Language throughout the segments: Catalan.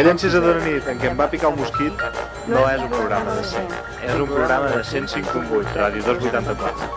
Eren sis a de la nit en què em va picar un mosquit no és un programa de 100. És un programa de 105.8, Ràdio 284.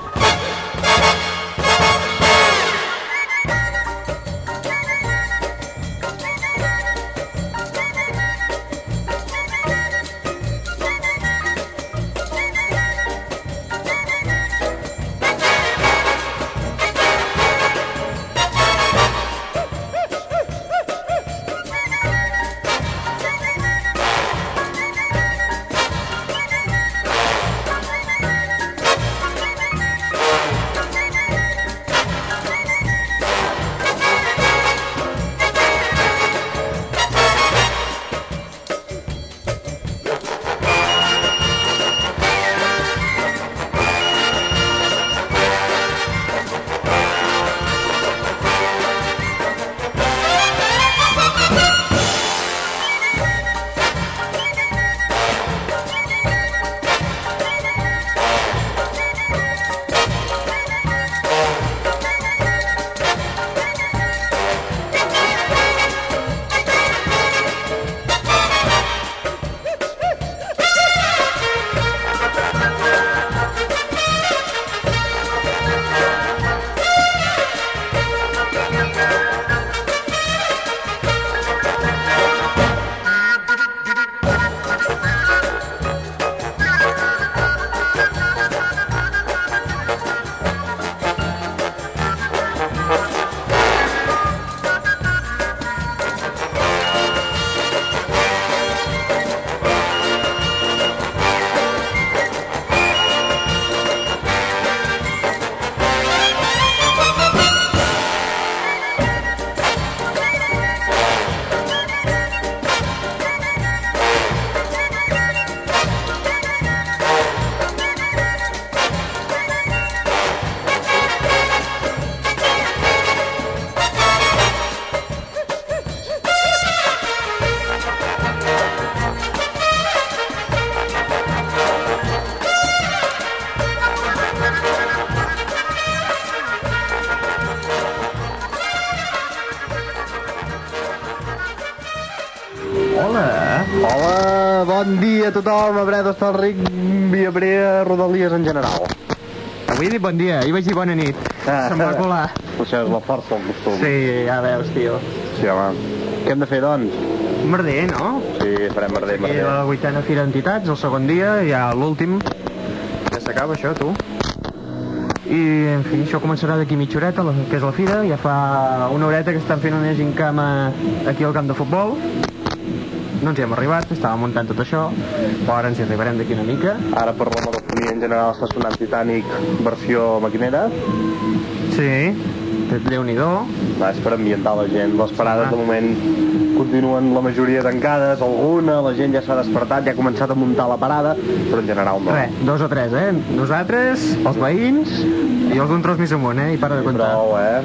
Hola. Hola, Eh, bon dia a tothom, a Breda, Estalric, Via Brea, Rodalies en general. Avui he dit bon dia, ahir vaig dir bona nit. Ah. Se'm va colar. Potser és la força del costum. Sí, ja veus, tio. Sí, home. Què hem de fer, doncs? Merder, no? Sí, farem merder, I merder. la vuitena fira d'entitats, el segon dia, i ja l'últim. Ja s'acaba això, tu. I, en fi, això començarà d'aquí mitja horeta, la- que és la fira. Ja fa una horeta que estan fent una gincama aquí al camp de futbol. No ens hi hem arribat, estàvem muntant tot això. Però ara ens hi arribarem d'aquí una mica. Ara per la melofonia en general està sonant Titanic versió maquinera. Sí. Déu-n'hi-do. Va, és per ambientar la gent. Les parades Ah. de moment continuen la majoria tancades, alguna, la gent ja s'ha despertat, ja ha començat a muntar la parada, però en general no. Re, dos o tres, eh? Nosaltres, els veïns i els d'un tros més amunt, eh? I para de comptar. Prou, eh?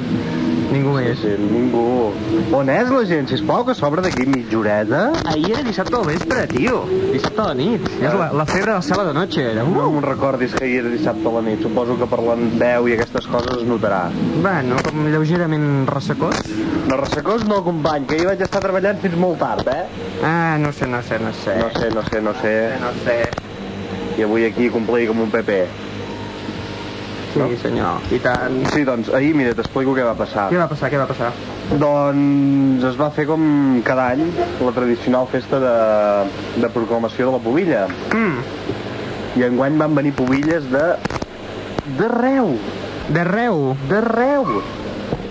Ningú més. Sí, ningú. On és la gent, sisplau, que s'obre d'aquí mitja horeta? Ahir era dissabte al vespre, tio. Dissabte a la nit. És la, la febre del sala de noche, era. No Uh! me'n recordis que hi era dissabte a la nit. Suposo que per l'endeu i aquestes coses es notarà. Bueno, com lleugerament ressecós. No, ressecós no, company, que jo vaig estar treballant fins molt tard, eh? Ah, no sé, no sé, no sé. No sé, no sé, no sé. no sé. I avui aquí complir com un PP. Sí, senyor. I tant. Sí, doncs, ahir, mira, t'explico què va passar. Què va passar, què va passar? Doncs es va fer com cada any la tradicional festa de, de proclamació de la pobilla. Mm, I enguany van venir pobilles de... d'arreu, d'arreu. d'arreu.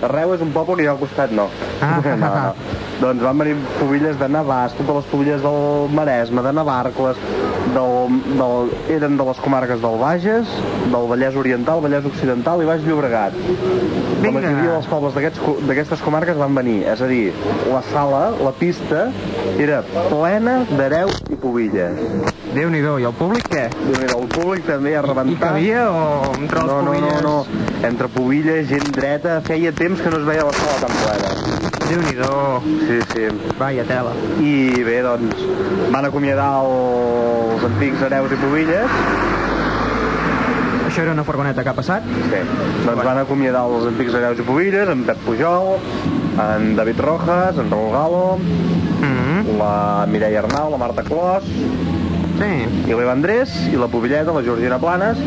Arreu és un poble que hi ha al costat, no. Ah. no, no. Doncs van venir pobilles de Navàs, totes les pobilles del Maresme, de Navarcles, del, del, eren de les comarques del Bages, del Vallès Oriental, Vallès Occidental i Baix Llobregat. La Vinga. majoria dels pobles d'aquests co- d'aquestes comarques van venir, és a dir, la sala, la pista, era plena d'hereu i pobilles. Déu-n'hi-do. I el públic, què? Déu n'hi do, El públic també ha Hi rebentat. cabia o entre els No, no, no, pobilles? no. Entre pobilles, gent dreta, feia temps que no es veia la sala tan plena. Déu-n'hi-do. Sí, sí. Vaya tela. I bé, doncs, van acomiadar els antics hereus i pobilles. Això era una furgoneta que ha passat? Sí. Doncs van acomiadar els antics hereus i pobilles, en Pep Pujol, en David Rojas, en Raúl Galo, Mm -hmm. la Mireia Arnau, la Marta Clos, Sí. i l'Eva Andrés, i la Pobilleta, la Georgina Planes,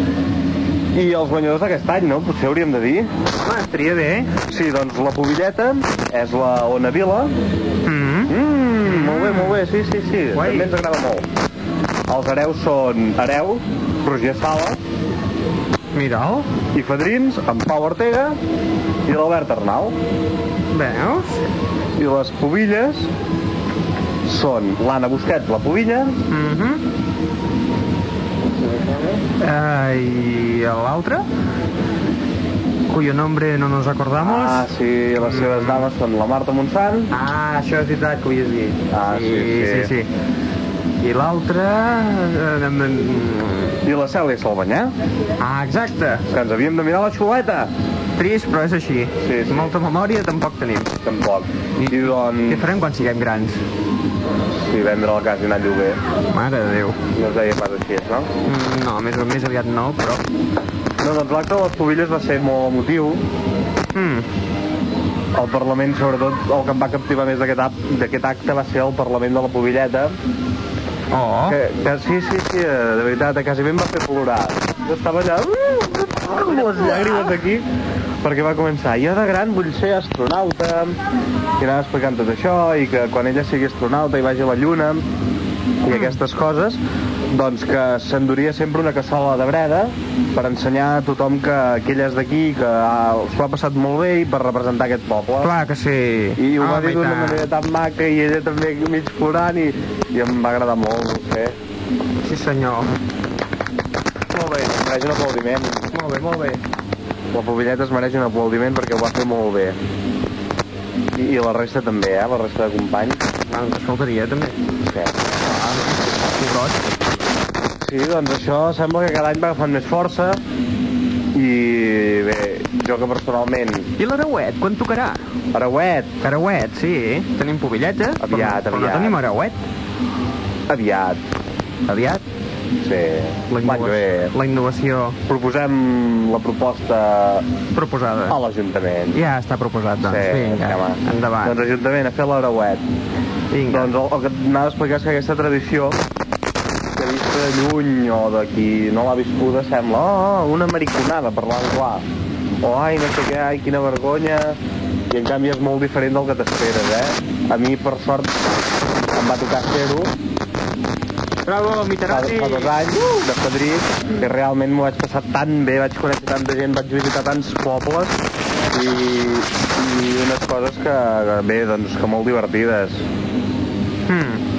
i els guanyadors d'aquest any, no? Potser hauríem de dir. Home, estaria bé, eh? Sí, doncs la Pobilleta és la Ona Vila. Mm -hmm. Mm, molt bé, molt bé, sí, sí, sí. Guai. També ens agrada molt. Els hereus són Hereu, Roger Sala, Mira'l. i Fadrins, en Pau Ortega i l'Albert Arnau. Veus? I les pobilles són l'Anna Busquets, la pobilla, Mm -hmm. uh, I l'altre? Cuyo nombre no nos acordamos. Mm. ah, sí, les seves dames són la Marta Montsant, Ah, això és veritat que ho havies dit. Ah, sí, sí. sí. sí, sí. I l'altre... eh, mm, mm, i la Cèlia Salvanyà, Ah, exacte. que ens havíem de mirar la xuleta. Trist, però és així. Sí, sí. Molta memòria tampoc tenim. Tampoc. I Què doncs, farem quan siguem grans? sí, vendre la casa i anar a lloguer. Mare de Déu. No es deia pas així, no? Mm, No, més, més aviat no, però... No, doncs l'acte de les pobilles va ser molt emotiu. Mm, El Parlament, sobretot, el que em va captivar més d'aquest ap- d'aquest acte va ser el Parlament de la Pobilleta, Oh, que, que sí, sí, sí, eh, de veritat, eh, quasi ben va fer plorar. Jo estava allà, uh, amb les llàgrimes aquí, perquè va començar, jo de gran vull ser astronauta, i anava explicant tot això, i que quan ella sigui astronauta i vagi a la Lluna, i aquestes coses, doncs que s'enduria sempre una cassola de breda per ensenyar a tothom que, que ella és d'aquí, que ah, s'ho ha passat molt bé i per representar aquest poble. clar que sí. Ah, I ho va Home, dir d'una tant. manera tan maca i ella també mig plorant i, i em va agradar molt, no sé. Sí, senyor. Molt bé, es mereix un aplaudiment. Molt bé, molt bé. La pobilleta es mereix un aplaudiment perquè ho va fer molt bé. I, i la resta també, eh? La resta de companys. Ah, ens faltaria, també. Sí. Ah, pobrot. sí, doncs això sembla que cada any va agafant més força i bé, jo que personalment, I l'Arauet, quan tocarà? Arauet, Arauet, sí. Tenim pobilleta. Aviat, però, Però no aviat. tenim Arauet. aviat, Aviat. sí, l'any que ve. la innovació Proposem la proposta proposada. a l'Ajuntament. Ja està proposat, doncs. Vinga, home. endavant. Doncs Ajuntament, a fer l'Arauet. Vinga. Doncs el, el que anava a explicar és que aquesta tradició que vista de lluny o de qui no l'ha viscuda sembla oh, una mariconada, parlant clar. O ai, no sé què, ai, quina vergonya. I en canvi és molt diferent del que t'esperes, eh? A mi, per sort, em va tocar fer-ho Bravo, Doncs fa, fa dos anys, de Madrid, que realment m'ho vaig passar tan bé, vaig conèixer tanta gent, vaig visitar tants pobles i, i unes coses que, que, bé, doncs, que molt divertides. Mm.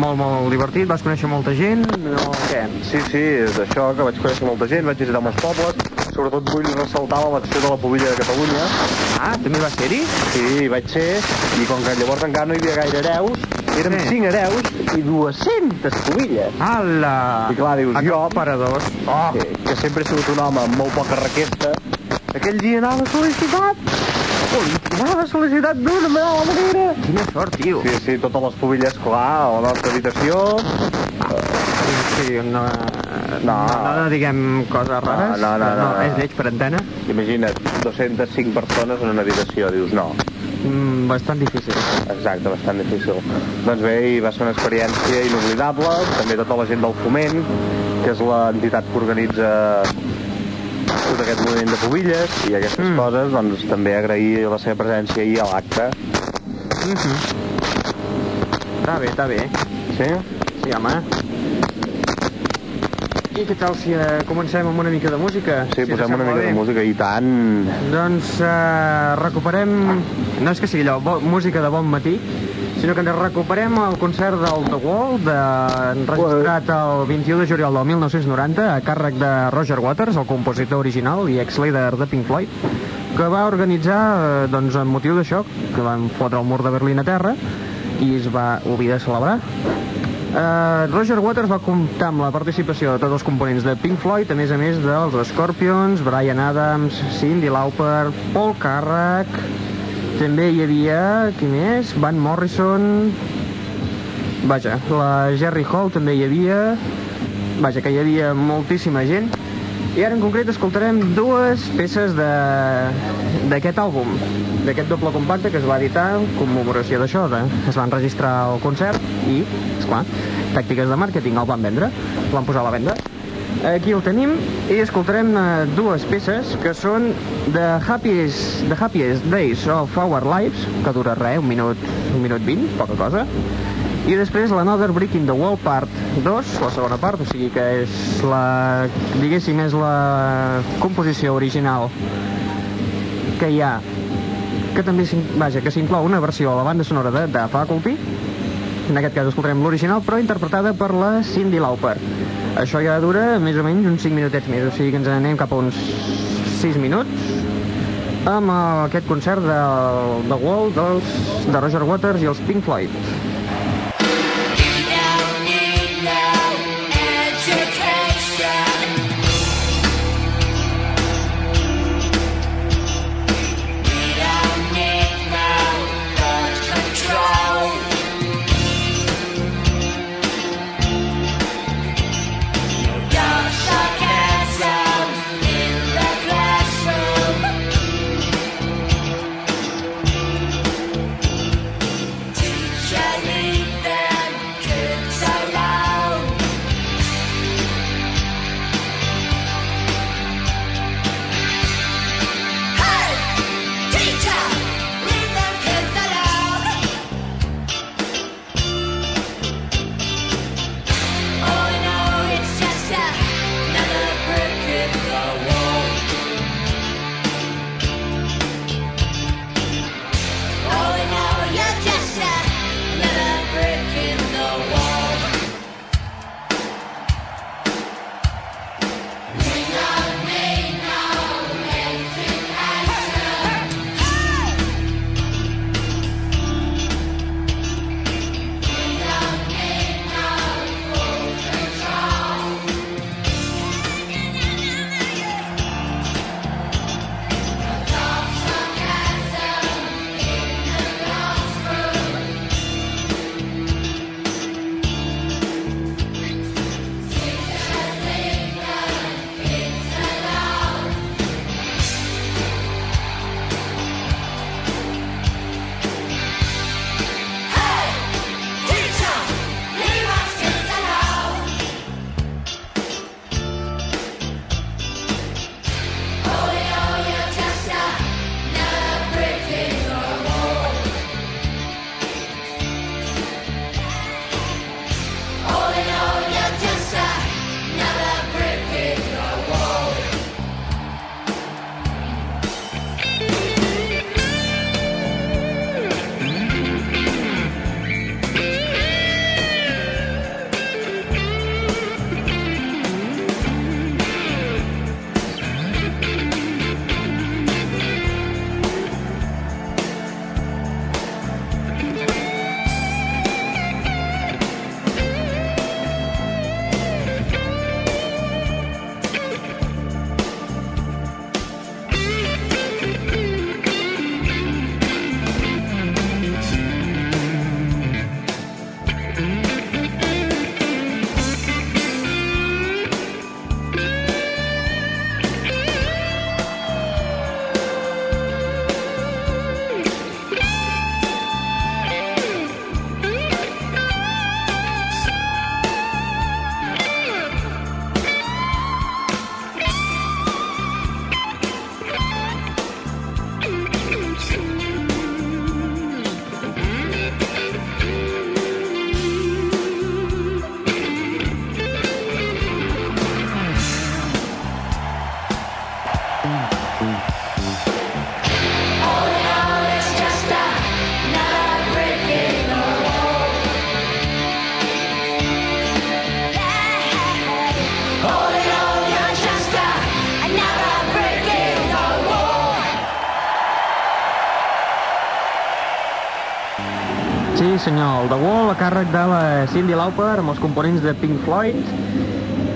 Molt, molt divertit, vas conèixer molta gent, no què? Sí, sí, és això, que vaig conèixer molta gent, vaig visitar molts pobles, sobretot vull ressaltar l'elecció de la pobilla de Catalunya, Ah, també va ser-hi? sí, hi vaig ser, i com que llavors encara no hi havia gaire hereus, érem Sí. sí. 5 hereus i 200 pobilles. Ala! I clar, dius, jo- Acaparadors. Oh, Que, que sempre he sigut un home amb molt poca requesta, aquell dia anava sol·licitat, anava sol·licitat d'una mala manera. quina sort, tio. Sí, sí, totes les pobilles, clar, a la nostra habitació, Sí, sí no, no. no, no diguem coses rares. no, no, no, no. És lleig per antena? imagina't, 205 persones en una habitació, dius, no, Mm, bastant difícil. Exacte, bastant difícil. Doncs bé, i va ser una experiència inoblidable, també tota la gent del Foment, que és l'entitat que organitza tot aquest moviment de pobilles i aquestes Mm. mm. coses, doncs també agrair la seva presència ahir a l'acte. Mhm. Està bé, està bé. Sí? Sí, home. I què tal si eh, comencem amb una mica de música? Sí, si posem una mica de música i tant. Doncs eh, recuperem... No és que sigui allò, bo, música de bon matí, sinó que ens recuperem el concert del The Wall, de, enregistrat el 21 de juliol del 1990, a càrrec de Roger Waters, el compositor original i ex-líder de Pink Floyd, que va organitzar, eh, doncs, amb motiu d'això, que van fotre el mur de Berlín a terra, i es va oblidar de celebrar. Eh, Roger Waters va comptar amb la participació de tots els components de Pink Floyd, a més a més dels Scorpions, Brian Adams, Cyndi Lauper, Paul Carrack, també hi havia, qui més? Van Morrison, vaja, la Jerry Hall també hi havia, vaja, que hi havia moltíssima gent, I ara en concret escoltarem dues peces de- d'aquest àlbum, d'aquest doble compacte que es va editar en commemoració d'això. De... Es van registrar el concert i, esclar, tàctiques de màrqueting el van vendre, el van posar a la venda. Aquí el tenim i escoltarem eh, dues peces que són The Happiest, the happiest Days of Our Lives, que dura res, un minut, un minut vint, poca cosa, i després l'Another Brick in the Wall part 2, la segona part, o sigui que és la, diguéssim, és la composició original que hi ha que també, s'in- vaja, que s'inclou una versió a la banda sonora de, de Faculty en aquest cas escoltarem l'original però interpretada per la Cindy Lauper això ja dura més o menys uns 5 minutets més o sigui que ens n'anem cap a uns 6 minuts amb eh, aquest concert del The Wall dels, de Roger Waters i els Pink Floyd You don't need no education. You don't need no thought control. No dark sarcasm in the classroom. Teacher, leave them kids alone. Hey, teacher, leave them kids alone. Oh no, it's just another brick in the wall. Oh no, you're just another brick in the wall. We don't need no education. We don't need no full control. Adopt sarcasm in the classroom. Teachers leave the kids alone. Hey, teacher, leave us kids alone. Oh no, you're just another brick in the wall. Oh no, you're just another brick in the wall. Sí, senyor, el The Wall a càrrec de la Cindy Lauper amb els components de Pink Floyd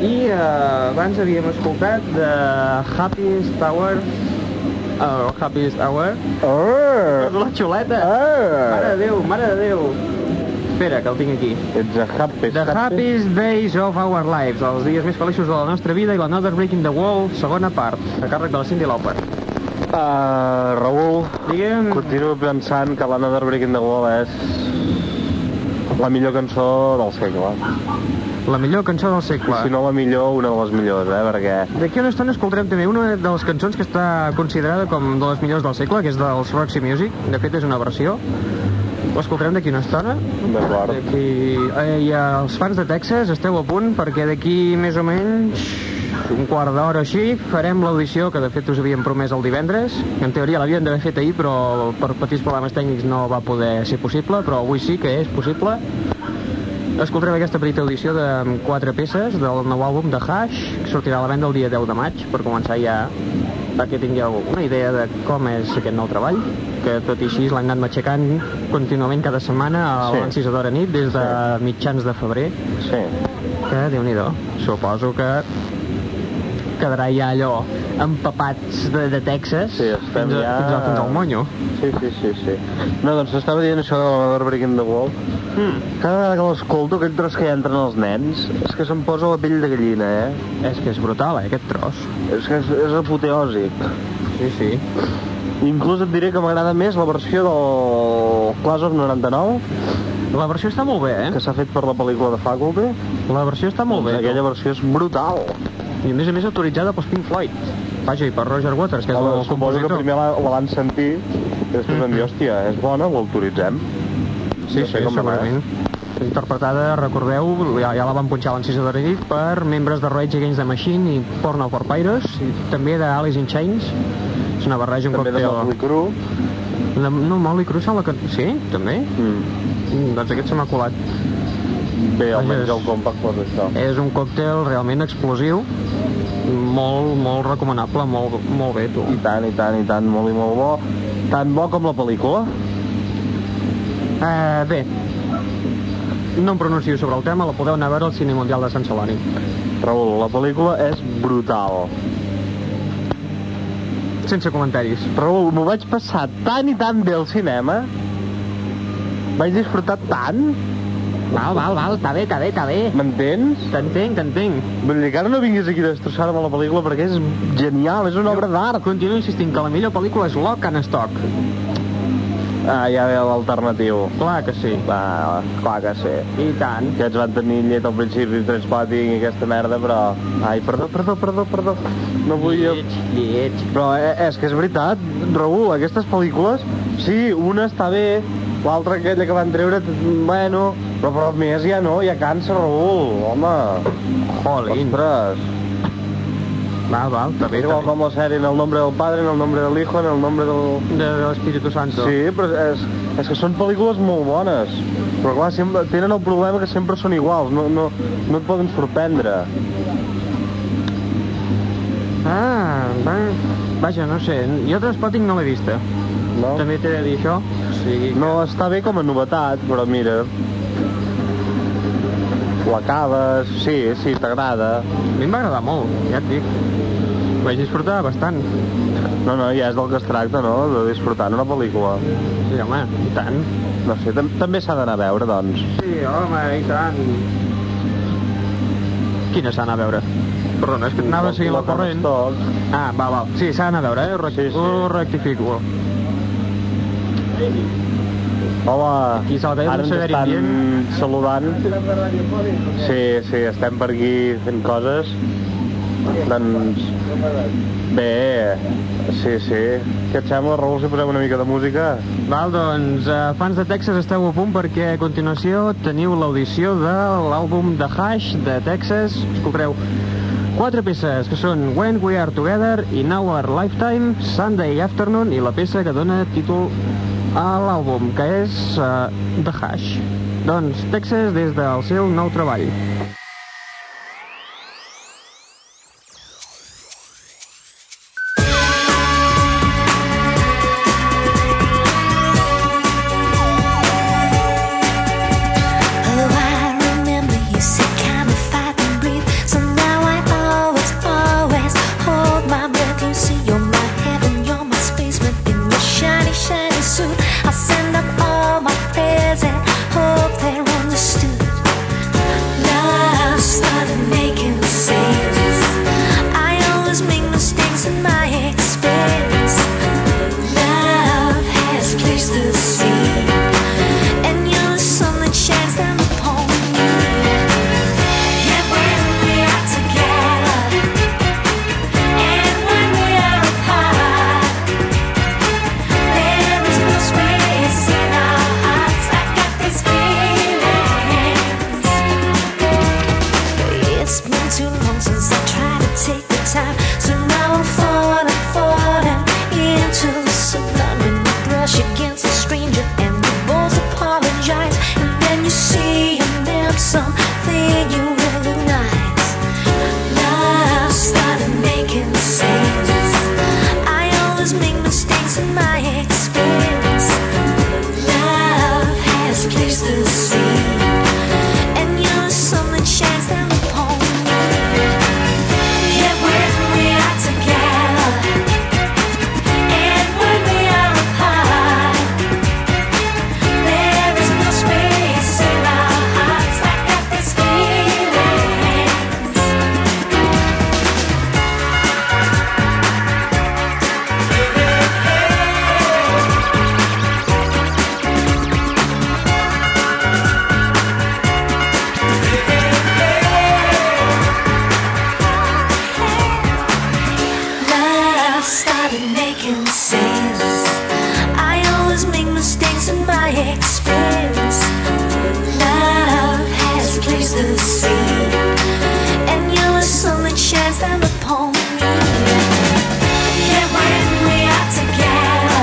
i eh, abans havíem escoltat de Happiest Hour uh, Happiest Hour Arr! de la xuleta Arr! Mare de Déu, mare de Déu Espera, que el tinc aquí. Ets a happy. The Happiest Days of Our Lives, els dies més feliços de la nostra vida i l'Another Breaking the Wall, segona part, a càrrec de la Cindy Lauper. Uh, Raül, Digue'm... continuo pensant que l'Another Breaking the Wall és la millor cançó del segle. La millor cançó del I segle. si no la millor, una de les millors, eh? Perquè D'aquí a una estona escoltarem també una de les cançons que està considerada com de les millors del segle, que és dels Roxy Music. De fet, és una versió. L'escoltarem d'aquí una estona. D'acord. D'aquí... Eh, I els fans de Texas, esteu a punt, perquè d'aquí més o menys un quart d'hora o així farem l'audició que de fet us havíem promès el divendres que en teoria l'havien d'haver fet ahir però per petits problemes tècnics no va poder ser possible però avui sí que és possible Escoltarem aquesta petita audició de quatre peces del nou àlbum de Hash, que sortirà a la venda el dia 10 de maig, per començar ja perquè tingueu una idea de com és aquest nou treball, que tot i així l'han anat matxacant contínuament cada setmana a Sí. les 6 d'hora nit des de mitjans de febrer, sí, que déu nhi suposo que quedarà ja allò empapats de, de Texas Sí, estem fins, a, ja- fins, al, fins al monyo. sí, sí, sí, sí. No, doncs estava dient això de l'Another Breaking the Wall. Mm. Cada vegada que l'escolto, aquest tros que hi entren els nens, és que se'm posa la pell de gallina, eh? És que és brutal, eh, aquest tros. És que és, és apoteòsic. Sí, sí. Inclús et diré que m'agrada més la versió del Class of 99, La versió està molt bé, que eh? s'ha fet per la pel·lícula de Faculty. Doncs La versió està molt bé. Aquella versió és brutal. I a més a més autoritzada pels Pink Floyd. Vaja, i per Roger Waters, que és Home, el suposo que compositor. primer la, la van sentir i després van dir, hòstia, és bona, l'autoritzem. Mm-hmm. Sí, no sí, sé com va eh? anar, segurament. Interpretada, recordeu, ja, ja la van punxar a l'encisa de la nit per membres de Rage Against the Machine i Porno for Pyros, i també d'Alice in Chains. És una barreja, un També de còctel... Motley Crue. De... No, Molly Cruz, la que... Sí, també? Mm. Eh? Mm, doncs aquest se m'ha colat. Bé, almenys Vaja, el compact pot això. És un còctel realment explosiu, molt, molt recomanable, molt, molt bé, tu. I tant, i tant, i tant, molt i molt bo. Tan bo com la pel·lícula. Uh, bé, no em pronuncio sobre el tema, la podeu anar a veure al Cine Mundial de Sant Celoni. Raül, la pel·lícula és brutal. Sense comentaris. Raül, m'ho vaig passar tan i tan bé al cinema. Vaig disfrutar tant. Val, val, val, està bé, està bé, està bé. M'entens? T'entenc, t'entenc. Vull dir que ara no vinguis aquí a destrossar-me la pel·lícula perquè és genial, és una obra d'art. Continuo insistint que la millor pel·lícula és Lock and Stock. Ah, ja ve l'alternatiu. Clar que sí. Va, clar que sí. I tant. Que ets van tenir llet al principi, Transpotting i aquesta merda, però... Ai, perdó, perdó, perdó, perdó. No volia... Lleig, lleig. Però eh, és que és veritat, Raül, aquestes pel·lícules, sí, una està bé, l'altra aquella que van treure, bueno, però, però més ja no, ja cansa, Raül, home. Jolín. Ostres. Val, val, està És bé, està igual bé. com la sèrie, en el nombre del padre, en el nombre del hijo, en el nombre del... De l'Espíritu Santo. Sí, però és, és que són pel·lícules molt bones. Però clar, sempre, tenen el problema que sempre són iguals, no, no, no et poden sorprendre. Ah, va... Vaja, no sé, jo Transpotting no l'he vista. No? També t'he de dir això. O sigui, No està bé com a novetat, però mira... Ho acabes, sí, sí, t'agrada. a mi em va agradar molt, ja et dic. Vaig disfrutar bastant. No, no, ja és del que es tracta, no?, de disfrutar en una pel·lícula. Sí, home, i tant. No sé, tam també s'ha d'anar a veure, doncs. Sí, home, i tant. Quina s'ha d'anar a veure? Perdona, és que anava seguint la corrent. Tot. Ah, va, va. Sí, s'ha d'anar a veure, eh? Ho, rec Sí, sí. ho rectifico. Hola, Aquí se la veu, ara no ens saber-hi estan bien. saludant. Sí, sí, estem per aquí fent coses. Doncs... Bé, sí, sí. Què et sembla, Raül, si posem una mica de música? Val, doncs, eh, fans de Texas, esteu a punt perquè a continuació teniu l'audició de l'àlbum de Hash de Texas. Escoltareu quatre peces, que són When We Are Together, In Our Lifetime, Sunday Afternoon i la peça que dona títol a l'àlbum, que és uh, The Hash. Doncs, Texas des del seu nou treball. Oh, I remember you said kind of fight and breathe. So now I always, always hold my breath. You see, you're my heaven, you're my space within your shiny, shiny suit. I send up all my prayers and hope they Now I'm falling, falling into the subliminal brush against a stranger, and we both apologize. And then you see in them something you recognize. Love started making sense. I always make mistakes in my experience. Love has placed the seed, and you're the sun that shines down upon me. Yet when we are together, and when we are apart, there is no space in our hearts. I got this feeling. Love started making sense. I always make mistakes in my experience. Love has placed the seed, and you're the sun that shines down upon me. Yeah, when we are together,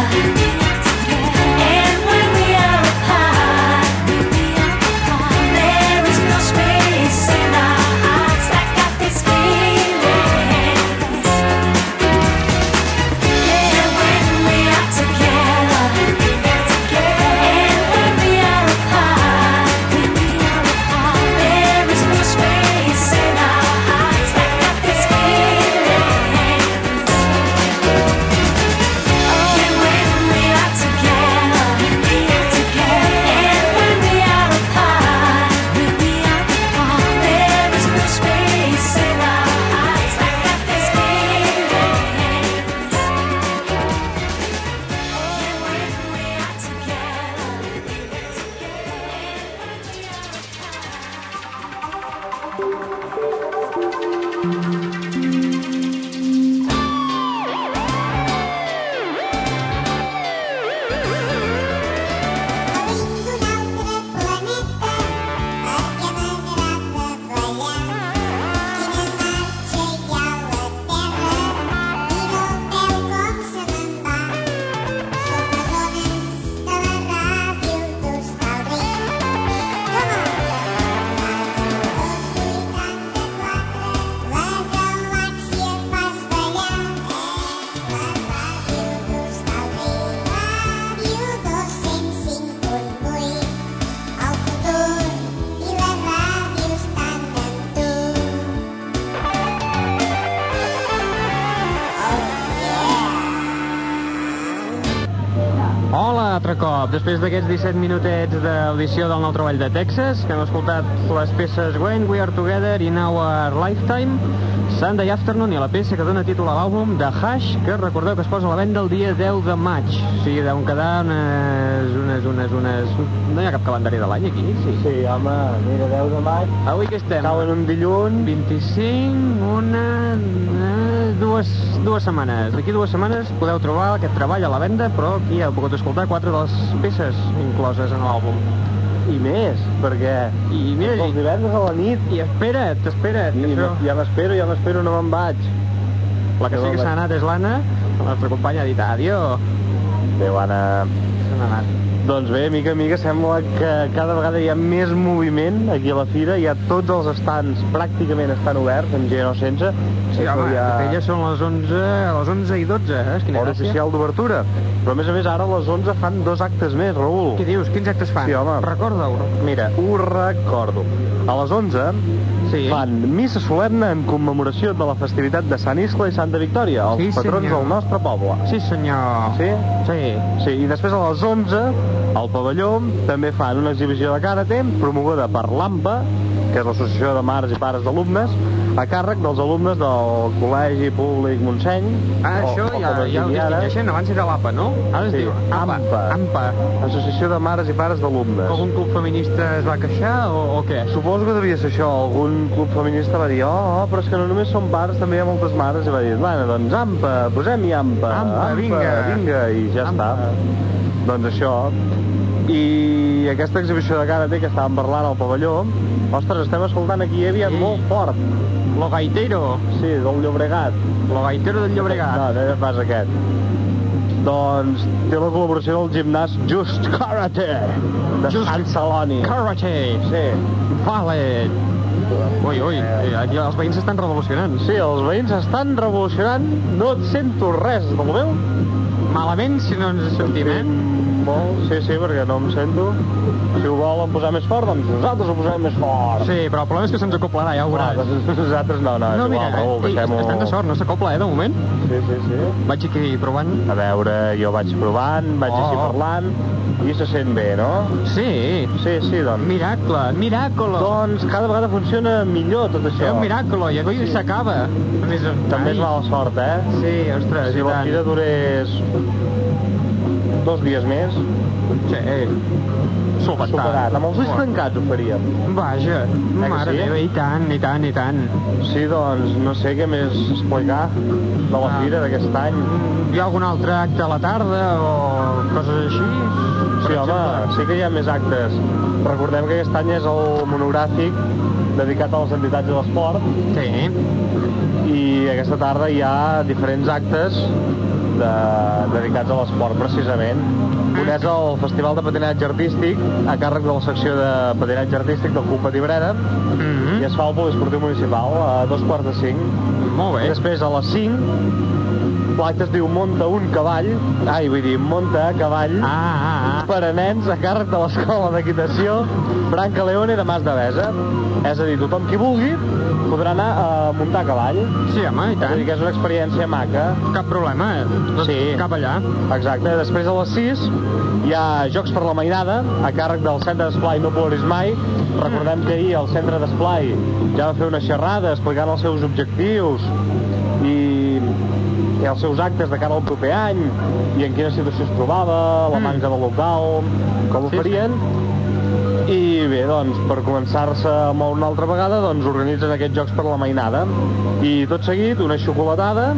and when we are apart, there is no space in our hearts. I got this feeling. And when we are together, and when we are apart, there is no space in our hearts. I got this feeling. And when we are together, and when we are apart, there is no space in our hearts. I got this feeling. El futur i les ràdios tanquen tu. Hola, altre cop. Després d'aquests 17 minutets d'audició del nou treball de Texas, que hem escoltat les peces When We Are Together in Our Lifetime, Sunday Afternoon i la peça que dona títol a l'àlbum de Hash, que recordeu que es posa a la venda el dia 10 de maig. O sigui, deuen quedar unes... unes... unes... unes... No hi ha cap calendari de l'any aquí? Sí. Ah, Sí, home, mira, 10 de maig, Avui que estem? cau en un dilluns, 25, una, eh, dues, dues setmanes. D'aquí dues setmanes podeu trobar aquest treball a la venda, però aquí heu pogut escoltar quatre de les peces incloses en l'àlbum. i més, perquè I mira, els i, divendres a la nit, i espera't, espera't, que i això, ja m'espero, ja m'espero, no me'n vaig. la que sí que s'ha anat és l'Anna, la nostra companya ha dit adió, Adéu, Anna. se n'ha anat. Doncs bé, mica en mica sembla que cada vegada hi ha més moviment aquí a la fira, hi ha tots els estants pràcticament estan oberts, amb gent o sense. Sí, Això home, ja... de fet ja són les 11, a les 11 i 12, eh? És quina Hora gràcia. oficial d'obertura. Però a més a més ara a les 11 fan dos actes més, Raül. Què dius? Quins actes fan? Sí, home. Recorda-ho. Mira, ho recordo. A les 11 Sí. fan missa solemne en commemoració de la festivitat de Sant Iscle i Santa Victòria, els Sí, patrons senyor. del nostre poble. Sí, senyor. Sí? Sí. Sí, i després a les 11 al pavelló també fan una exhibició de karate promoguda per l'AMPA, que és l'Associació de Mares i Pares d'Alumnes, a càrrec dels alumnes del Col·legi Públic Montseny. Ah, o- això o ja, com es ja ho digui ara, distingeixen, abans era l'APA, no? Ara es Sí, diu APA. AMPA. AMPA. Associació de Mares i Pares d'Alumnes. Algun club feminista es va queixar o, o què? Suposo que devia ser això, algun club feminista va dir oh, però és que no només són pares, també hi ha moltes mares, i va dir, bueno, doncs ampa, posem-hi ampa, Ampa, vinga." vinga, i ja Ampa. està. Doncs això, i aquesta exhibició de karate que estàvem parlant al pavelló, ostres, estem escoltant aquí, hi havia Sí. molt fort. Lo Gaitero. Sí, del Llobregat. Lo Gaitero del Llobregat. No, no pas aquest. Doncs té la col·laboració del gimnàs Just Karate de Just Sant Celoni. Karate. Sí. Vale. Ui, ui, eh, aquí els veïns s'estan revolucionant. Sí, els veïns estan revolucionant. No et sento res del meu. Malament si no ens sentim, eh? Molt, sí, sí, perquè no em sento. Si ho volen posar més fort, doncs nosaltres ho posem més fort. Sí, però el problema és que se'ns acoplarà, ja ho Ah, veuràs. doncs nosaltres no, no, és No, igual, mira, Raül, ei, deixem-ho- estan de sort, no s'acopla, eh, de moment. Sí, sí, sí. Vaig aquí provant. A veure, jo vaig provant, vaig Oh. així parlant, i se sent bé, no? Sí, Sí, sí, doncs. miracle, miracolo. Doncs cada vegada funciona millor tot És això. un miracolo, i avui s'acaba. Més- També Ai. és mala sort, eh? Sí, ostres, Si i la tant. fira durés dos dies més, Sí, eh. Solventat. superat. Amb els ulls tancats ho faríem. Vaja, que mare sí? meva, i tant, i tant, i tant. Sí, doncs, no sé què més explicar de la Ah. fira d'aquest any. Mm, Hi ha algun altre acte a la tarda o coses així? Per Sí, home, exemple? sí que hi ha més actes. Recordem que aquest any és el monogràfic dedicat a les entitats de l'esport Sí, i aquesta tarda hi ha diferents actes de, dedicats a l'esport, precisament. Un és el Festival de Patinatge Artístic, a càrrec de la secció de patinatge artístic del Club Patibrera, Mhm. i es fa al Poliesportiu Municipal a dos quarts de cinc. molt I bé. després a les 5 l'acte es diu Monta un cavall ai, vull dir, Monta a cavall Ah, ah, ah. per a nens a càrrec de l'escola d'equitació Branca Leone de Mas de Besa és a dir, tothom qui vulgui podrà anar a muntar a cavall és Sí, home, i a dir, tant. que és una experiència maca Cap problema, eh? Tot Sí. Cap allà. exacte, després a les 6 hi ha Jocs per la Mainada a càrrec del Centre d'Esplai No Ploris Mai recordem que ahir el Centre d'Esplai ja va fer una xerrada explicant els seus objectius i i els seus actes de cara al proper any, i en quina situació es trobava, la Mm. manca de local, com ho Sí, sí. farien. I bé, doncs, per començar-se a moure una altra vegada, doncs organitzen aquests jocs per la mainada. I tot seguit, una xocolatada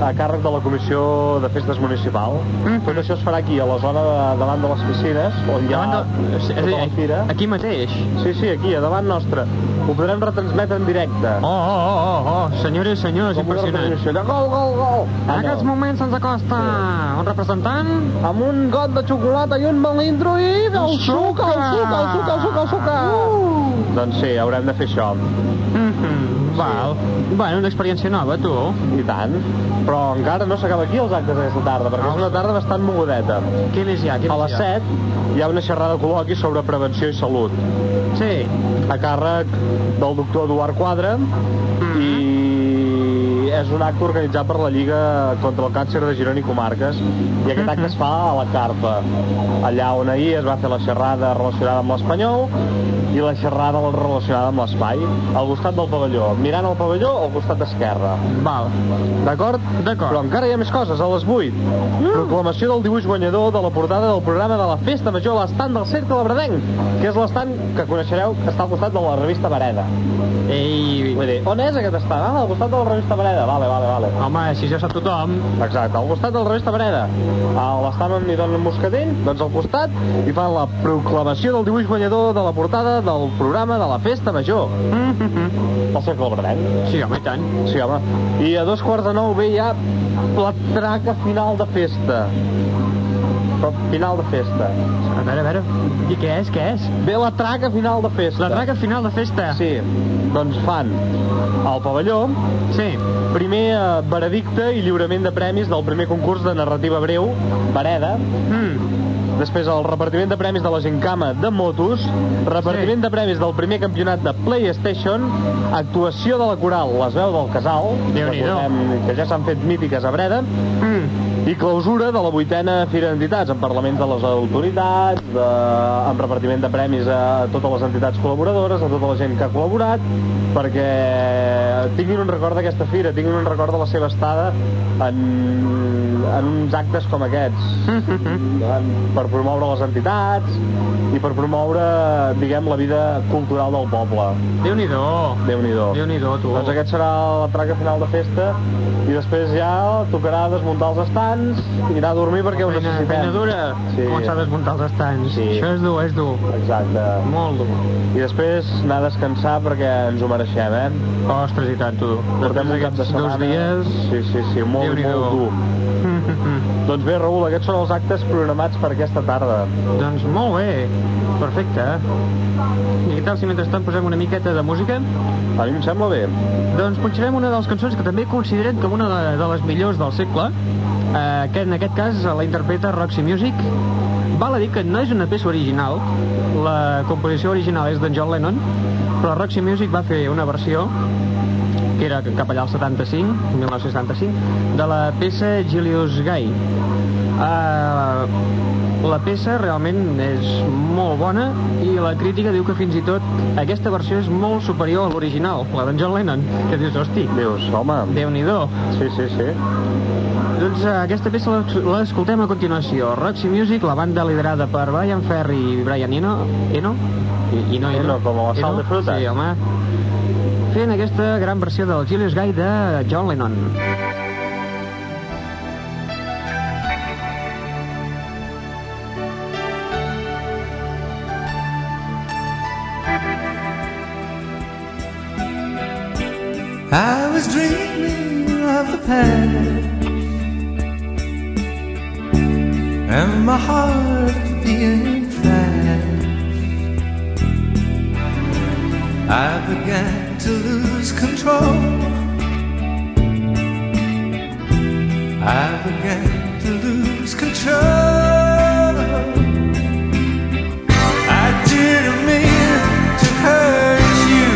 a càrrec de la Comissió de Festes Municipal. Mhm. Tot això es farà aquí, a la zona de, davant de les piscines, on hi ha Davant del- és a tota la dir, fira. Aquí mateix. Sí, sí, aquí, a davant nostre. Ho podrem retransmetre en directe. Oh, oh, oh, oh, senyores i senyors, Com una impressionant. retransmissió de Gol, gol, gol! En Ah, no. aquests moments se'ns acosta un representant. Ah, amb un got de xocolata i un melindro i el suc, el suc, el suc, el suc, el suc. Uh! Doncs sí, haurem de fer això, Mhm, Val. Bueno, una experiència nova, tu. i tant. Però encara no s'acaba aquí els actes aquesta tarda, perquè és una tarda bastant mogudeta. Què més Ah. hi ha? Què A les més hi ha? 7 hi ha una xerrada col·loqui sobre prevenció i salut, Sí. a càrrec del doctor Eduard Quadra, Mhm. i és un acte organitzat per la Lliga contra el Càncer de Girona i Comarques i aquest acte es fa a la Carpa allà on ahir es va fer la xerrada relacionada amb l'Espanyol i la xerrada relacionada amb l'espai al costat del pavelló, mirant el pavelló al costat esquerre, Val. d'acord? D'acord. Mm. Però encara hi ha més coses, a les 8 proclamació del dibuix guanyador de la portada del programa de la Festa Major a l'estant del Cercle Labredenc, que és l'estant que coneixereu que està al costat de la revista Vareda Ei, Vull dir, on és aquest estat? Ah, al costat de la revista Breda. Vale, vale, vale. home, si ja sap tothom. Exacte, al costat de la revista Breda. A l'estat on hi donen Moscadell, doncs al costat, i fan la proclamació del dibuix guanyador de la portada del programa de la Festa Major. Mhm. Del Cercle Bredenc. Sí, home, i tant. Sí, home. I a dos quarts de nou ve ja la traca final de festa. Però final de festa. A veure, a veure, i què és, què és? Ve la traca final de festa. La traca final de festa. Sí, doncs fan al pavelló, Sí. Primer eh, veredicte i lliurament de premis del primer concurs de narrativa breu, Vareda. Mm. Després el repartiment de premis de la Gincama de motos, repartiment Sí. de premis del primer campionat de PlayStation, actuació de la coral Les Veu del Casal, Déu-n'hi-do. recordem que ja s'han fet mítiques a Breda, Mm. i clausura de la vuitena Fira d'Entitats, amb parlaments de les autoritats, de... amb repartiment de premis a totes les entitats col·laboradores, a tota la gent que ha col·laborat, perquè tinguin un record d'aquesta fira, tinguin un record de la seva estada en, en uns actes com aquests, en... per per promoure les entitats i per promoure, diguem, la vida cultural del poble. Déu-n'hi-do. Déu-n'hi-do. Déu-n'hi-do, tu. Doncs aquest serà la traca final de festa i després ja tocarà desmuntar els estants i anar a dormir perquè ho Feina, necessitem. feina dura. Sí. Començar a desmuntar els estanys. Sí. Això és dur, és dur. Exacte. Molt dur. I després anar a descansar perquè ens ho mereixem, eh? Ostres, i tant, tu. Portem un cap de setmana. Dos dies... Sí, sí, sí, molt, Déu-n'hi-do. molt dur. Doncs bé, Raül, aquests són els actes programats per aquesta tarda. Doncs molt bé, perfecte. I què tal si mentrestant posem una miqueta de música? A mi em sembla bé. Doncs punxarem una de les cançons que també considerem com una de, de les millors del segle. Eh, que en aquest cas la interpreta Roxy Music. Val a dir que no és una peça original, la composició original és d'en John Lennon, però Roxy Music va fer una versió que era cap allà al 75, 1975, de la peça Julius Guy. Uh, la peça realment és molt bona i la crítica diu que fins i tot aquesta versió és molt superior a l'original, la d'en John Lennon, que dius, hosti, Dius, home... Déu-n'hi-do. Sí, sí, sí. Doncs eh, aquesta peça l'es- l'escoltem a continuació. Roxy Music, la banda liderada per Brian Ferry i Brian Eno. Eno? I, Eno, Eno, com a la sal de fruta. Sí, home. Fent aquesta gran versió del Julius Guy de John Lennon. I was dreaming of the past and my heart being fast. I began to lose control. I began to lose control. I didn't mean to hurt you.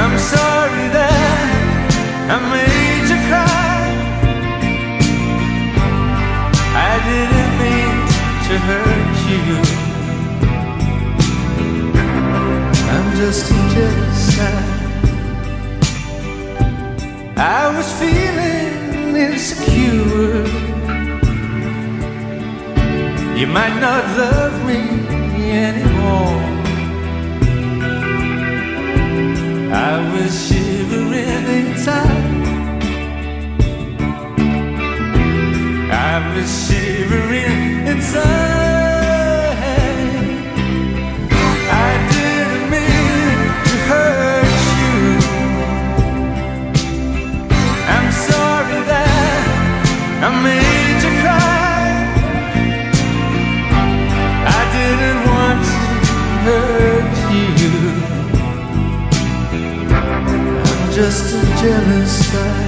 I'm sorry that I made you cry. I didn't mean to hurt you. I'm just jealous. I was feeling insecure. You might not love me anymore. I was shivering inside. I was shivering inside. I didn't mean to hurt you. I'm sorry that I made you cry. I didn't want to hurt you. I'm just a jealous guy.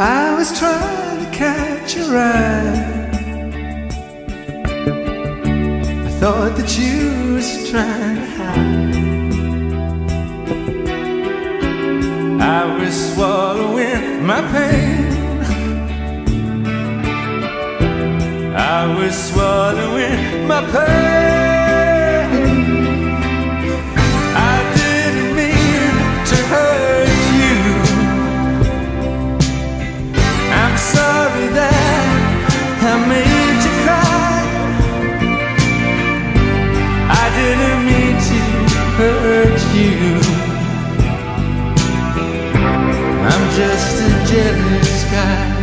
I was trying to catch your eye. I thought that you was trying to hide. I was swallowing my pain. I was swallowing my pain. I didn't mean to hurt you. I'm sorry that I made you cry. I didn't mean to hurt you. I'm just a jealous guy.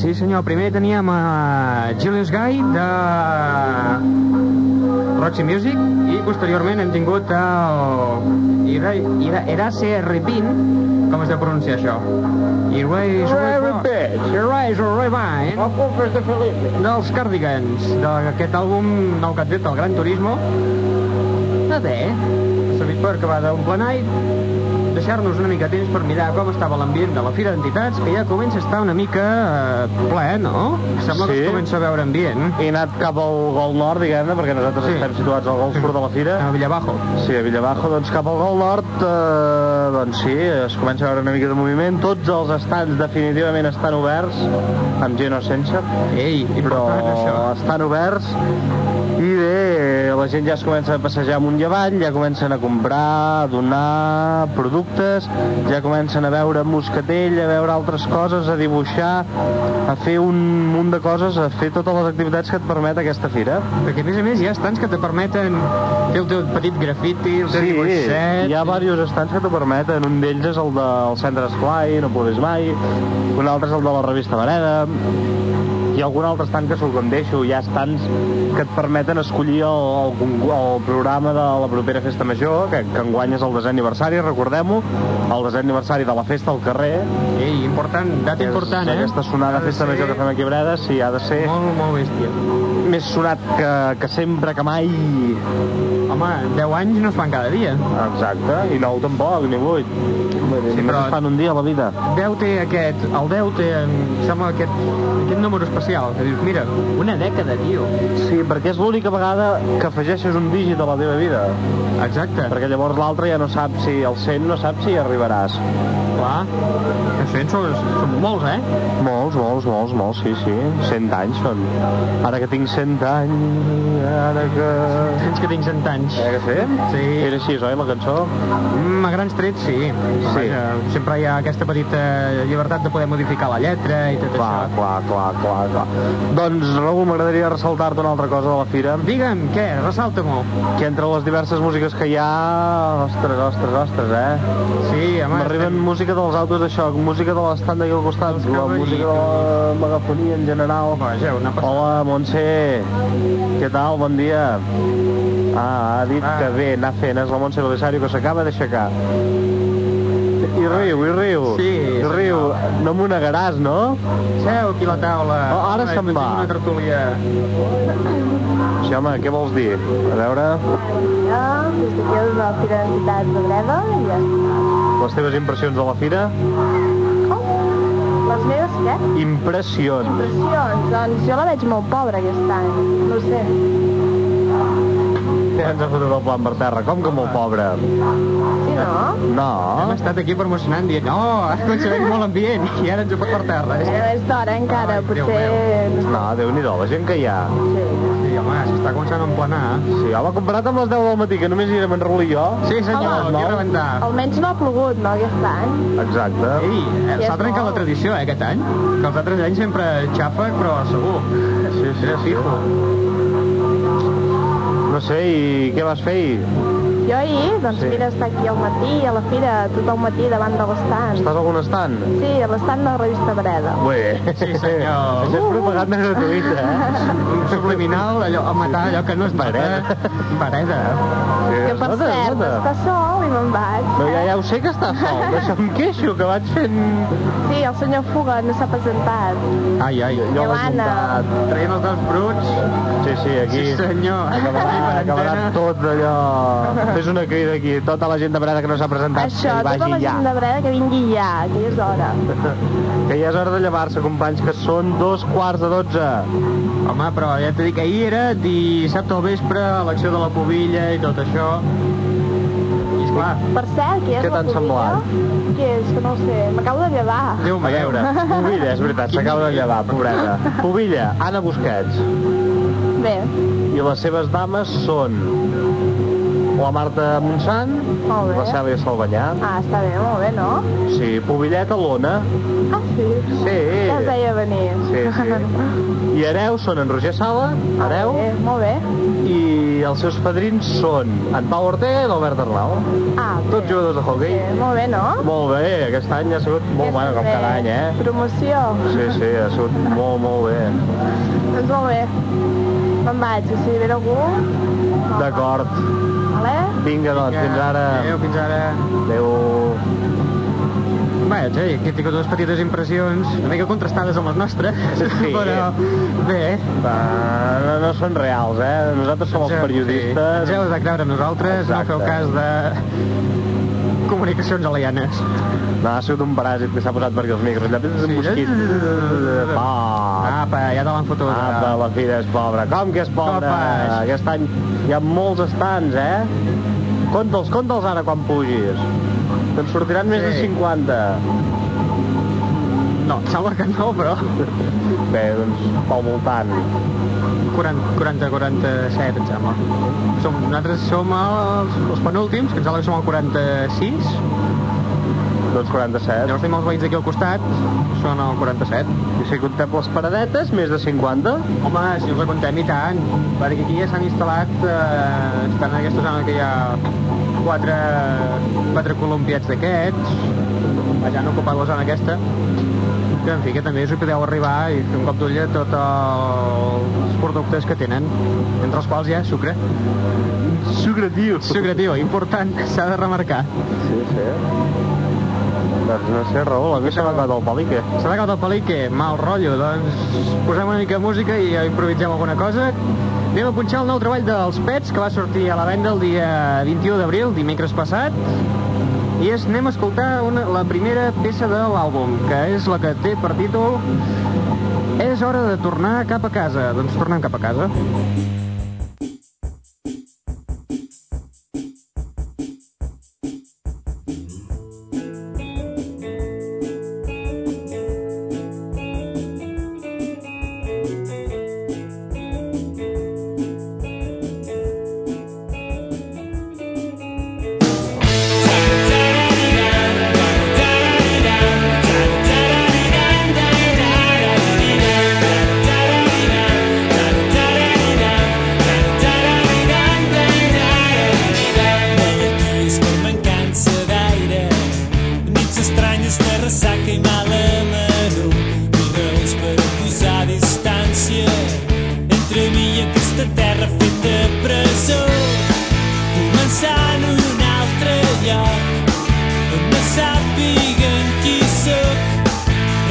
Sí, senyor, primer teníem a Julius Guy de Roxy Music i posteriorment hem tingut el Ira, Ira, Erace Repin, com es deu pronunciar això? Irais Repin. Irais Repin. Dels Cardigans, d'aquest àlbum nou que et dit, el Gran Turismo. No bé, ha servit per acabar d'un planai deixar-nos una mica temps per mirar com estava l'ambient de la Fira d'Entitats, que ja comença a estar una mica eh, ple, no? Sembla que Sí. es comença a veure ambient. He anat cap al Gol Nord, diguem-ne, perquè nosaltres Sí. estem situats al Gol Sud de la Fira. A Villabajo. Sí, a Villabajo, doncs cap al Gol Nord, eh, doncs sí, es comença a veure una mica de moviment. Tots els estants definitivament estan oberts, amb gent o sense, Ei, i però això. estan oberts. I bé, la gent ja es comença a passejar amunt i avall, ja comencen a comprar, a donar productes, ja comencen a veure moscatell, a veure altres coses, a dibuixar, a fer un munt de coses, a fer totes les activitats que et permet aquesta fira. Perquè, a més a més, hi ha estants que te permeten fer el teu petit grafiti, el teu Sí, dibuixet... hi ha diversos estants que t'ho permeten. Un d'ells és el del Centre Esplai, no podés mai. Un altre és el de la revista Vereda. Hi ha algun altre estant que se'l condeixo. Hi ha estants que et permeten escollir el, el, con- el programa de la propera festa major, que, que enguany és el desè aniversari, recordem-ho, el desè aniversari de la festa al carrer. Ei, important, data important, és eh? Aquesta sonada Ha de festa ser major que fem aquí a Breda, sí, ha de ser Molt, molt bèstia. més sonat que, que sempre, que mai. Home, 10 anys no es fan cada dia. Exacte, i nou tampoc, ni vuit. Sí, però- però... fan un dia a la vida. 10 té aquest, el 10 té, em sembla, aquest, aquest número especial, que dius, mira, una dècada, tio. Sí, perquè és l'única vegada que afegeixes un dígit a la teva vida. Exacte. Perquè llavors l'altre ja no sap si el 100 no sap si hi arribaràs. Clar, que cent són, són molts, eh? Molts, molts, molts, molts, sí, sí. 100 anys són. Ara que tinc 100 anys, ara que... Fins que tinc cent anys. Ara que sí? Sí. Era així, oi, la cançó? Mm, a grans trets, sí. Però Vaja, sempre hi ha aquesta petita eh, llibertat de poder modificar la lletra i tot Clar, això. clar, clar, clar, clar. Doncs, Raül, m'agradaria ressaltar-te una altra cosa de la fira. Digue'm, què? Ressalta-m'ho. Que entre les diverses músiques que hi ha... Ostres, ostres, ostres, eh? Sí, home... M'arriben música dels autos de xoc, música de l'estat d'aquí al costat, Els la cavallitos. música de la megafonia en general. Vaja, una passada. Hola, Montse, què tal? Bon dia. Ah, ha dit Ah. que bé, anar fent, és la Montse Belisario que s'acaba d'aixecar. I riu, i riu. Sí, I riu. No m'ho negaràs, no? Seu aquí a la taula. Oh, ara Home, se'n tenim va. Una tertúlia. Sí, home, què vols dir? A veure, Jo, des d'aquí de la Fira d'Entitats de Breda, i ja està. les teves impressions de la fira? Les meves, què? Impressions. Impressions. Doncs jo la veig molt pobra aquest any. No ho sé. Ja ens ha fotut el plan per terra. Com que molt pobre? Sí, no? Hem No. estat aquí promocionant dient, no, ha aconseguit molt ambient i ara ens ho pot per terra. És Eh, És d'hora encara, Ai, Déu potser... No, Déu-n'hi-do, la gent que hi ha. Sí. Sí, home, s'està començant a emplenar. Sí, home, comparat amb les 10 del matí, que només hi érem en Raül i jo. Sí, senyor, Home, aquí a no. rebentar. Almenys no ha plogut, no, aquest any? Exacte. Ei, eh, Sí, s'ha és trencat la molt. tradició, eh, aquest any? Que els altres anys sempre xafa, però segur. Sí, sí, Era fijo. No sé, i què vas fer ahir? Jo ahir, doncs Sí. mira, estar aquí al matí, a la fira, tot el matí davant de l'estant. Estàs a algun estant? Sí, a l'estant de la revista Breda. Bé. Sí, senyor. Això és propaganda gratuïta, eh? Un subliminal, allò, a matar allò que no es mata. Pareda. Pareda. Sí, Que per escolta, cert, escolta. està sol i me'n vaig. No, ja, ja ho sé que està sol, d'això em queixo, que vaig fent... Sí, el senyor Fuga no s'ha presentat. Ai, ai. Jo l'he Joana. muntat. Traient els dels bruts. Sí, sí, aquí... Sí, senyor. Acabarà, Aquí per acabarà antena. tot allò... Fes una crida aquí, tota la gent de Breda que no s'ha presentat, Això, que hi tota la vagi ja. gent de Breda que vingui ja, que ja és hora. Que ja és hora de llevar-se, companys, que són dos quarts de dotze. Home, però ja t'he dit que ahir era dissabte al vespre, l'acció de la pubilla i tot això. I esclar, Per cert, qui és Què la t'han Pubilla? semblat? Qui és? Que no ho sé, m'acabo de llevar. Déu A meu. veure, Pobilla, és veritat, s'acaba de llevar, pobreta. Pobilla, Anna Busquets. Bé, I les seves dames són la Marta Montsant, Molt bé. la Cèlia Salvallà. Ah, està bé, molt bé, no? Sí, Pobillet a l'Ona. Ah, sí? Sí. Ja es veia venir. Sí, sí. I hereus són en Roger Sala, hereu, Eh, Molt bé, molt bé. i els seus padrins són en Pau Ortega i l'Albert Arnau. Ah, bé. Tots jugadors de hockey. Bé, molt bé, no? Molt bé, aquest any ha sigut molt bueno, com Bé, cada any, eh? Promoció. Sí, sí, ha sigut molt, molt bé. Doncs molt bé. Me'n vaig, i si ve algú, D'acord. vale? Vinga, doncs, fins ara. Adéu, fins ara. Adéu. Bé, sí, aquí he tingut unes petites impressions, una mica contrastades amb les nostres, Sí. però bé. eh? Va, no, no són reals, eh? Nosaltres som els Sí. Ens periodistes. heu de creure en nosaltres, Exacte. no feu cas de comunicacions alienes. No, ha sigut un paràsit que s'ha posat perquè els micros. Llapis és un mosquit. eh? Ah, Apa, ja te l'han fotut. Apa, la fira és pobra. Com que és pobra? Copes. Aquest any hi ha molts estants, eh? Compta'ls, compta'ls ara quan pugis. Te'n sortiran més de Sí. 50. No, sembla que no, però Bé, doncs, pel voltant. 40, 40 47, em sembla. Som, nosaltres som els, els penúltims, que em sembla que som el 46. Doncs 47. Llavors tenim els veïns d'aquí al costat, són el 47. I si contem les paradetes, més de 50. Home, si us la contem i tant, perquè aquí ja s'han instal·lat, eh, estan en aquesta zona que hi ha quatre, quatre colombiats d'aquests, ja han ocupat la zona aquesta, que en fi, que també us hi podeu arribar i fer un cop d'ull a tots els productes que tenen, entre els quals hi ha sucre. Sucre, tio. Sucre, tio, important, s'ha de remarcar. Sí, sí. Doncs no sé, Raül, a mi se m'ha acabat el pal i què? S'ha acabat el pel·li, que mal rotllo, doncs posem una mica de música i improvisem alguna cosa. Anem a punxar el nou treball dels Pets, que va sortir a la venda el dia 21 d'abril, dimecres passat. I és, anem a escoltar una, la primera peça de l'àlbum, que és la que té per títol És hora de tornar cap a casa. Doncs tornem cap a casa. malalties com mancança d'aire, nits estranyes de ressaca i mala maror, raons per posar distància entre mi i aquesta terra feta presó. Començant un altre lloc, on no sàpiguen qui sóc,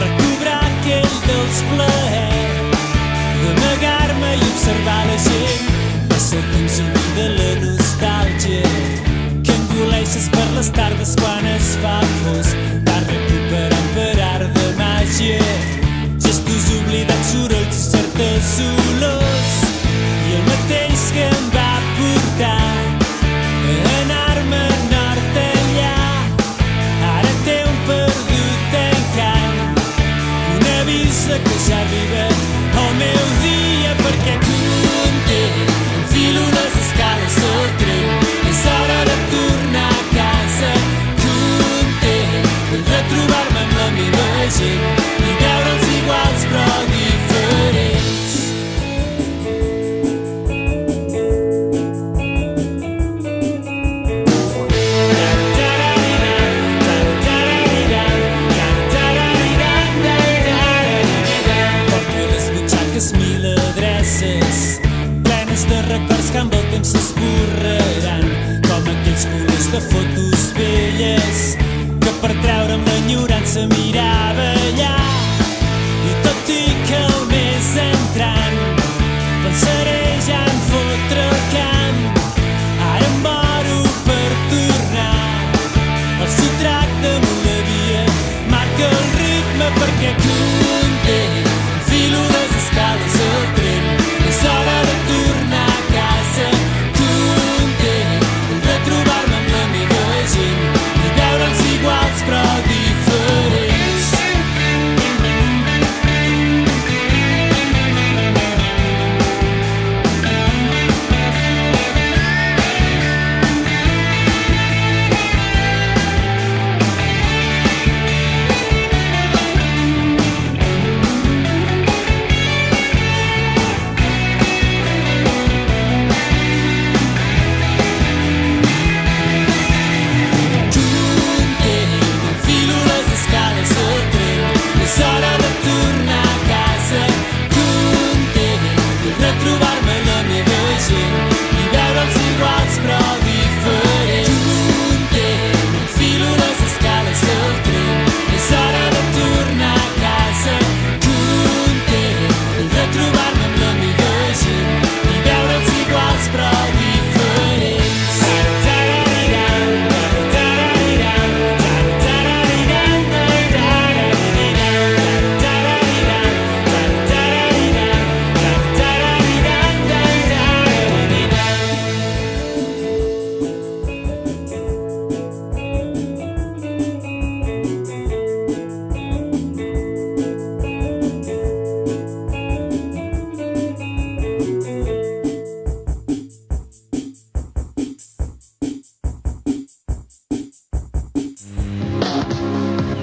recobrar aquell dels plaers d'amagar-me i observar la gent. Passa el temps i de la nostàlgia que engoleixes per les tardes quan es fa fosc. Vas recuperant per art de màgia gestos oblidats, sorolls i certes olors. I el mateix que em va portar a anar-me al nord allà ara té un perdut encant una vista que ja arriba al meu dia é perquè content enfilo les escales del tren és É hora de tornar a casa content de retrobar-me amb la meva gent i veure'ls iguals però diferents Porto les butxaques mil adreces plenes de records que amb el temps s'esborraran com aquells colors de fotos velles que per treure'm l'enyorança mirava allà i tot i que el mes entrant pensaré ja en fotre el camp ara em moro per tornar el sotrac de melodia marca el ritme perquè content enfilo les escales al tren és hora de tornar a casa content de trobar-me amb la meva gent i veure'ls iguals però diferents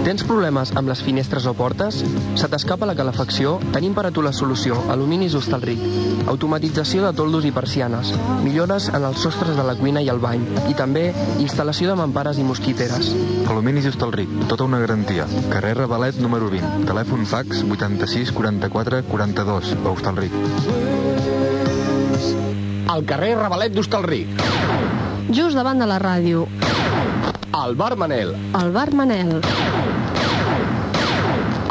Tens problemes amb les finestres o portes? Se t'escapa la calefacció? Tenim per a tu la solució. Aluminis Hostalric. Automatització de toldos i persianes. Millores en els sostres de la cuina i el bany. I també instal·lació de mampares i mosquiteres. Aluminis Hostalric, tota una garantia. Carrer Revelet número 20, telèfon fax 86 44 42, a Hostalric. Al carrer Revelet d'Hostalric. Just davant de la ràdio. Al Bar Manel. El bar Manel.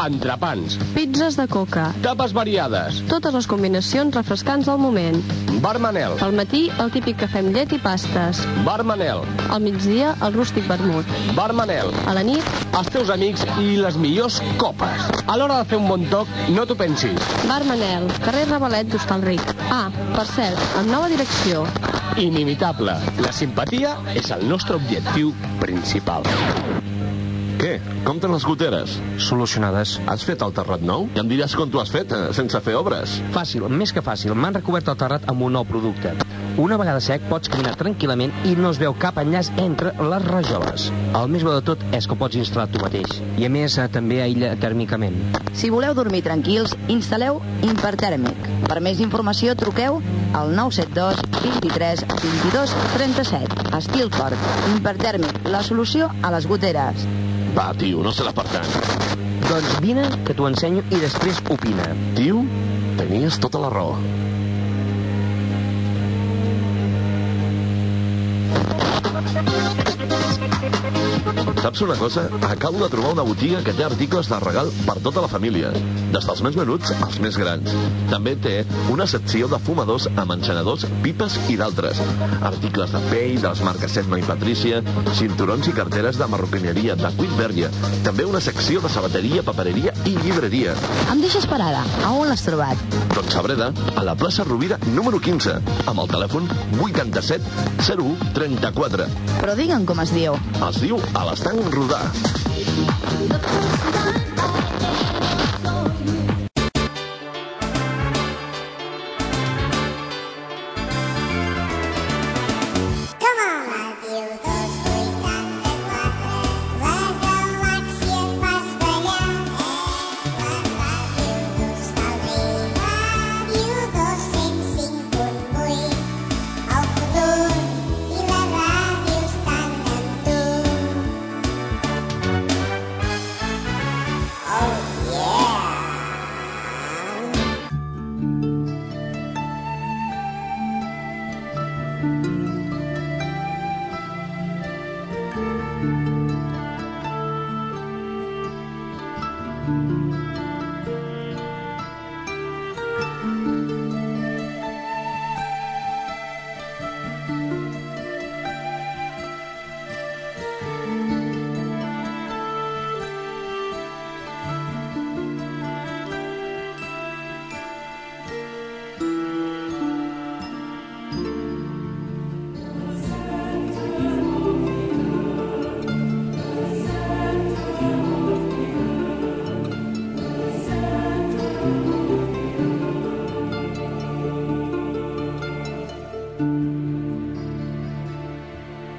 Entrepans. Pizzas de coca. Tapes variades. Totes les combinacions refrescants del moment. Bar Manel. Al matí, el típic cafè amb llet i pastes. Bar Manel. Al migdia, el rústic vermut. Bar Manel. A la nit, Els teus amics i les millors copes. A l'hora de fer un bon toc, no t'ho pensis. Bar Manel, carrer Revelet d'Hostalric. Ah, per cert, amb nova direcció. Inimitable. La simpatia és el nostre objectiu principal. Què? Compten les goteres? Solucionades. Has fet el terrat nou? I em diràs com tu has fet, eh, sense fer obres. Fàcil, més que fàcil, m'han recobert el terrat amb un nou producte. Una vegada sec pots caminar tranquil·lament i no es veu cap enllaç entre les rajoles. El més bo de tot és que ho pots instal·lar tu mateix. I a més, eh, també aïlla tèrmicament. Si voleu dormir tranquils, instal·leu Impertèrmic. Per més informació, truqueu al 972 23 22 37. Estilfort. Impertèrmic, la solució a les goteres. Va, tio, no serà per tant. Doncs vine, que t'ho ensenyo i després opina. Tio, tenies tota la raó. Saps una cosa? Acabo de trobar una botiga que té articles de regal per tota la família, des dels més menuts als més grans. També té una secció de fumadors amb encenedors, pipes i d'altres. Articles de pell, de les marques Emma i Patricia, cinturons i carteres de marroquineria, de Quitbergia. També una secció de sabateria, papereria i llibreria. Em deixes parada. A on l'has trobat? Doncs a Breda, a la plaça Rovira número 15, amb el telèfon 87 01 34. Però digue'm com es diu. Es diu a l'estanc rodar. Come on, love you, dos, vuitanta-quatre. La galàxia em fas ballar. És la ràdio d'Hostalric. Ràdio 205.8. El futur i la ràdio estan amb tu. Oh, yeah!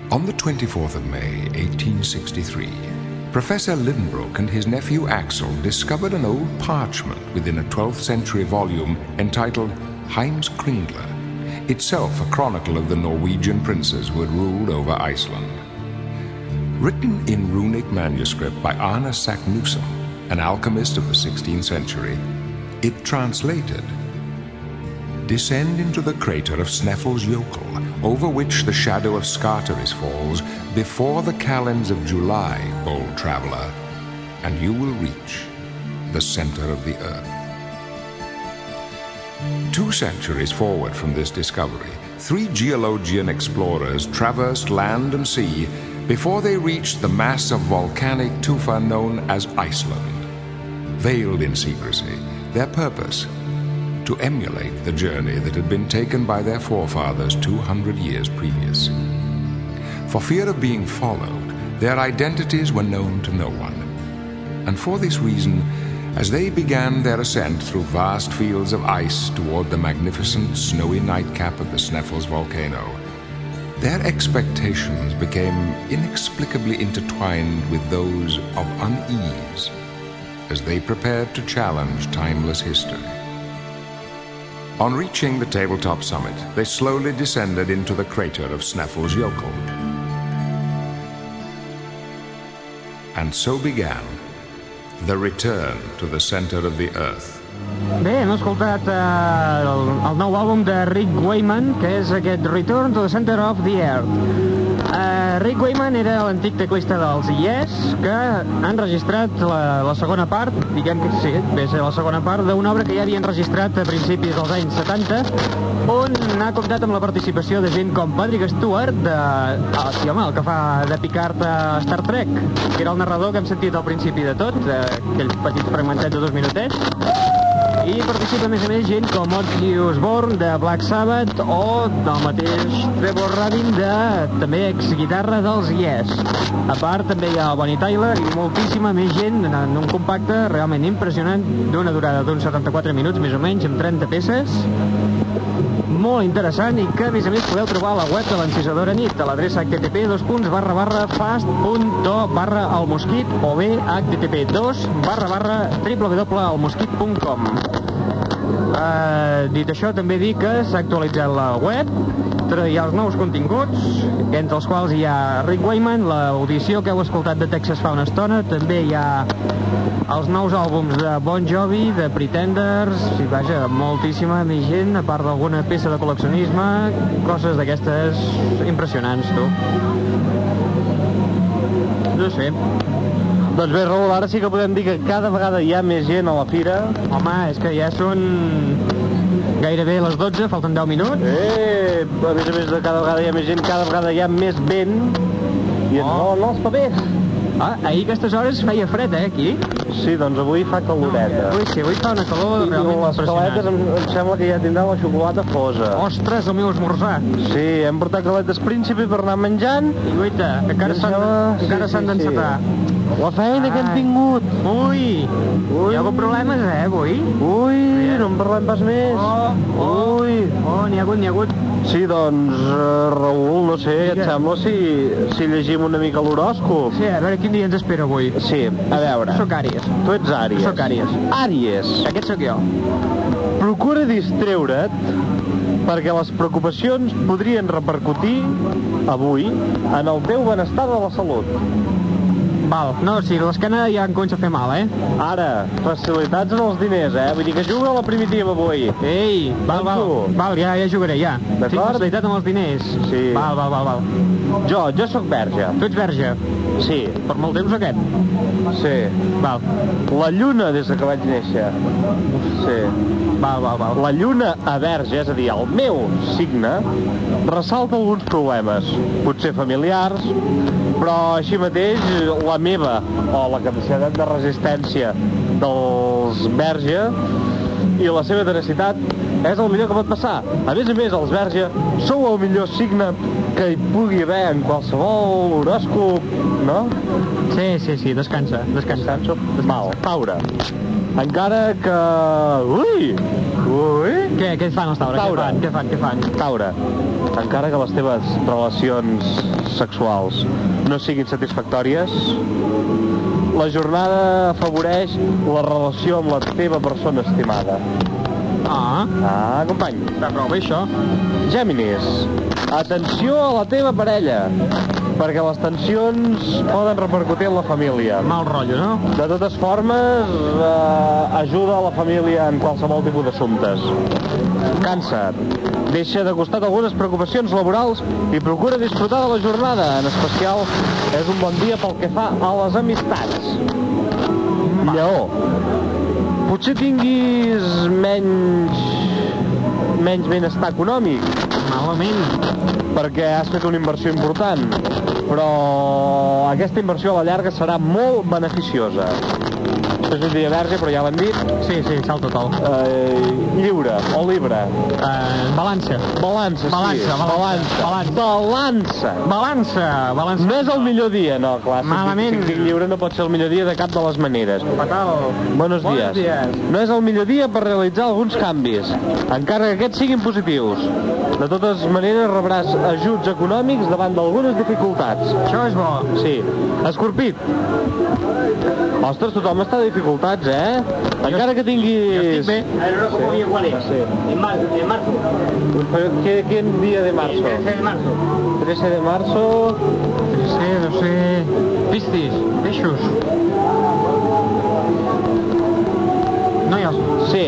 On the 24th of May, 1863, Professor Lidenbrock and his nephew Axel discovered an old parchment within a 12th century volume entitled Heims Kringla, itself a chronicle of the Norwegian princes who had ruled over Iceland. Written in runic manuscript by Arne Saknussemm, an alchemist of the 16th century, it translated Descend into the crater of Snæfell's Jökull, over which the shadow of Scartaris falls, before the calends of July, bold traveler, and you will reach the center of the earth. Two centuries forward from this discovery, three geologian explorers traversed land and sea before they reached the mass of volcanic tufa known as Iceland. Veiled in secrecy, their purpose to emulate the journey that had been taken by their forefathers 200 years previous. For fear of being followed, their identities were known to no one. And for this reason, as they began their ascent through vast fields of ice toward the magnificent snowy nightcap of the Sneffels volcano, Their expectations became inexplicably intertwined with those of unease as they prepared to challenge timeless history. On reaching the tabletop summit, they slowly descended into the crater of Snaffle's Yokel. And so began the return to the center of the earth. Bé, hem escoltat eh, el, el nou àlbum de Rick Wayman, que és aquest Return to the Center of the Earth. Eh, Rick Wayman era l'antic teclista dels Yes, que han registrat la, la segona part, diguem que sí, ve a ser la segona part d'una obra que ja havien registrat a principis dels anys 70, on ha comptat amb la participació de gent com Patrick Stewart, de, ah, sí, home, el que fa de Picard a Star Trek, que era el narrador que hem sentit al principi de tot, eh, aquell petit fragmentet de dos minutets, i participa a més a més gent com Ozzy Osbourne de Black Sabbath o del mateix Trevor Rabin de també exguitarra dels Yes. A part també hi ha el Bonnie Tyler i moltíssima més gent en un compacte realment impressionant d'una durada d'uns 74 minuts més o menys amb 30 peces molt interessant i que a més a més podeu trobar a la web de l'encisadora nit a l'adreça http dos punts barra barra fast.to barra el mosquit o bé http 2 barra barra www.elmosquit.com uh, Dit això també dic que s'ha actualitzat la web tra- hi ha els nous continguts, entre els quals hi ha Rick Wayman, l'audició que heu escoltat de Texas fa una estona, també hi ha els nous àlbums de Bon Jovi, de Pretenders, i vaja, moltíssima més gent, a part d'alguna peça de col·leccionisme, coses d'aquestes impressionants, tu. No sé. Doncs bé, Raül, ara sí que podem dir que cada vegada hi ha més gent a la fira. Home, és que ja són gairebé les 12, falten 10 minuts. Eh, a més a més de cada vegada hi ha més gent, cada vegada hi ha més vent. I oh. no, no els papers. Ah, ahir a aquestes hores feia fred, eh, aquí? Sí, doncs avui fa caloreta. Avui sí, avui fa una calor I realment les caletes em, impressionant. em sembla que ja tindran la xocolata fosa. Ostres, el meu esmorzar. Sí, hem portat caletes príncipe per anar menjant. I guaita, que encara Em s'han sembla- encara sí, s'han sí, d'encetar. sí. La feina que hem Ai. tingut. Ui, Ui. hi ha hagut problemes, eh, avui? Ui, no en parlem pas més. Oh, oh, Ui. oh, n'hi ha hagut, n'hi ha hagut. Sí, doncs, eh, Raül, no sé, què et sembla si, si llegim una mica l'horòscop? Sí, a veure quin dia ens espera avui. Sí, a veure. Jo sóc Àries. Tu ets Àries. Jo sóc Àries. Àries. Aquest sóc jo. Procura distreure't perquè les preocupacions podrien repercutir avui en el teu benestar de la salut. Val, no, si l'esquena ja em comença a fer mal, eh? Ara, facilitats en els diners, eh? Vull dir que juga a la primitiva avui. Ei, val, val, tu. val, ja, ja jugaré, ja. D'acord. Tinc facilitat amb els diners. Sí. Val, val, val, val. Jo, jo sóc verge. Tu ets verge, Sí, per molt temps aquest? sí. Val, La lluna des de que vaig néixer. Sí. val, val, val. La lluna a verge, és a dir, el meu signe, ressalta alguns problemes, potser familiars, però així mateix la meva, o la capacitat de resistència dels verge, i la seva tenacitat és el millor que pot passar. A més a més, els verge sou el millor signe que hi pugui haver en qualsevol horòscop, no? Sí, sí, sí, descansa, descansa. Sancho, mal, Taura. Encara que... Ui! Ui! Què, què fan els taures? Taure. Què fan, què fan, què fan? Taura, encara que les teves relacions sexuals no siguin satisfactòries, la jornada afavoreix la relació amb la teva persona estimada. Ah, Ah, company. de prou bé això. Gèminis, atenció a la teva parella, perquè les tensions poden repercutir en la família. Mal rotllo, no? De totes formes, eh, ajuda a la família en qualsevol tipus d'assumptes. Càncer. Deixa de costat algunes preocupacions laborals i procura disfrutar de la jornada. En especial, és un bon dia pel que fa a les amistats. Lleó. Potser tinguis menys... menys benestar econòmic, Malament. perquè has fet una inversió important, però aquesta inversió a la llarga serà molt beneficiosa. després vindria verge, però ja l'hem dit. Sí, sí, salta tal. Eh, lliure o libre. Eh, balança. Balança, sí. Balança, balança, balança. Balança. Balança. Balança. No és el millor dia, no, clar. si Malament. dic- Si dic lliure no pot ser el millor dia de cap de les maneres. Fatal. Buenos Buenos dies. dies. No és el millor dia per realitzar alguns canvis, encara que aquests siguin positius. De totes maneres rebràs ajuts econòmics davant d'algunes dificultats. Això és bo. Sí. Escorpit. Ostres, tothom està a dificultats, eh? Encara que tinguis... Jo estic bé. A ver, no como bien cuál es. En marzo. En marzo. ¿Qué, ¿Qué día de marzo? 13 de marzo. 13 de marzo. 13, no sé. Piscis, peixos. Noies. Sí.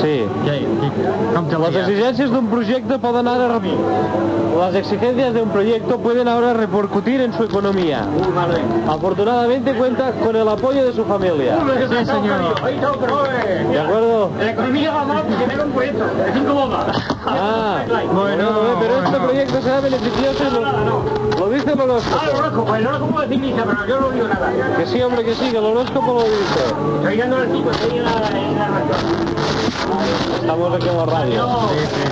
Sí. Las exigencias de un proyecto pueden ahora re- las exigencias de un proyecto pueden ahora repercutir en su economía. Afortunadamente cuenta con el apoyo de su familia. De acuerdo. La economía va mal porque era un proyecto. De cinco bombas. Ah, bueno, pero este proyecto será beneficioso. y Lo, lo dice el horóscopo. Ah, el horóscopo, el horóscopo de misa, pero yo no digo nada. Que sí, hombre, que sí, que el horóscopo lo dice. Estoy dando el tipo, estoy en la, Estamos aquí en la radio. No. Sí, sí.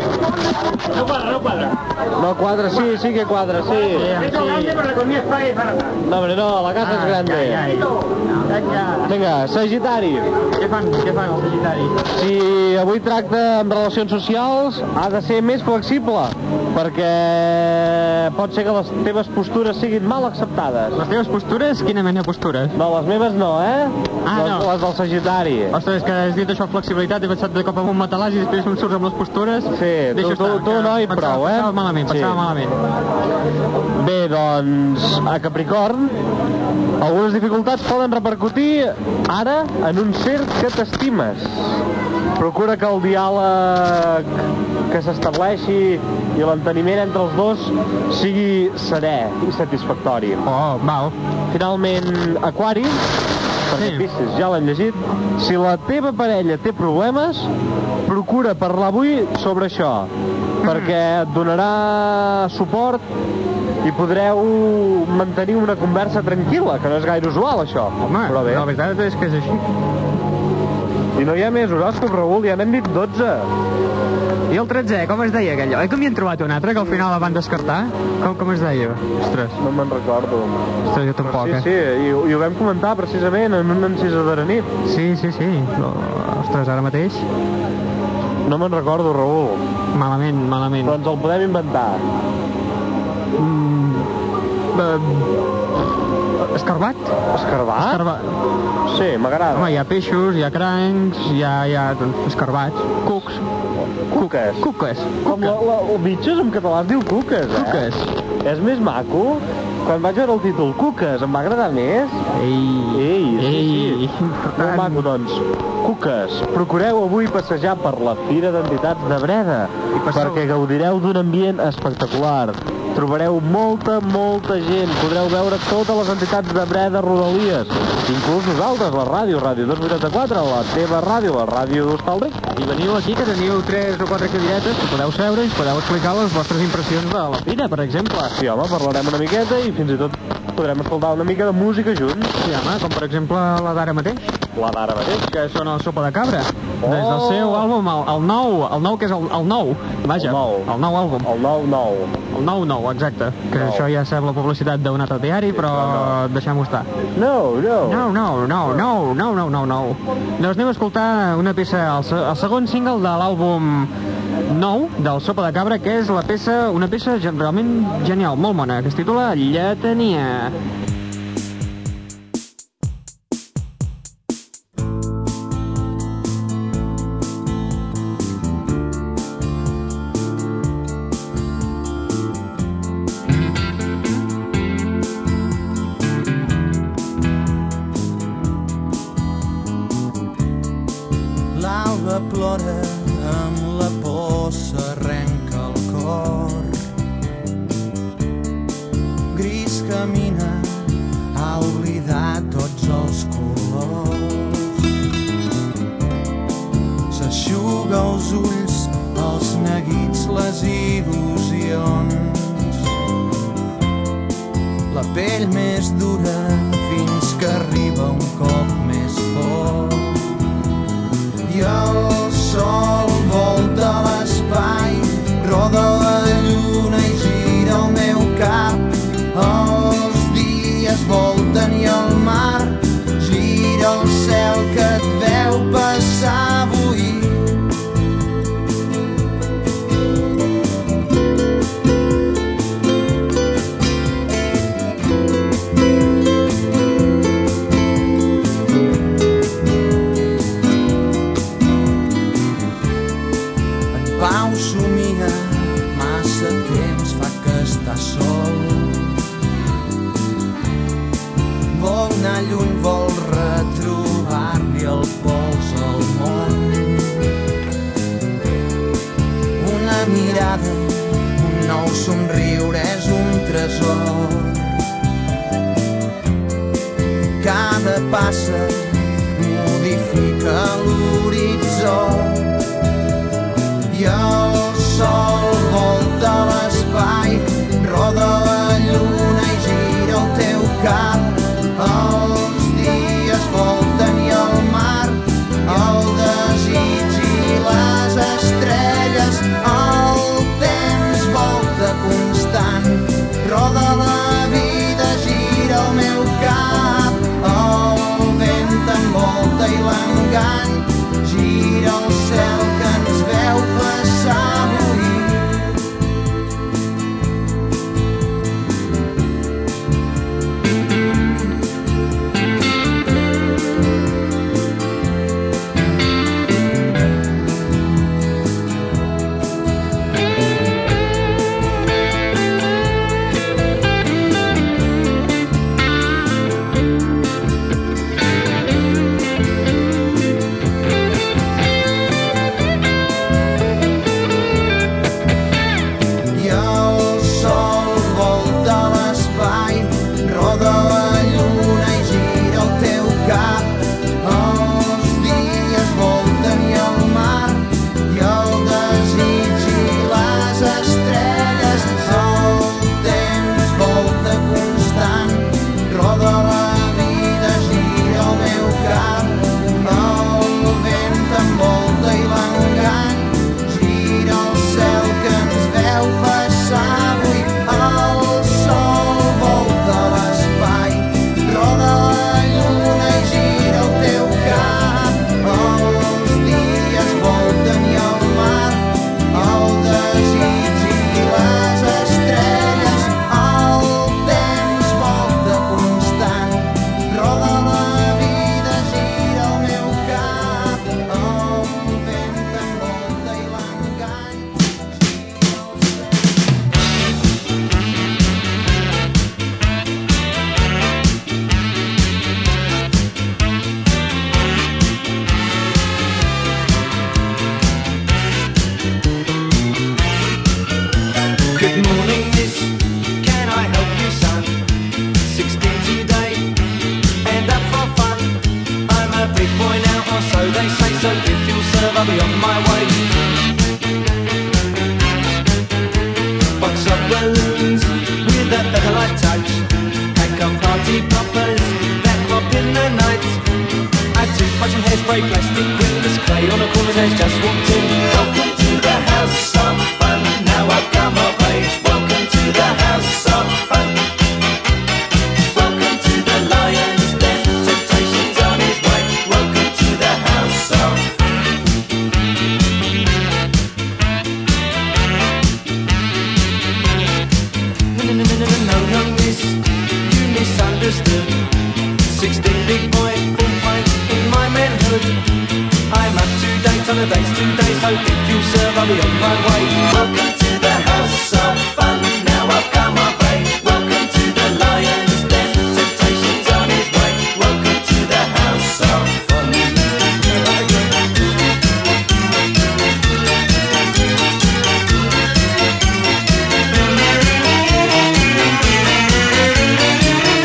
no cuadra, no cuadra. No cuadra, sí, sí que cuadra, sí. Esto es grande, pero la economía es para- es barata. No, hombre, no, la Ah, casa es grande. Vinga, Sagitari. Què fan, què fan els Sagitaris? Si avui tracta amb relacions socials, ha de ser més flexible, perquè pot ser que les teves postures siguin mal acceptades. Les teves postures? Quina mena de postures? No, les meves no, eh? Ah, les, no. les del Sagitari. Ostres, és que has dit això flexibilitat, he pensat de cop en un matalàs i després em surts amb les postures. Sí, tu, tu, tu no hi prou, eh? Pensava malament, pensava Sí. malament. Bé, doncs, a Capricorn, algunes dificultats poden repercutir ara en un circ que t'estimes. Procura que el diàleg que s'estableixi i l'enteniment entre els dos sigui serè i satisfactori. Oh, val. Finalment, Aquari, perquè Piscis ja l'hem llegit, si la teva parella té problemes, procura parlar avui sobre això, perquè et donarà suport i podreu mantenir una conversa tranquil·la, que no és gaire usual, això. Home, Però bé. la veritat és que és així. I no hi ha més horòscops, Raül, ja n'hem dit 12. I el 13, com es deia aquell? Oi que m'hi han trobat un altre que al final la van descartar? Com, com es deia? Ostres. No me'n recordo. Ostres, jo tampoc, Sí, eh? sí, i, ho- i ho vam comentar precisament en un encisa de la nit. Sí, sí, sí. No, ostres, ara mateix... No me'n recordo, Raül. Malament, malament. Però ens Doncs el podem inventar. Mm, eh, escarbat? Escarbat? Escarbat. Sí, m'agrada. Home, hi ha peixos, hi ha crancs, hi ha, hi ha doncs, escarbats, cucs. Cuques. Cuques. Com la, la, el bitxos en català es diu cuques, eh? Cuques. És més maco. Quan vaig veure el títol Cuques, em va agradar més. Ei, ei, sí, ei. sí. Molt maco, doncs. Cuques, procureu avui passejar per la Fira d'Entitats de Breda, perquè gaudireu d'un ambient espectacular. Trobareu molta, molta gent. Podreu veure totes les entitats de Breda Rodalies, inclús nosaltres, la ràdio, Ràdio 284, la teva ràdio, la ràdio d'Hostalric. I veniu aquí, que teniu 3 o 4 cadires, que podeu seure i us podeu explicar les vostres impressions de la fira, per exemple. Sí, home, parlarem una miqueta i fins i tot podrem escoltar una mica de música junts. Sí, home, com per exemple la d'ara mateix. La d'ara mateix. Que són el Sopa de Cabra. Oh. Des del seu àlbum, el, el nou, el nou que és el, el nou, vaja, el nou, el nou àlbum. El nou, nou. El nou, nou, exacte. Que Nou. això ja sembla publicitat d'un altre diari, però deixem-ho estar. No, no. No, no, no, no, no, no, no, no. Doncs anem a escoltar una peça, el, se- el segon single de l'àlbum nou del Sopa de Cabra, que és la peça, una peça gen- realment genial, molt mona, que es titula Lletania. L'alba plora, amb la por s'arrenca el cor. Gris camina pell més dura fins que arriba un cop més fort. I el sol volta l'espai, roda la lluna i gira el meu cap. Els dies volten i el mar gira el cel que et veu passar avui. Pau somia, massa temps fa que està sol. Vol anar lluny, vol retrobar-li el pols al món. Una mirada, un nou somriure és un tresor. Cada passa modifica l'horitzó i el sol volta l'espai, roda la lluna i gira el teu cap. Els dies volten i el mar, el desig i les estrelles, el temps volta constant. Roda la vida, gira el meu cap, el vent t'envolta i l'engany gira el cel que ens veu passar avui. I el sol volta l'espai, roda la lluna i gira el teu cap. Els dies volten i el mar, i el desig i les estrelles. El temps volta constant, roda la vida, gira el meu cap. El vent t'envolta i l'engany, Gira el cel que ens veu passar avui. El sol volta l'espai, roda la lluna i gira el teu cap. Els dies volten i el mar, el desig i les estrelles. El temps volta constant, roda la vida, gira el meu cap. El vent t'envolta i l'engany. Good morning, miss. Can I help you, son? 16 today, and up for fun. I'm a big boy now, or so they say. So if you'll serve, I'll be on my way. Box of balloons with a featherlight touch. Handcuff party poppers that pop in the night. I took much on hairspray, plastic glitters, clay on a corner stage. Just walked in. Welcome to the house of fun. Now I've come of age. Welcome to the house of fun. Welcome to the lion's den. Temptations on his way. Welcome to the house of. No, no, no, no, no, no, no, miss. You misunderstood. Sixteen big boy, full pint in my manhood. I'm up to date on the dates today, so if you serve, I'll be on my way. Welcome to the house of fun. Now I've come of age. Welcome to the lion's den. Temptations on his way. Welcome to the house of fun.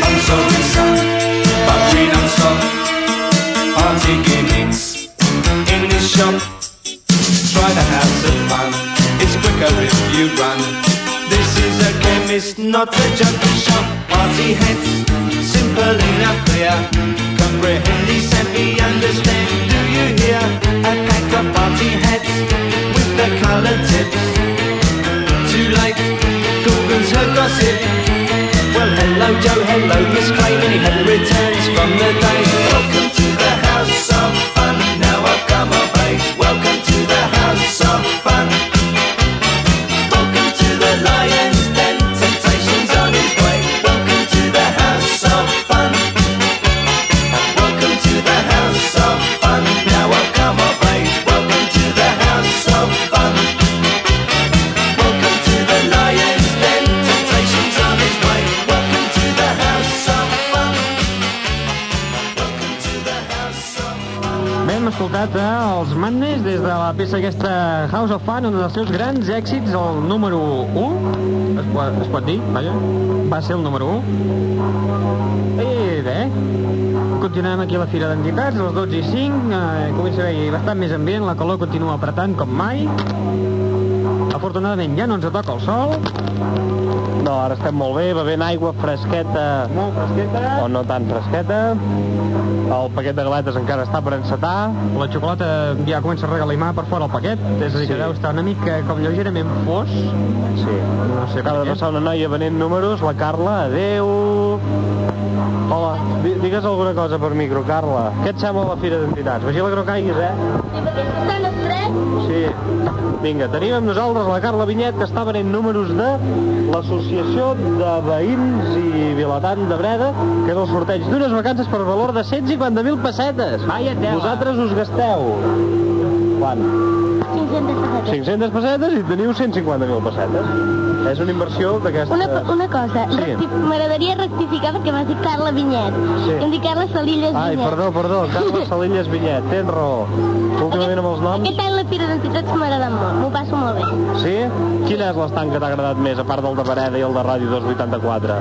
I'm sorry, son, but we don't stop. Party gimmicks in this shop. Try the house of fun. It's quicker if you run. This is a game, it's not a junkie shop. Party heads, simple enough clear. Comprehend, listen, me understand. Do you hear? A pack of party heads with the colored tips. Too late, Google's her gossip. Well, hello Joe, hello Miss Crane, and he returns from the day. Welcome to the house of fun. Now I've come of age. Welcome to the house of fun. Welcome to the lion's den. Temptation's on its way. Welcome to the house of fun. Welcome to the house of fun. Now I've come of age. Welcome to the house of fun. Welcome to the lion's den. Temptation's on its way. Welcome to the house of fun. Welcome to the house of Bé, hem escoltat eh, els Madness des de la peça aquesta House of Fun, un dels seus grans èxits, el número 1, es pot, es pot dir, vaja, va ser el número 1. I bé, continuem aquí a la Fira d'Entitats, les 12 i 5, eh, comença a haver bastant més ambient, la calor continua apretant com mai. Afortunadament ja no ens toca el sol. No, Doncs ara estem molt bé, bevent aigua fresqueta. Molt fresqueta. O no tan fresqueta. El paquet de galetes encara està per encetar. La xocolata ja comença a regalimar per fora el paquet, és a dir, que deu estar una mica com lleugerament fos. Sí. No sé Acaba de passar una noia venent números, la Carla, adeu. Hola, di- digues alguna cosa per micro, Carla. Què et sembla la Fira d'Entitats? Vigila que no caiguis, eh? Sí. Vinga, tenim amb nosaltres la Carla Vinyet, que està venent números de l'Associació de Veïns i Vilatant de Breda, que és el sorteig d'unes vacances per valor de 150.000 pessetes. Vaya tela. Vosaltres us gasteu... Quan? 500 pessetes. 500 pessetes i teniu 150.000 pessetes. És una inversió d'aquesta... Una, co- una cosa, Sí. recti- m'agradaria rectificar perquè m'has dit Carla Vinyet. Sí. Em dic Carla Salilles Ai, Vinyet. perdó, perdó, Carles Salillas Vinyet, tens raó. Últimament amb els noms... Aquest any la Fira d'Entitats m'agrada molt, m'ho passo molt bé. Sí? Quin és l'estant que t'ha agradat més, a part del de Bereda i el de Ràdio 284?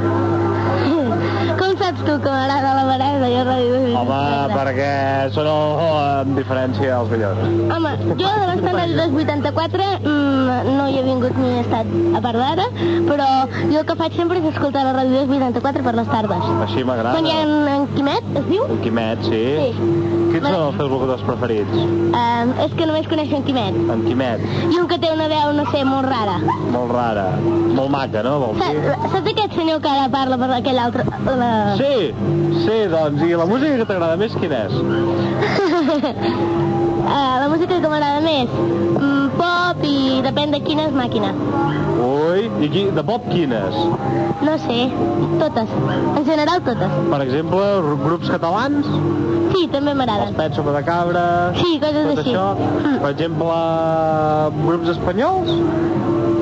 Com saps tu que m'agrada la Vareda i el Ràdio Home, perquè són el, oh, amb diferència els millors. Home, jo de l'estat del 284 mm, no hi he vingut ni he estat a part d'ara, però jo el que faig sempre és escoltar la ràdio 284 per les tardes. Quan Doncs Així hi ha m'agrada. en, en Quimet, es diu? En Quimet, sí. Sí. Quins són els teus locutors preferits? Um, és que només coneixo en Quimet. En Quimet. I un que té una veu, no sé, molt rara. Molt rara. Molt maca, no? Vols dir? Saps, saps aquest senyor que ara parla per aquell altre... La... Sí, sí, doncs, i la música que t'agrada més quina és? uh, Eh, la música que m'agrada més? Mm, pop i depèn de quina és màquina. Ui, i qui, de pop quines? No sé, totes. En general, totes. Per exemple, gru- grups catalans, Sí, també m'agraden. Pet Sopa de Cabra... Sí, coses tot així. Ah. Això. Per exemple, grups espanyols,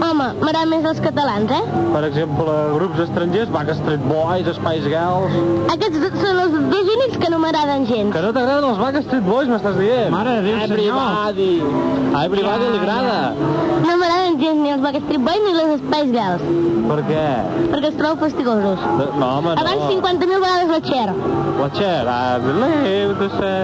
Home, m'agraden més els catalans, eh? per exemple, grups estrangers, Backstreet Boys, Spice Girls... Aquests do- són els dos únics que no m'agraden gens. Que no t'agraden els Backstreet Boys, m'estàs dient? Mare de Déu, senyor. Everybody. A Everybody li agrada. No m'agraden gens ni els Backstreet Boys ni les Spice Girls, Per què? perquè els trobo fastigosos. No, home, Ah, no. Abans 50.000 vegades la Cher. La Cher, I believe the Cher.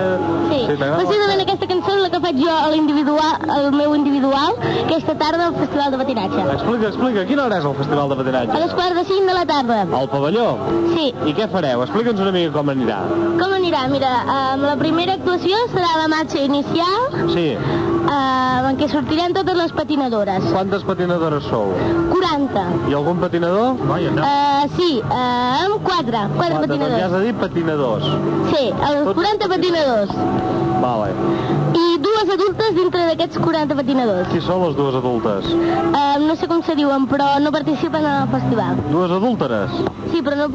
Sí, t'agrada la precisament aquesta cançó és la que faig jo a l'individual, al meu individual, aquesta tarda al Festival de Patinatge. Explica, explica, quina hora és el Festival de A les Patinatge? quarts de cinc de la tarda. Al pavelló? Sí. I què fareu? Explica'ns una mica com anirà. Com anirà? Mira, eh, la primera actuació serà la marxa inicial, Sí. eh, en què sortiran totes les patinadores. Quantes patinadores sou? 40. I algun patinador? Vaja, Eh, sí, eh, amb quatre, quatre Doncs ja has patinadors. de dir patinadors. Sí, els 40 patinadors. Vale. I dues adultes dintre d'aquests 40 patinadors. Qui són les dues adultes? Eh, no sé com se diuen, però no participen en el festival. Dues adúlteres? Sí, però no...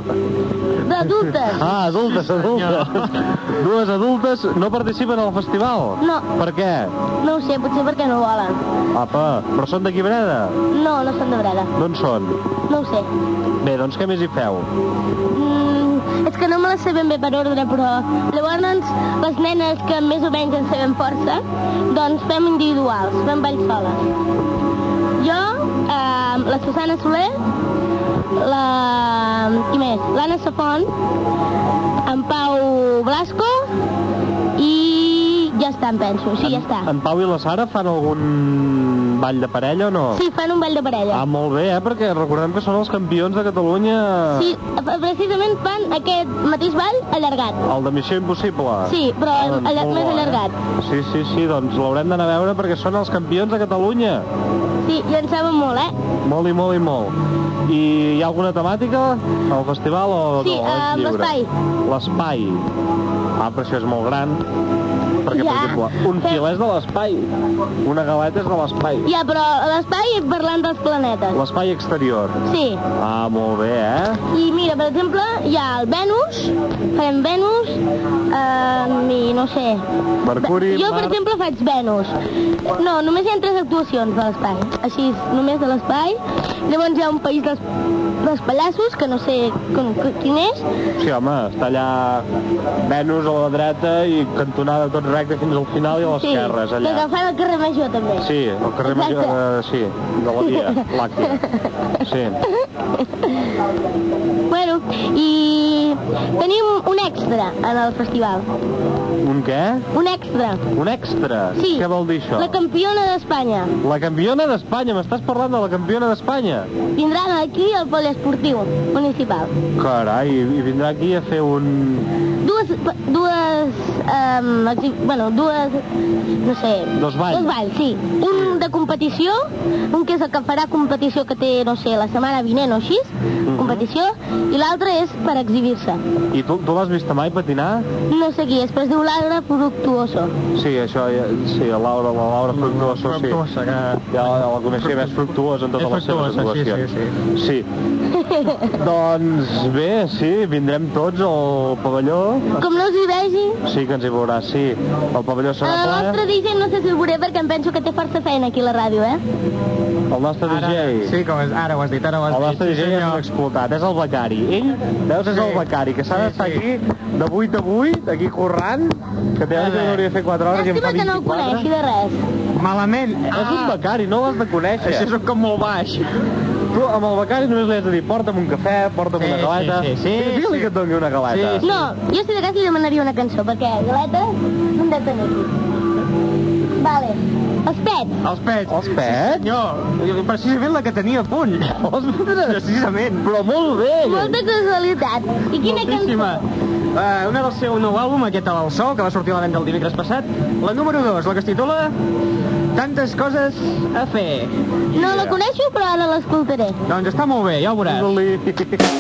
D'adultes. Ah, adultes, adultes. Dues adultes no participen al festival? No. Per què? No ho sé, potser perquè no volen. Apa, però són d'aquí Breda? No, no són de Breda. D'on són? No ho sé. Bé, doncs què més hi feu? Mm, és que no me les sé ben bé per ordre, però llavors les nenes que més o menys en sabem força, doncs fem individuals, fem balls soles. Jo, eh, la Susana Soler, la... qui més? L'Anna Safont, en Pau Blasco i ja està, em penso. Sí, ja està. En Pau i la Sara fan algun ball de parella o no? Sí, fan un ball de parella. Ah, molt bé, eh? Perquè recordem que són els campions de Catalunya... Sí, eh, precisament fan aquest mateix ball allargat. El de Missió Impossible. Sí, però Ah, doncs allar- molt més bo, eh? allargat. Sí, sí, sí, doncs l'haurem d'anar a veure perquè són els campions de Catalunya. Sí, i en saben molt, eh? Molt i molt i molt. I hi ha alguna temàtica al festival o Sí, eh, no? és Oh, doncs, lliure? l'espai. L'espai. Ah, però això és molt gran. Perquè, Ja. per exemple, un fil és de l'espai, una galeta és de l'espai. Ja, però a l'espai parlant dels planetes. L'espai exterior. Sí. Ah, molt bé, eh? I mira, per exemple, hi ha el Venus, farem Venus, eh, i no sé... Mercuri, jo, per Mart- exemple, faig Venus. No, només hi ha tres actuacions de l'espai, així, només de l'espai. Llavors hi ha un país dels, dels pallassos, que no sé com, quin és. Sí, home, està allà Venus a la dreta i cantonada tot recte fins al final i a les sí, esquerres, que allà. agafant el carrer Major, també. Sí, el carrer Exacte. Major, eh, sí, de la Via Làctia. Sí. Bueno, i tenim un extra en el festival. Un què? Un extra. Un extra? Sí. Què vol dir això? La campiona d'Espanya. La campiona d'Espanya, m'estàs parlant de la campiona d'Espanya? Vindran aquí al poliesportiu municipal. Carai, i vindrà aquí a fer un... Dues, dues, um, exhi... bueno, dues, no sé... Dos balls. Dos balls, sí. Un de competició, un que és el que farà competició que té, no sé, la setmana vinent o així, Mhm. competició, i l'altre és per exhibir-se. I tu, tu l'has vist mai patinar? No sé qui és, però es diu Laura Fructuoso. Sí, això, ja- sí, la Laura, la Laura Fructuosa, sí. Fructuosa, que... Ja la, la coneixia més fructuosa en totes les seves fructuosa, sí, actuacions. Sí, sí, sí. doncs bé, sí, vindrem tots al pavelló. Com no us hi vegi, Sí que ens hi veurà, sí. El pavelló en el serà ple. nostre Ah, DJ no sé si el veuré perquè em penso que té força feina aquí a la ràdio, eh? El nostre DJ. Sí, com és, ara ho has dit, ara ho has el nostre dit. DJ és un explotat, és el becari. Ell, veus, és el becari, que s'ha d'estar aquí de 8 a 8, aquí corrent, que té anys que hauria de fer 4 hores i en fa Estima que no el 24. coneixi de res. Malament. Ah. És un becari, no l'has de conèixer. Això és un cop molt baix. Tu amb el becari només li has de dir, porta'm un cafè, porta'm Sí, una galeta. sí, sí, sí, Digue- Digue-li que et doni una galeta. No, jo si de cas li demanaria una cançó, perquè galeta no en deu tenir aquí. Vale. Els pets. Els pets. Els pets? Sí, senyor. Precisament la que tenia a punt. Ostres! Precisament. Però molt bé. Molta casualitat. I quina cançó? Moltíssima. Uh, una del seu nou àlbum, aquest a l'Alçó, que va sortir a la venda el dimecres passat. La número 2, la que es titula Tantes coses a fer. No la coneixo, però ara l'escoltaré. Doncs està molt bé, ja ho veuràs.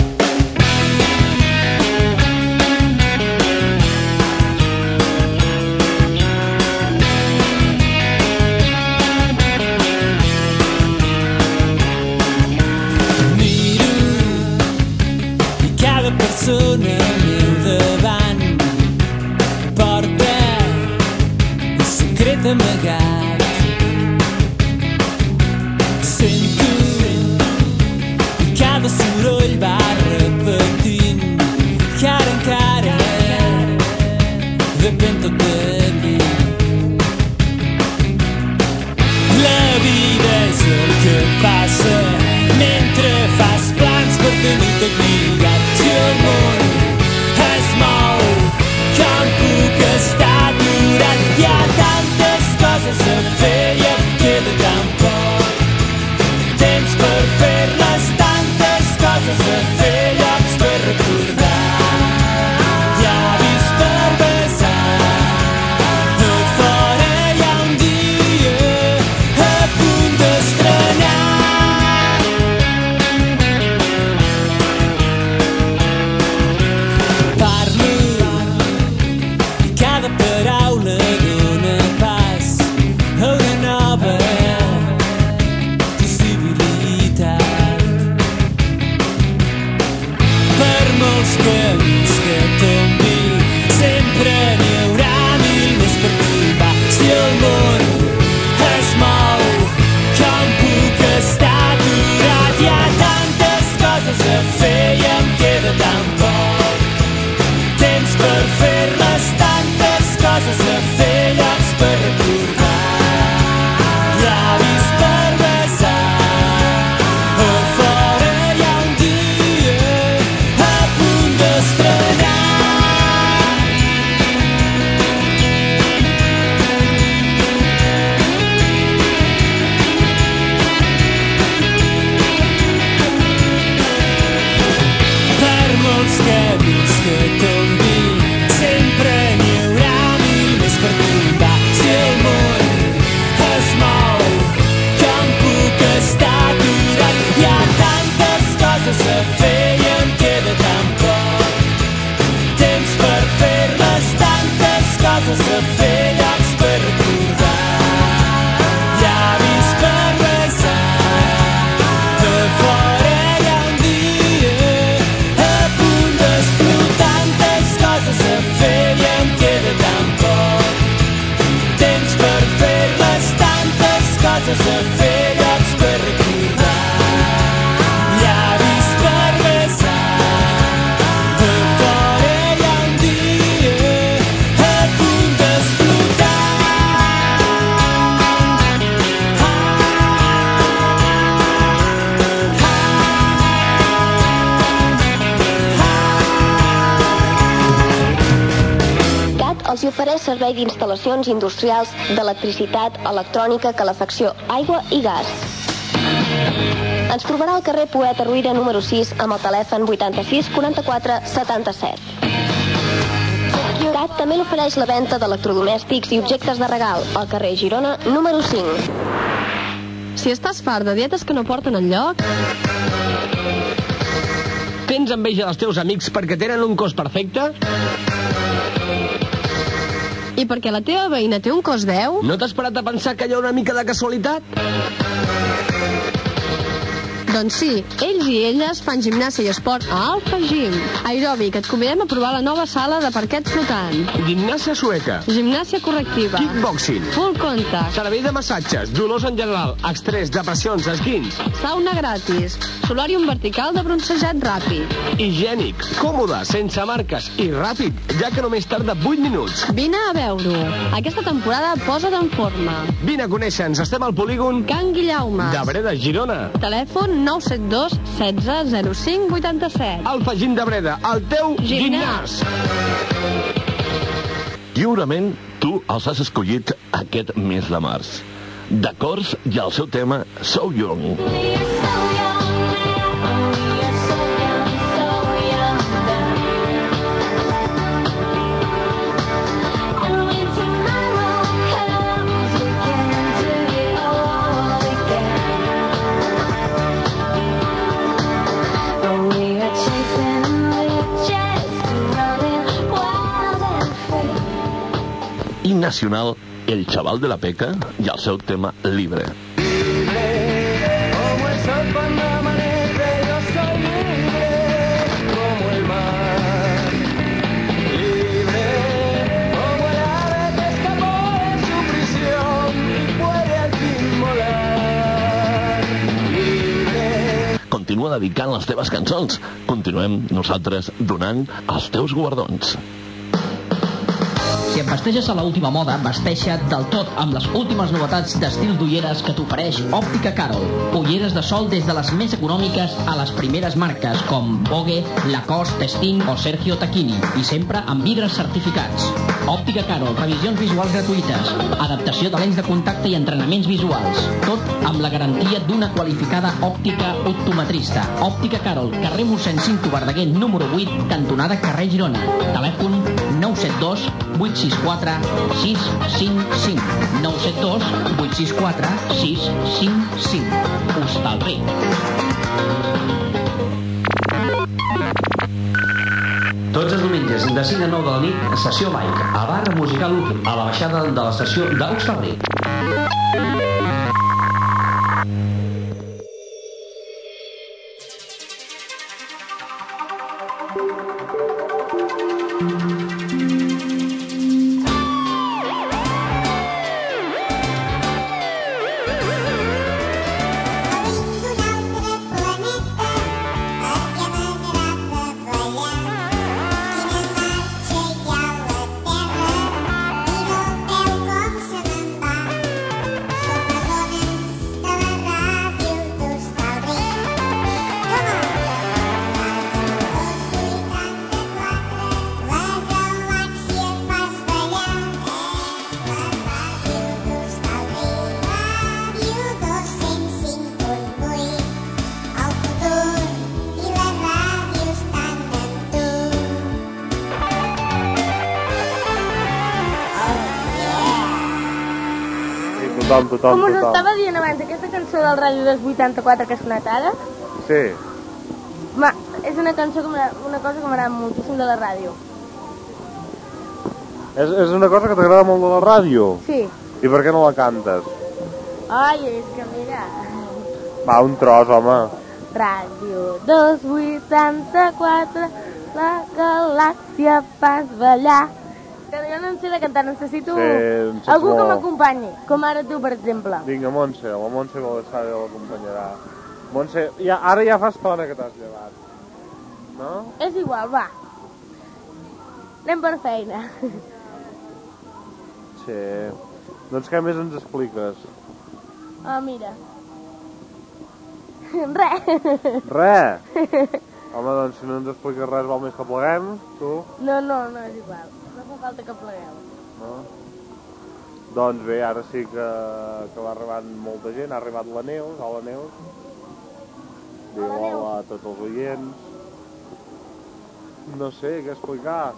i cada persona al meu davant porta un secret amagat. Sento i cada soroll va repetint que ara encara depèn tot de mi. La vida és el que passa mentre fas plans per tenir dignitat. Si el món es mou, com puc estar durant? Hi ha tantes coses a fer i em queda tan poc temps per fer-les. Tantes coses a fer, llocs per recordar. Hi ha vist per besar. Tot fora hi ha un dia a punt d'estrenar. els hi ofereix servei d'instal·lacions industrials d'electricitat, electrònica, calefacció, aigua i gas. Ens trobarà al carrer Poeta Ruïra número 6 amb el telèfon 86 44 77. CAT també l'ofereix la venda d'electrodomèstics i objectes de regal al carrer Girona número 5. Si estàs fart de dietes que no porten enlloc, Tens enveja dels teus amics perquè tenen un cos perfecte? i perquè la teva veïna té un cos 10, No t'has parat a pensar que hi ha una mica de casualitat? doncs sí, ells i elles fan gimnàsia i esport a Alfa Gym. Aeròbic, et convidem a provar la nova sala de parquet flotant. Gimnàsia sueca. Gimnàsia correctiva. Kickboxing. Full contact. Servei de massatges, dolors en general, estrès, depressions, esquins. Sauna gratis. Solàrium vertical de bronzejat ràpid. Higiènic, còmode, sense marques i ràpid, ja que només tarda 8 minuts. Vine a veure-ho. Aquesta temporada posa't en forma. Vine a conèixer-nos, estem al polígon Can Guillaume. de Breda, Girona. Telèfon 972 16 05 87. Alfa Gym de Breda, el teu gimnàs. Lliurement, tu els has escollit aquest mes de març. D'acords i el seu tema So Young. I nacional, el xaval de la peca i el seu tema Libre. Como el sol cuando amanece, yo soy libre como el mar. Libre como el ave que escapó de su prisión y puede al fin volar. Libre. Continua dedicant les teves cançons. Continuem nosaltres donant els teus guardons. Si et vesteixes a l'última moda, vesteixa't del tot amb les últimes novetats d'estil d'ulleres que t'ofereix Òptica Carol. Ulleres de sol des de les més econòmiques a les primeres marques com Vogue, Lacoste, Sting o Sergio Tacchini i sempre amb vidres certificats. Òptica Carol, revisions visuals gratuïtes, adaptació de lents de contacte i entrenaments visuals. Tot amb la garantia d'una qualificada òptica optometrista. Òptica Carol, carrer mossèn Cinto Verdaguer, número 8, cantonada carrer Girona. Telèfon 972 864 655. 972 864 655. Hostalric. Tots els diumenges, de 5 a 9 de la nit, sessió Mike, a barra musical últim, a la baixada de l'estació d'Auxerric. Sí, tothom, tothom, Com us tothom. estava dient abans, aquesta cançó del Ràdio 284 que ha sonat ara, Sí, ma, és una cançó que m'agrada- una cosa que m'agrada moltíssim de la ràdio. és, és una cosa que t'agrada molt de la ràdio. Sí. I per què no la cantes? Ai, és que mira... Va, un tros, home. Ràdio 284, la galàxia fas ballar. Que jo no en sé de cantar, necessito Sí, em saps algú que molt. m'acompanyi, com ara tu, per exemple. Vinga, Montse, la Montse Baldassade l'acompanyarà. Montse, ja, ara ja fa estona que t'has llevat. No? És igual, va. Anem per feina. Sí. Doncs què més ens expliques? Ah, mira. Res. Re! Home, doncs si no ens expliques res, val més que pleguem, tu. No, no, no és igual. No fa falta que plegueu. No? Doncs bé, ara sí que, que va arribant molta gent. Ha arribat la Neus, hola Neus. Diu hola a tots els oients. No sé què explicar.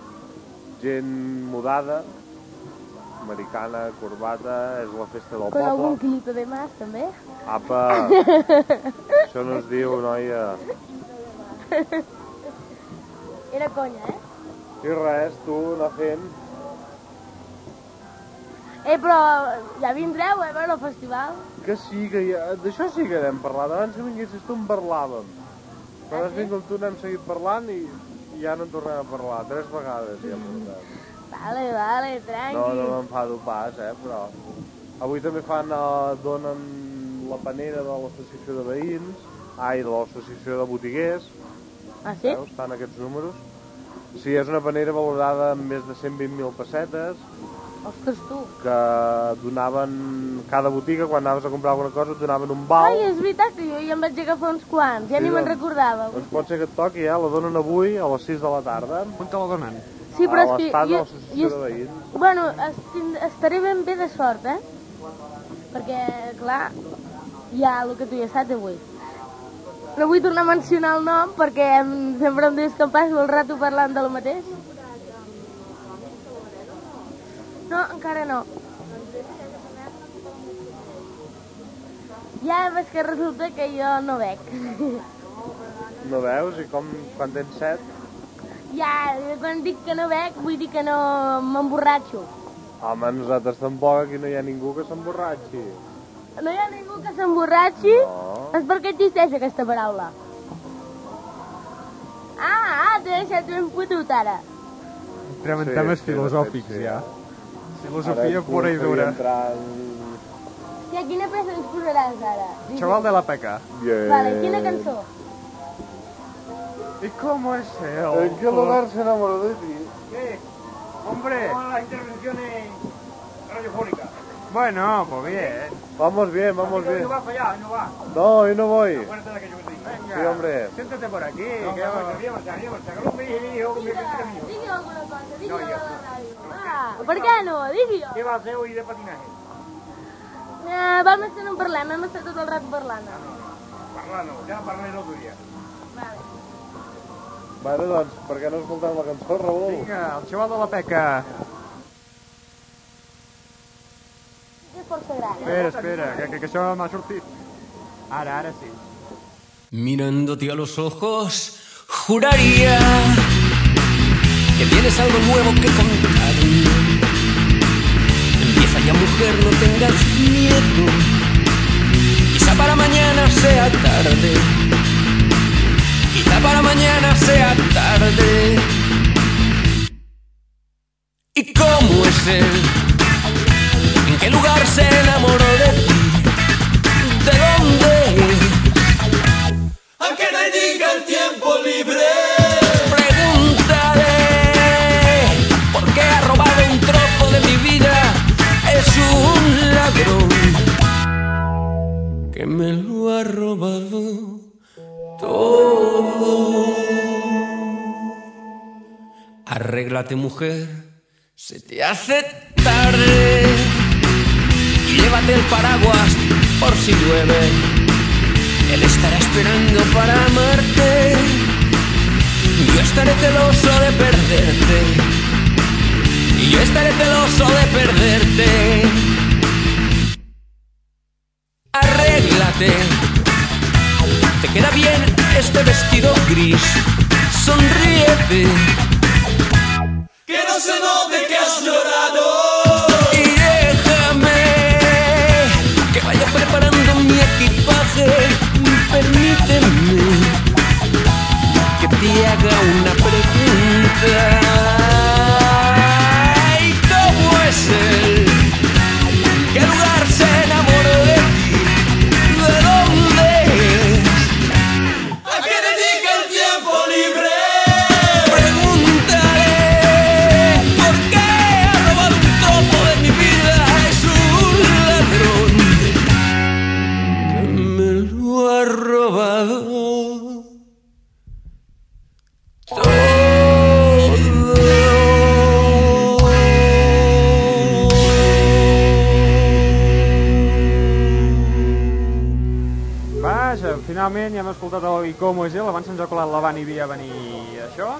Gent mudada, americana, corbata, és la festa del Con algún poble. kilito de más, també. Apa, això no es diu, noia. Era conya, eh? I res, tu, anar fent. Eh, però ja vindreu, eh, a veure el festival. Que sí, que ja... D'això sí que n'hem parlat. Abans que vinguessis tu en parlàvem. Però has vingut tu, n'hem seguit parlant i i ja no en tornem a parlar. Tres vegades ja hem parlat. Vale, vale, tranqui. No, no m'enfado pas, eh, però... Avui també fan, eh, donen la panera de l'associació de veïns, ai, de l'associació de botiguers. Ah, sí? Veus, estan aquests números. Sí, és una panera valorada amb més de 120.000 pessetes, Ostres, tu. que donaven cada botiga, quan anaves a comprar alguna cosa, et donaven un bal. Ai, és veritat que jo ja em vaig agafar uns quants, ja Sí, ni me'n doncs. recordava. Doncs pot ser que et toqui, eh? La donen avui a les 6 de la tarda. On te la donen? Sí, però a és que l'estat de jo- l'associació de veïns. Bueno, es, tind- estaré ben bé de sort, eh? Perquè, clar, hi ha el que tu ja saps avui. No vull tornar a mencionar el nom perquè em, sempre em dius que em passo el rato parlant del mateix. No, encara no. Ja, però és que resulta que jo no bec. No veus? I com quan tens set? Ja, quan dic que no bec, vull dir que no m'emborratxo. Home, nosaltres tampoc, aquí no hi ha ningú que s'emborratxi. No hi ha ningú que s'emborratxi? No. És perquè existeix aquesta paraula. Ah, ah, t'he deixat ben fotut ara. Entrem en temes filosòfics, ja. Filosofia Ara, pura i podria dura. Entrar... en- Hòstia, quina peça ens posaràs ara? Chaval de la peca. Yeah. Vale, quina cançó? ¿Y cómo es él? ¿En qué lugar se enamoró de ti? ¿Qué? Eh, Hombre. Todas las intervenciones radiofónicas. Bueno, pues bien. Vamos bien, vamos ¿eh? Así que bien. No vas para allá, no vas. No, hoy no voy. Acuérdate de la que yo te digo. Sí, hombre. Siéntate por aquí. No, no, que marxa, via, marxa, via, marxa, que no em vegi, vegi, jo, que em vegi que no. Digui alguna cosa, digui No, alguna ja. cosa a la ràdio. Va, per què no? Digui-ho. Què va fer avui de patinatge? Eh, va més que no en parlem, hem estat tot el rato parlant. Parlar no, ja parlaré l'altre dia. Bueno, doncs, per què no escoltem la cançó, Raül? Vinga, el xaval de la peca. És força gran. Espera, espera, que, que, que això m'ha sortit. Ara, ara sí. Mirándote a los ojos, juraría que tienes algo nuevo que contarme. Empieza ya, mujer, no tengas miedo. Quizá para mañana sea tarde. Quizá para mañana sea tarde. ¿Y cómo es él? ¿En qué lugar se enamoró de ti? ¿De dónde? Aunque me diga el tiempo libre. Pregúntale por qué ha robado un trozo de mi vida. Es un ladrón que me lo ha robado todo. Arréglate, mujer, se te hace tarde. Y llévate el paraguas por si llueve. Él estará esperando para amarte. Yo estaré celoso de perderte. Y yo estaré celoso de perderte. Arréglate. Te queda bien este vestido gris. Sonríete. Que no se note que has llorado. Y déjame que vaya preparando mi equipaje. Permíteme que te haga una pregunta. ¿Y cómo es él? ¿Qué lugar se enamoró de ti? ¿De dónde es? A que me diga el tiempo libre. Pregúntale por qué ha robado un trozo finalment ja hem escoltat el Icomo Gel, abans ens ha colat la Bani via venir això,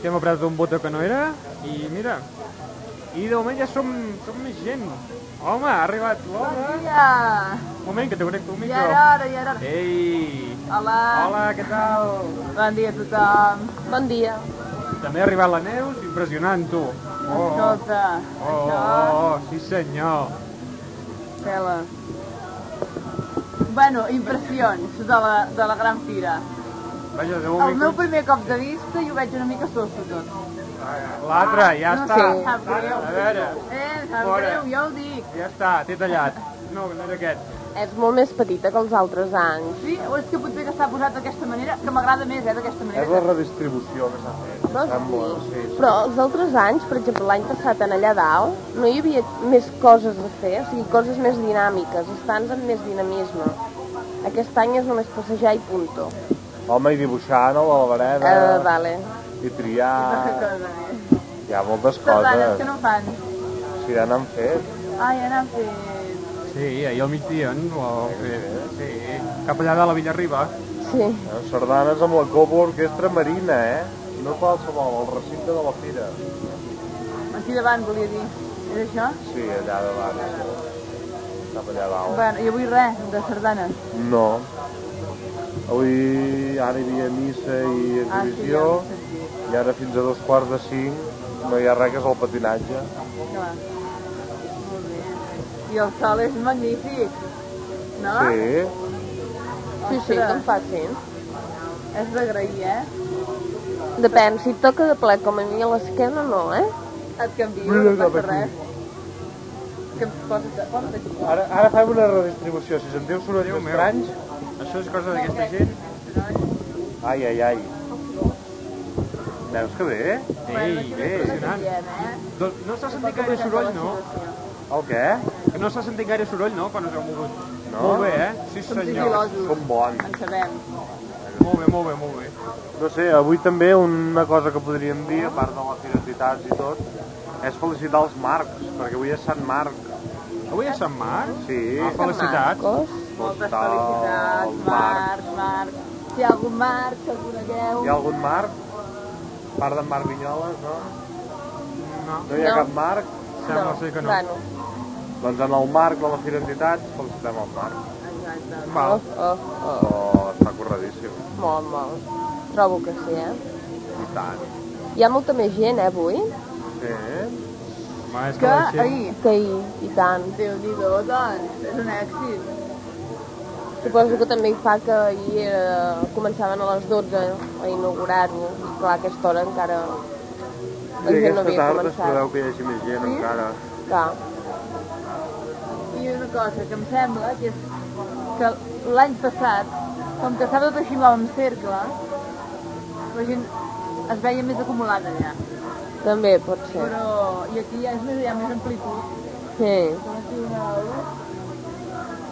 que hem après un botó que no era, i mira, i de moment ja som, som més gent. Home, ha arribat l'home. Mira! Un moment, que te connecto un Ja micro. era hora, ja era hora. Ei! Hola! Hola, què tal? Bon dia a tothom. Bon dia. També ha arribat la Neus, impressionant, tu. Oh, oh, Escolta, oh, oh, oh, sí senyor. pela. Bueno, impressions de la, de la gran fira. Vaja, de El moment... meu primer cop de vista jo veig una mica sosso tot. L'altre, ja no està. Sé. Sap greu. A veure, Eh, sap Fora. greu, ja ho dic. ja està, t'he tallat. No, no era aquest. És molt més petita que els altres anys. Sí, o és que potser que està posat d'aquesta manera, que m'agrada més, eh, d'aquesta manera. És la redistribució que s'ha fet. Veus? Sembla, sí, sí. Ah, Però els altres anys, per exemple, l'any passat en allà dalt, no hi havia més coses a fer, o sigui, coses més dinàmiques, estants amb més dinamisme. Aquest any és només passejar i punto. Home, i dibuixar, no, a la vereda, Eh, vale. i triar... Hi ha moltes Sardanes coses. que no fan. Si ja n'han fet. Ai, ara han fet... Sí, ahir al migdia ens ho vau fer. Sí, cap allà de la Villarriba. Sí. Eh, Sardanes amb la Cobo Orquestra Marina, eh? I no qualsevol, el recinte de la fira. Aquí davant, volia dir. És això? Sí, allà davant. això. Cap allà dalt. Bueno, i avui res, de sardanes. Ah, No. Avui ara hi havia missa i Ah, sí, exhibició, ja ho i ara fins a dos quarts de cinc no hi ha res que és el patinatge. Clar. Molt bé. I el sol és magnífic, no? Sí. Sí, sí, Ostres, com facin. És d'agrair, eh? Depèn, si et toca de ple com a mi a l'esquena, no, eh? Et canvio, Mira no cap passa aquí. res. Que posa't, posa't aquí. Ara, ara fem una redistribució, si sentiu sonors estranys... Això és cosa d'aquesta gent. Ai, ai, ai. Veus que bé? Ei, bé. Impressionant. eh? Doncs no s'ha sentit gaire soroll, no? El què? Que no s'ha sentit gaire soroll, no, quan us heu mogut? No? Molt bé, eh? Sí, Som senyor. sigil·losos. Som bons. En sabem. Molt bé, molt bé, molt bé. No sé, avui també una cosa que podríem dir, a part de les identitats i tot, és felicitar els Marcs, perquè avui és Sant Marc. Avui és Sant Marc? Sí. Ah, felicitats. Moltes Total, felicitats, Marc, Marc. Si hi ha algun Marc que el conegueu... Hi ha algun Marc? A part d'en Marc Vinyoles, no? No. No hi No. ha cap Marc? Sembla ser que no. Bueno. Doncs en el Marc de les identitats, felicitem el Marc. Exacte. Val. Oh, oh, Oh, està corredíssim. oh. Molt, molt. Trobo que sí, eh? I tant. Hi ha molta més gent, eh, avui? Sí. eh? Ma, és Que ahir. Que ahir, i tant. Déu-n'hi-do, doncs, és un èxit. Suposo que també hi fa que ahir eh, començaven a les 12 a inaugurar-ho. I clar, a aquesta hora encara la I gent no aquesta havia tarda es començat. preveu que hi hagi més gent encara. Clar. I una cosa que em sembla que és que l'any passat, com que estava tot així en cercle, la gent es veia més acumulada allà. També pot ser. Però, i aquí ja és més, hi ha més amplitud. Sí. Com aquí una...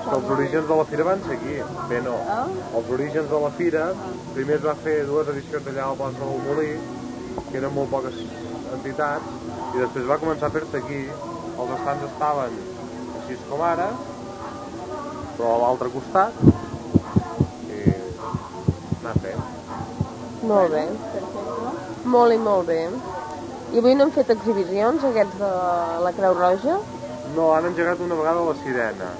Que els orígens de la fira van ser aquí. Bé, no. Ah? Els orígens de la fira, primer es va fer dues edicions allà al plaça del Molí, que eren molt poques entitats, i després va començar a fer-se aquí. Els estants estaven així com ara, però a l'altre costat, i anar fent. Molt bé. Molt i molt bé. I avui no hem fet exhibicions, aquests de la Creu Roja? No, han engegat una vegada la sirena.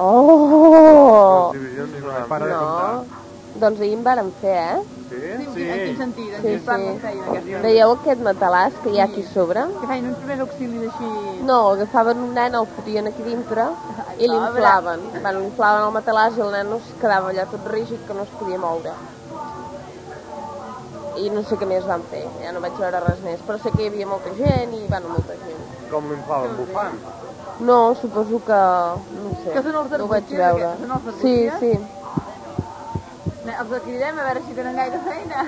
Oh! Les divisions no han No. Doncs ahir en vàrem fer, eh? Sí? Sí. En quin sentit? En Sí, quin plan sí. feien sí. aquesta? Veieu aquest matalàs que hi ha aquí sobre? Que feien uns primers auxilis així... No, agafaven un nen, el fotien aquí dintre i l'inflaven. Van l'inflaven al matalàs i el nen es quedava allà tot rígid que no es podia moure. I no sé què més van fer, ja no vaig veure res més, però sé que hi havia molta gent i, bueno, molta gent. Com l'inflaven bufant. No, suposo que... Oh, no sé, Que són els no ho vaig d'Arbúcies, veure. aquests? Són els Sí, d'Arbúcies? sí. Ne, Els acridem a veure si tenen gaire feina.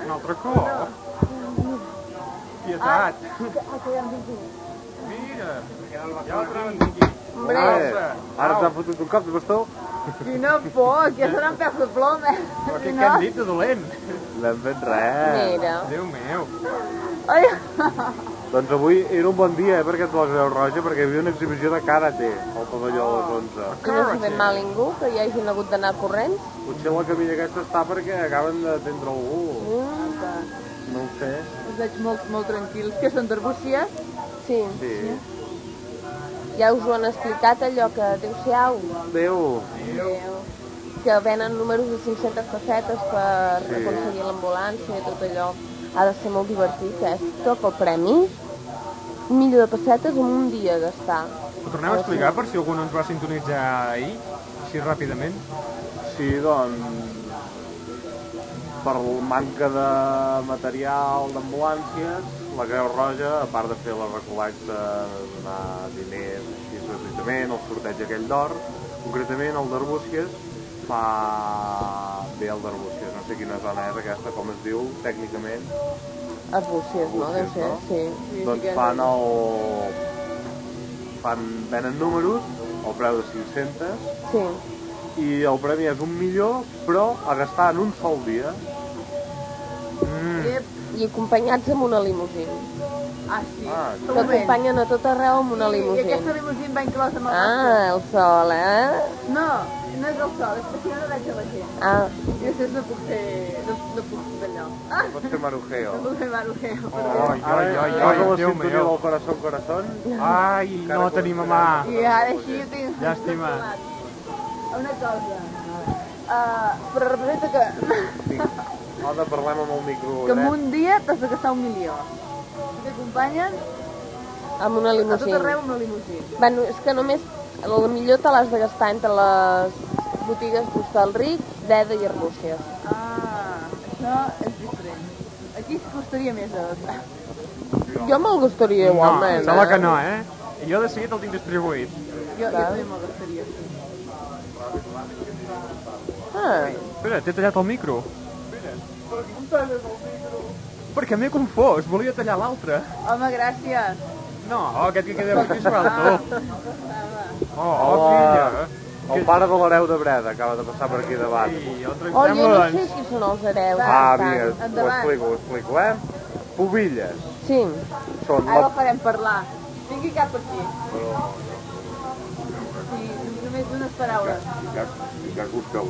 Un altre cop. Pietat. que, ah, que ja hem vingut. Mira. Ja el troben aquí. Hombre. Eh, ara s'ha fotut un cop de bastó. Quina por, que ja seran peus de plom, eh? Però què, què Si no- hem dit de dolent? L'hem fet res. Mira. Déu meu. Ai, Doncs avui era un bon dia, eh, perquè et vols veure roja, perquè hi havia una exhibició de karate al pavelló de les 11. I Ah, no s'hi ve mal ningú, que hi hagin hagut d'anar corrents. Potser la camilla aquesta està perquè acaben de tindre algú. Mm. No ho sé. Els veig molt, molt tranquils, que són d'Arbúcies. Sí. Sí. Ja us ho han explicat allò que adeu-siau, Adéu. que venen números de 500 pessetes per Sí. aconseguir l'ambulància i tot allò. Ha de ser molt divertit, eh? Si Toca el premi, un milió de pessetes en un dia a gastar. Ho tornem a explicar per si algú no ens va sintonitzar ahir, així ràpidament. Sí, doncs... Per manca de material d'ambulàncies, la Creu Roja, a part de fer la recol·lecta, donar diners així gratuïtament, el sorteig aquell d'or, concretament el d'Arbúcies, fa bé el d'Arbúcies, no sé quina zona és aquesta, com es diu tècnicament, Arbúcies, no? Deu ser, sí. doncs fan el... Fan, venen números, el preu de 500, Sí. i el premi és un milió, però a gastar en un sol dia. Mm. I acompanyats amb una limusina. Ah, sí. Ah, Que acompanyen a tot arreu amb una I aquesta limusina. limusina va inclosa amb el Ah, el sol, eh? nostre. No, no és el sol, és que si no no veig a la gent. Ah. I després no puc fer... No, no puc fer allò. Ah! Pot fer Oh, marujeo. No puc fer marujeo, Ai, perdó. ai, ai, ai, la Déu sintonia meu. del corazón, corazón. Ai, no tenim a mà. I ara així ho tinc. Llàstima. Una cosa. Uh, però representa que, Ara parlem amb el micro. que en un dia t'has de gastar un milió. I t'acompanyen Amb una a tot limusina. arreu amb la limusina. Bueno, és que només el millor te l'has de gastar entre les botigues d'Hostalric, Deda i Arbúcies. Ah, això és diferent. Aquí es costaria més de gastar. Jo me'l gustaria No, igualment. sembla que no, eh? Jo de seguit el tinc distribuït. Jo, jo també me'l gastaria. Ah. Espera, t'he tallat el micro. Home, Perquè m'he confós, volia tallar l'altre. gràcies. No, oh, aquest que queda aquí serà el tu. Oh, oh, Hola. filla. El pare de l'hereu de Breda acaba de passar per aquí davant. Sí, Oh, jo no sé doncs qui són els hereus. Ah, per mira, tant. ho explico, ho explico, eh? Pubilles. Sí. Són Ara el la... farem parlar. Vingui cap aquí. Sí, només unes paraules.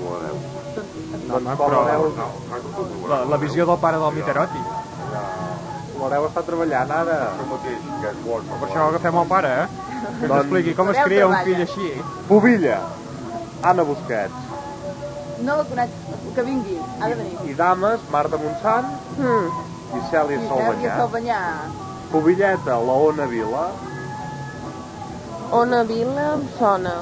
No, home, Doncs però... La, la visió del pare del Miteroti. L'hereu està treballant ara. Per això agafem el pare, eh? Que ens Doncs- expliqui com es L'hereu cria un treballa. fill així. Pubilla. Anna Busquets. No la conec, que vingui, ha de venir. I dames, Marta Montsant Mm. i Cèlia Sergi Salvanyà. Salvanyà. Pubilleta, la Ona Vila. Ona Vila em sona.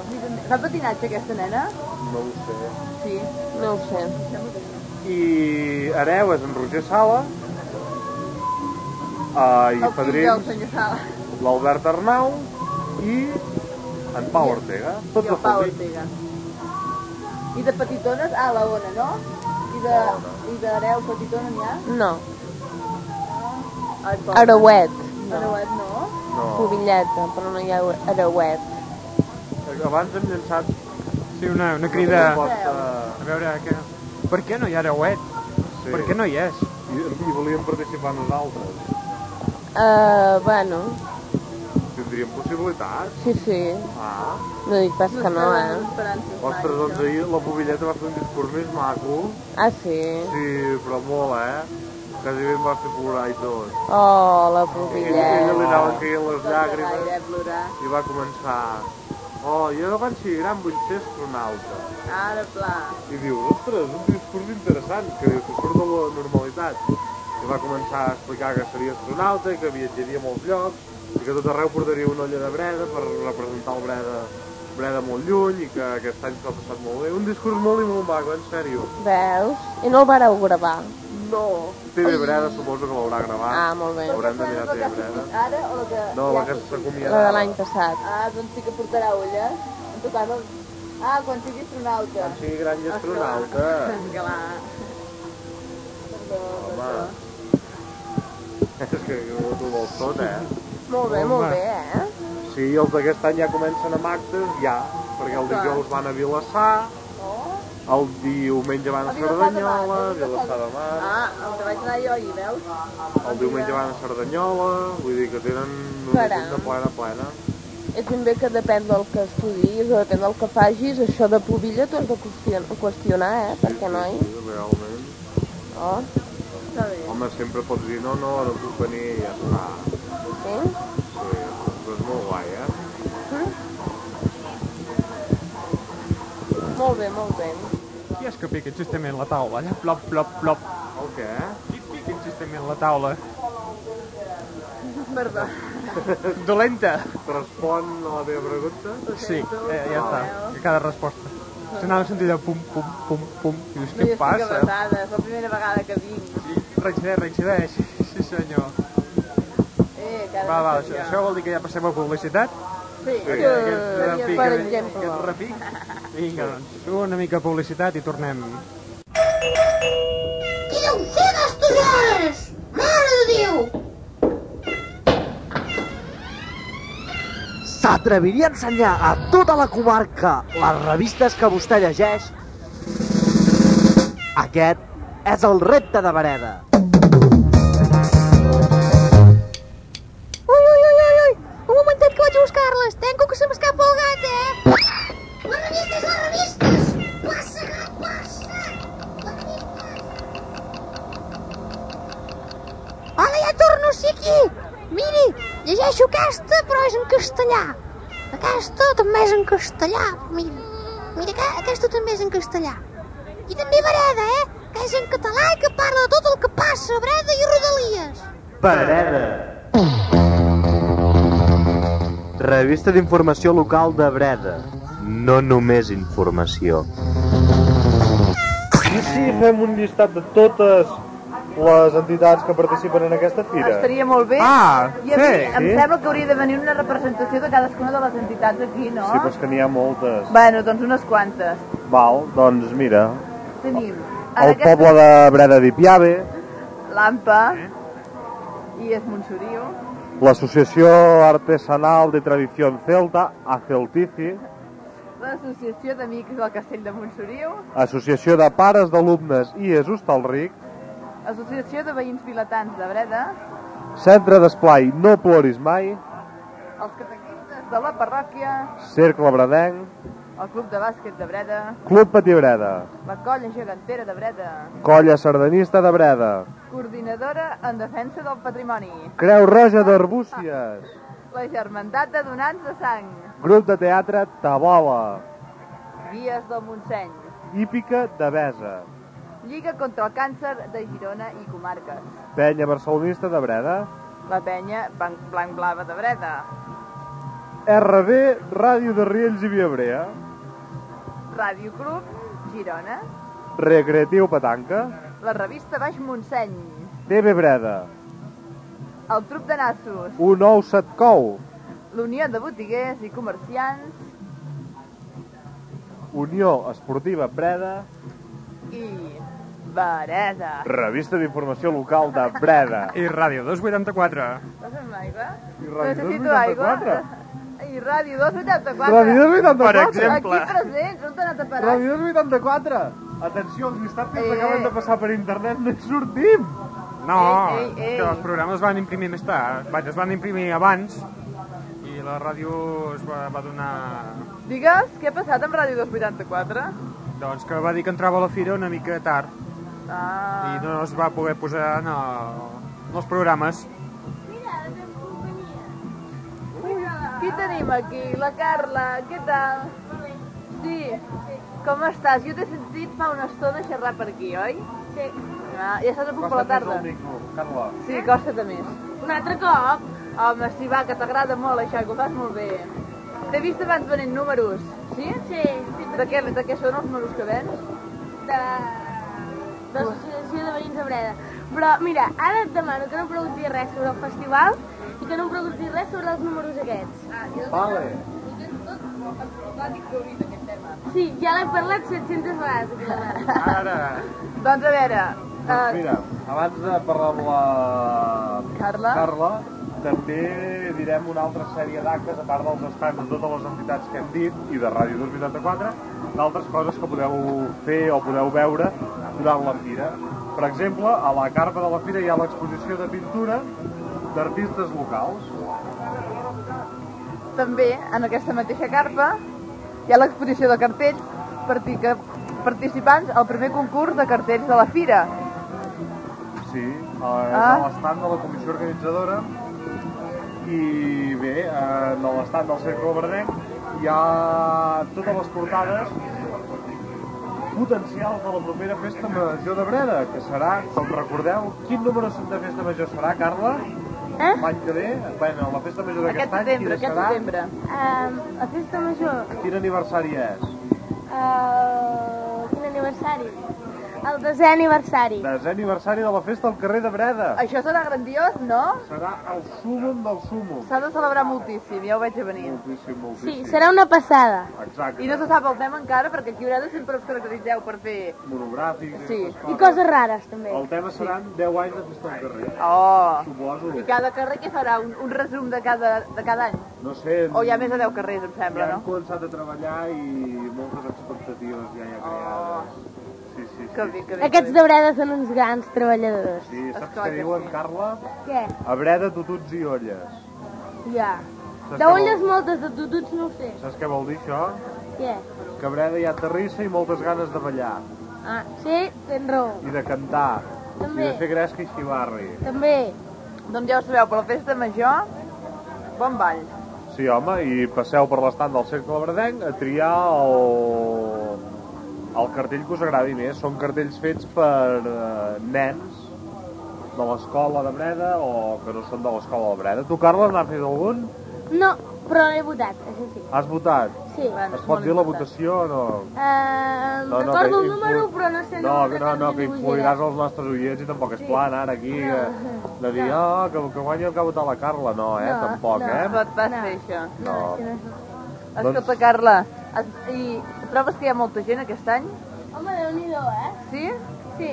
Fa patinatge aquesta nena? No ho sé. Sí. No ho sé. I hereu és en Roger Sala. Uh, El fill I del padrins senyor Sala. l'Albert Arnau i en Pau Ortega. I Tots el els Pau públics. Ortega. I de petitones, ah, la Ona, no? I de, i d'hereu petitona n'hi ha? No. Ai, pobra. Arauet. Arauet, no? No. Covilleta, però no hi ha Arauet. Abans hem llançat... Sí, una, una crida... proposta- A veure, què... Per què no hi ha Arauet? Sí. Per què no hi és? I, i volíem participar nosaltres. Uh, bueno, Tindríem possibilitats? sí, sí. Ah. No dic pas que no, eh? Ostres, doncs ahir la pobilleta va fer un discurs més maco. Ah, sí? Sí, però molt, eh? Quasi bé em va fer plorar i tot. Oh, la I ella li pobilleta. anaven caient les llàgrimes i va començar... Oh, jo quan sigui gran vull ser astronauta. Ara, pla. I diu, ostres, un discurs interessant, que diu que surt de la normalitat. I va començar a explicar que seria astronauta i que viatjaria a molts llocs i que a tot arreu portaria una olla de breda per representar el breda, breda molt lluny i que aquest any s'ha passat molt bé. Un discurs molt i molt maco, en sèrio. Veus? I no el vareu gravar. No. TV Breda suposo que l'haurà gravat. Ah, molt bé. Haurem de mirar TV Breda. Ara o la que... eh? No, la que La de s'acomiadava. l'any passat. Ah, doncs sí que portarà ulles. En tot cas, el... Ah, quan sigui astronauta. Quan sigui gran i astronauta. Clar. Home. És que tu vols tot, eh? Molt bé, molt bé, eh? Sí, Oh. els d'aquest any ja comencen amb actes, ja. Perquè el dijous van a Vilassar, El diumenge van a Cerdanyola, Vilassar de Mar... Ah, el que vaig anar jo ahir, veus? Ah. El diumenge van a Cerdanyola, vull dir que tenen una Caram. agenda plena, plena. És ben bé que depèn del que estudis o depèn del que facis, això de pubilla t'ho has de qüestion- qüestionar, eh? Perquè, noi, Sí, realment. oh, Home, sempre pots dir, no, no, no puc venir i ja està. sí? Sí, però és molt guai, eh? Molt bé, molt bé. Qui és que pica insistentment la taula? Allà, plop, plop, plop. El què? Qui pica insistentment la taula? Merda. Dolenta. Respon a la meva pregunta? Sí, eh, ja està. Que cada resposta. S'anava sentint allò pum, pum, pum, pum. No, Dius, jo què estic passa? abraçada, és la primera vegada que vinc. Reincideix, reincideix. Sí, senyor. Eh, cada Va, va, vegada això, millor. això vol dir que ja passem a publicitat? Sí. Que- que- Eh, que- per que- exemple. que- repic. Vinga, doncs, una mica de publicitat i tornem. Que no ho sé d'estudiar! Mare de Déu! S'atreviria a ensenyar a tota la comarca les revistes que vostè llegeix? Aquest és el repte de Bereda. Ui, ui, ui, ui, ui! Un momentet que vaig a buscar-les! Tengo que se m'escapa el gat, eh! Les revistes, les revistes! Passa, gat, passa! Hola, ja torno, sí, aquí! Miri, llegeixo aquesta, però és en castellà. Aquesta també és en castellà, mira. Mira, que, aquesta també és en castellà. I també Breda, eh? Que és en català i que parla de tot el que passa a Breda i Rodalies. Bereda. Revista d'informació local de Breda. No només informació. I si fem un llistat de totes les entitats que participen en aquesta fira? Estaria molt bé. Ah, I a mi sí, em sí. sembla que hauria de venir una representació de cadascuna de les entitats aquí, no? Sí, però és que n'hi ha moltes. Bueno, doncs unes quantes. Val, doncs mira, Tenim... en el aquesta- poble de Breda d'Ipiave, L'AMPA. I és Montsoriu. l'associació artesanal de tradició celta, Aceltici, L'Associació d'Amics del Castell de Montsoriu. associació de pares d'alumnes i és Hostalric, Associació de Veïns Vilatans de Breda. centre d'esplai No Ploris Mai, Els catequistes de la parròquia. Cercle Bredenc, El Club de Bàsquet de Breda. Club Patí Breda, La Colla Gegantera de Breda. Colla Sardanista de Breda, Coordinadora en defensa del patrimoni. Creu Roja d'Arbúcies, La Germandat de Donants de Sang. grup de teatre Tabola, Vies del Montseny. Hípica de Besa, Lliga contra el càncer de Girona i comarques. Penya Barcelonista de Breda, La penya Ban- blanc blava de Breda. RB Ràdio de Riells i Viabrea, Ràdio Club, Girona. Recreatiu Petanca, La revista Baix Montseny. TV Breda, El truc de nassos. 197 Cou, L'Unió de Botiguers i Comerciants. Unió Esportiva Breda, I... Bereda. Revista d'Informació Local de Breda. I Ràdio 284. Estàs amb aigua? I Ràdio Necessito 284. aigua. I Ràdio 284. Ràdio 284. Per exemple. Aquí presents, on t'han anat a parar? Ràdio 84! Atenció, els dissabtes Eh. que acaben de passar per internet no en sortim! No, Ei, ei, ei. que els programes es van imprimir més tard. Vaig, es van imprimir abans i la ràdio es va, va donar... Digues, què ha passat amb Ràdio 284? Doncs que va dir que entrava a la fira una mica tard Ah, i no es va poder posar en, el, en els programes. qui tenim aquí? La Carla, què tal? Sí, com estàs? Jo t'he sentit fa una estona xerrar per aquí, oi? Sí. Ah, ja estàs a punt per la tarda? Carla. Sí, costa-te més. Un altre cop? Home, sí, va, que t'agrada molt això, que ho fas molt bé. T'he vist abans venent números, sí? Sí. De què, de què són els números que vens? de l'associació de veïns de Breda. Però mira, ara et demano que no em preguntis res sobre el festival i que no em preguntis res sobre els números aquests. Ah, Vale. Sí, ja l'he parlat 700 vegades aquí la ràdio. Ara... Doncs a veure... Doncs mira, abans de parlar amb la... Carla? Carla, també direm una altra sèrie d'actes, a part dels estants de totes les entitats que hem dit i de Ràdio 284, d'altres coses que podeu fer o podeu veure durant la fira. Per exemple, a la carpa de la fira hi ha l'exposició de pintura d'artistes locals. També, en aquesta mateixa carpa, hi ha l'exposició de cartells per dir que participants al primer concurs de cartells de la fira. Sí, eh, Ah. a l'estat de la comissió organitzadora i bé, eh, a l'estat del Cercle Vernet hi ha totes les portades potencials de la propera Festa Major de Breda, que serà, com recordeu, quin número de Festa Major serà, Carla? Eh? L'any que ve, bueno, la Festa Major d'aquest Aquest any, setembre, quina aquest serà? setembre. Um, la festa major, Quin aniversari és? uh, quin aniversari? El desè aniversari. Desè aniversari de la festa al carrer de Breda. Això serà grandiós, no? Serà el súmum del súmum. S'ha de celebrar moltíssim, ja ho veig a venir. Moltíssim, Sí, moltíssim. serà una passada. Exacte. I no se sap el tema encara, perquè aquí a Breda sempre us caracteritzeu per fer... Monogràfics, Sí. I coses rares, també. El tema seran 10 anys de festa al carrer. Oh. Suposo. I cada carrer què farà? Un, un resum de cada, de cada any? No sé... O hi ha més de 10 carrers, em sembla, ja no? han començat a treballar i moltes expectatives ja hi ha creades. Sí, sí, sí. Oh. Que bé, que Aquests de Breda són uns grans treballadors. Sí, saps què diuen, Carla? Què? A breda, tututs i olles. Ja. Saps De què olles vol- moltes, de tututs no ho sé. Saps què vol dir això? Què? Que a breda hi ha terrissa i moltes ganes de ballar, Ah, sí, tens raó. i de cantar, i També. de fer gresca i xivarri. També. Doncs ja ho sabeu, per la festa major, bon ball. Sí, home, i passeu per l'estat del Cercle Verdenc a triar el, el cartell que us agradi més. Són cartells fets per eh, nens de l'escola de Breda o que no són de l'escola de Breda. Tu, Carla, n'has fet algun? No, però l'he votat, això sí. Has votat? Sí. Es pot dir la votació o no? Uh, No, no, recordo que el número, influ- però no sé el No, número que de no, no, cartells que de influiràs els nostres oients i tampoc és Sí. plan ara aquí que, de dir, oh, que, que guanyi el que ha votat la Carla. No, eh, No, tampoc, no. eh? Pot pas fer això. No. Doncs- Escolta, Carla, es, i trobes que hi ha molta gent aquest any? Home, Déu-n'hi-do, eh? Sí? Sí.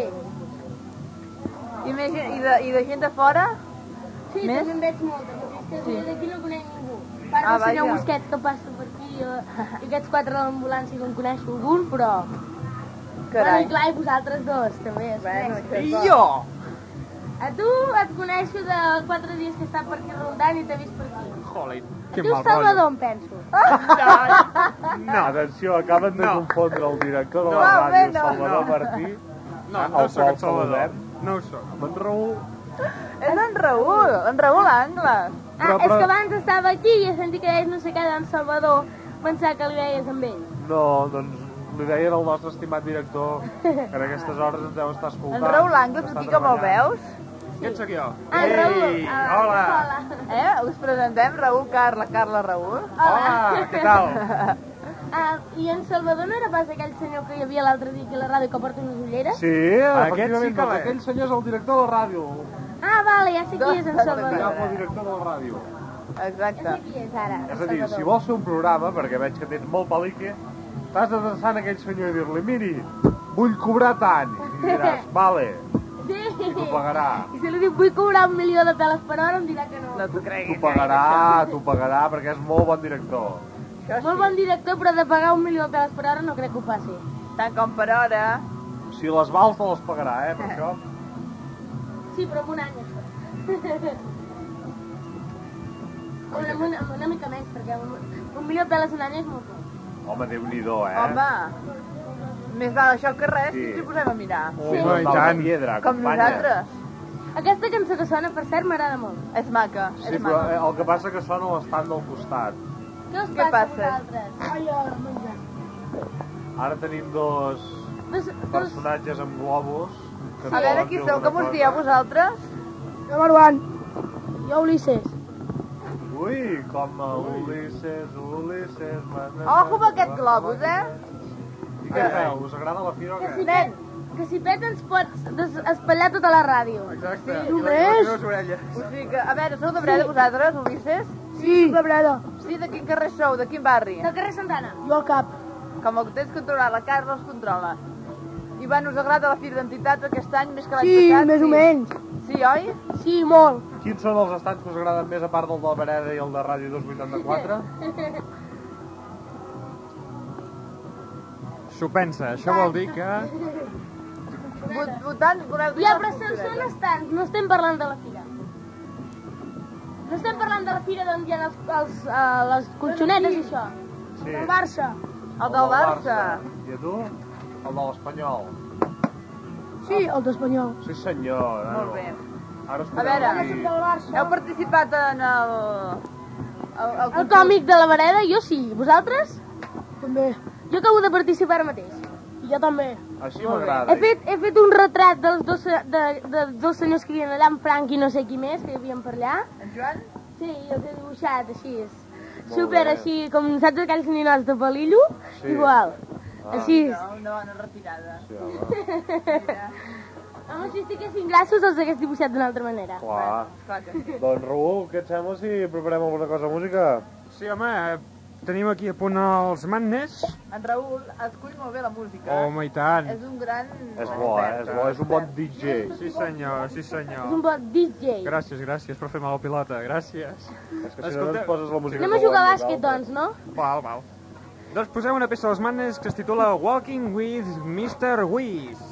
I, més, gent- i, de, i de gent de fora? Sí, Més? també en veig moltes. És que Sí. jo d'aquí no conec ningú. A part Ah, del senyor vaja. Busquet que passa per aquí jo, i aquests quatre de l'ambulància que en coneixo algun, però... Carai. Bueno, i clar, i vosaltres dos, també. us Bueno, coneixo. I jo? A tu et coneixo de quatre dies que he estat per aquí rondant i t'he vist per aquí. Jolín, Que tu ets Salvador, em penso. Ah! No, atenció, acaben de confondre el director de la No, ràdio, no. Salvador No. Martí, No, Ah, no el sóc qual en Salvador. saludem. No ho soc. Bon Raül. És en Raül, en Raül Angles. Ah, és que abans estava aquí i he sentit que deies no sé què d'en Salvador. Pensava que li veies amb ell. No, doncs li deien al nostre estimat director que en aquestes hores ens deu estar escoltant. En Raül Angles, està aquí com el treballant. veus? Què et sóc jo? Ah, Ei, Raül. hola. Eh? Us presentem Raül, Carla, Carla, Raül. Hola, què tal? Ah, I en Salvador no era pas aquell senyor que hi havia l'altre dia aquí a la ràdio que porta unes ulleres? Sí, Aquest sí efectivament, que doncs l'he. aquell senyor és el director de la ràdio. Ah, vale, ja sé qui és en Salvador. El director de la ràdio. Exacte. Ja sé qui és ara, És en a dir, si Salvador. vols fer un programa, perquè veig que tens molt pelique, t'has de deixar en aquell senyor i dir-li, miri, vull cobrar tant. I diràs, vale, Sí. t'ho pagarà. I si li dic, vull cobrar un milió de peles per hora, em dirà que no. No t'ho creguis. eh, T'ho pagarà, t'ho pagarà, perquè és molt bon director. Molt bon director, però de pagar un milió de peles per hora no crec que ho faci. Tant com per hora. Si les vals te les pagarà, eh, per això. Sí, però amb un any, això. Bueno, amb, una, amb una mica menys, perquè un, un milió de peles un any és molt poc. Home, Déu-n'hi-do, eh? Home, més val això que res, sí. Sí. si ens hi posem a mirar. Sí, no, i tant. Piedra, Com companya. nosaltres. Aquesta cançó que sona, per cert, m'agrada molt. És maca, Sí, però eh, el que passa que sona l'estant del costat. Què us Què passa, a passa? vosaltres? Ai, oh, menjar. Ara tenim dos Dos- personatges amb globus. que A ens veure volen qui dir sou, alguna com us cosa. dieu vosaltres? Jo, Marwan. Jo, Ulisses. Ui, com a Ulisses, Ulisses... mana- Ojo amb aquest globus, eh? I què feu? Us agrada la fira o Que què? si pet, que si pet ens pots des- espatllar tota la ràdio. Exacte. Sí. Només? O sigui que, a veure, sou de Breda vosaltres, Ulisses? Sí, de Breda. Sí, de quin carrer sou? De quin barri? Del carrer Santana. Jo al cap. Com el tens controlat, la Carla els controla. I va, us agrada la Fira d'Entitats aquest any més que l'any passat? Sí, oi? Sí, molt. Quins són els estats que us agraden més a part del del Bereda i el de Ràdio 284? S'ho pensa. Això vol dir que... Vot- Votant, voleu Ja, però són, són estants, no estem parlant de la fira. No estem parlant de la fira d'on hi ha els, els, uh, les colxonetes i això. Sí. El Barça. El del Barça. I a tu? El de l'Espanyol. Sí, el d'Espanyol. Sí, senyor. Molt bé. Ara us A veure, podeu dir- heu participat en el... El, El còmic de la Vareda, jo sí. Vosaltres? També. Jo acabo de participar ara mateix. I jo també. Així Molt bé. m'agrada. He fet, he fet un retrat dels dos, se- de, de, dels senyors que hi havia allà, en Frank i no sé qui més, que hi havien per allà. En Joan? Sí, jo t'he dibuixat així. és Molt Super bé. així, com saps aquells ninots de pelillo? Sí. Igual. Ah. Així. No, no, no, retirada. Sí, Home, si estiguessin grassos els hagués dibuixat d'una altra manera. Clar. Clar que sí. Doncs Raül, què et sembla si preparem alguna cosa de música? Sí, home, eh, tenim aquí a punt els Madness. En Raül escull molt bé la música. Home, i tant. És un gran... És bo, eh? És bo, és un bon DJ. Sí, senyor, sí, senyor. És un bon DJ. Gràcies, gràcies per fer mal pilota, gràcies. És que si no doncs ens poses la música Anem a jugar a bàsquet, doncs, no? Val, val. Doncs posem una peça dels Madness que es titula Walking with Mr. Whiz.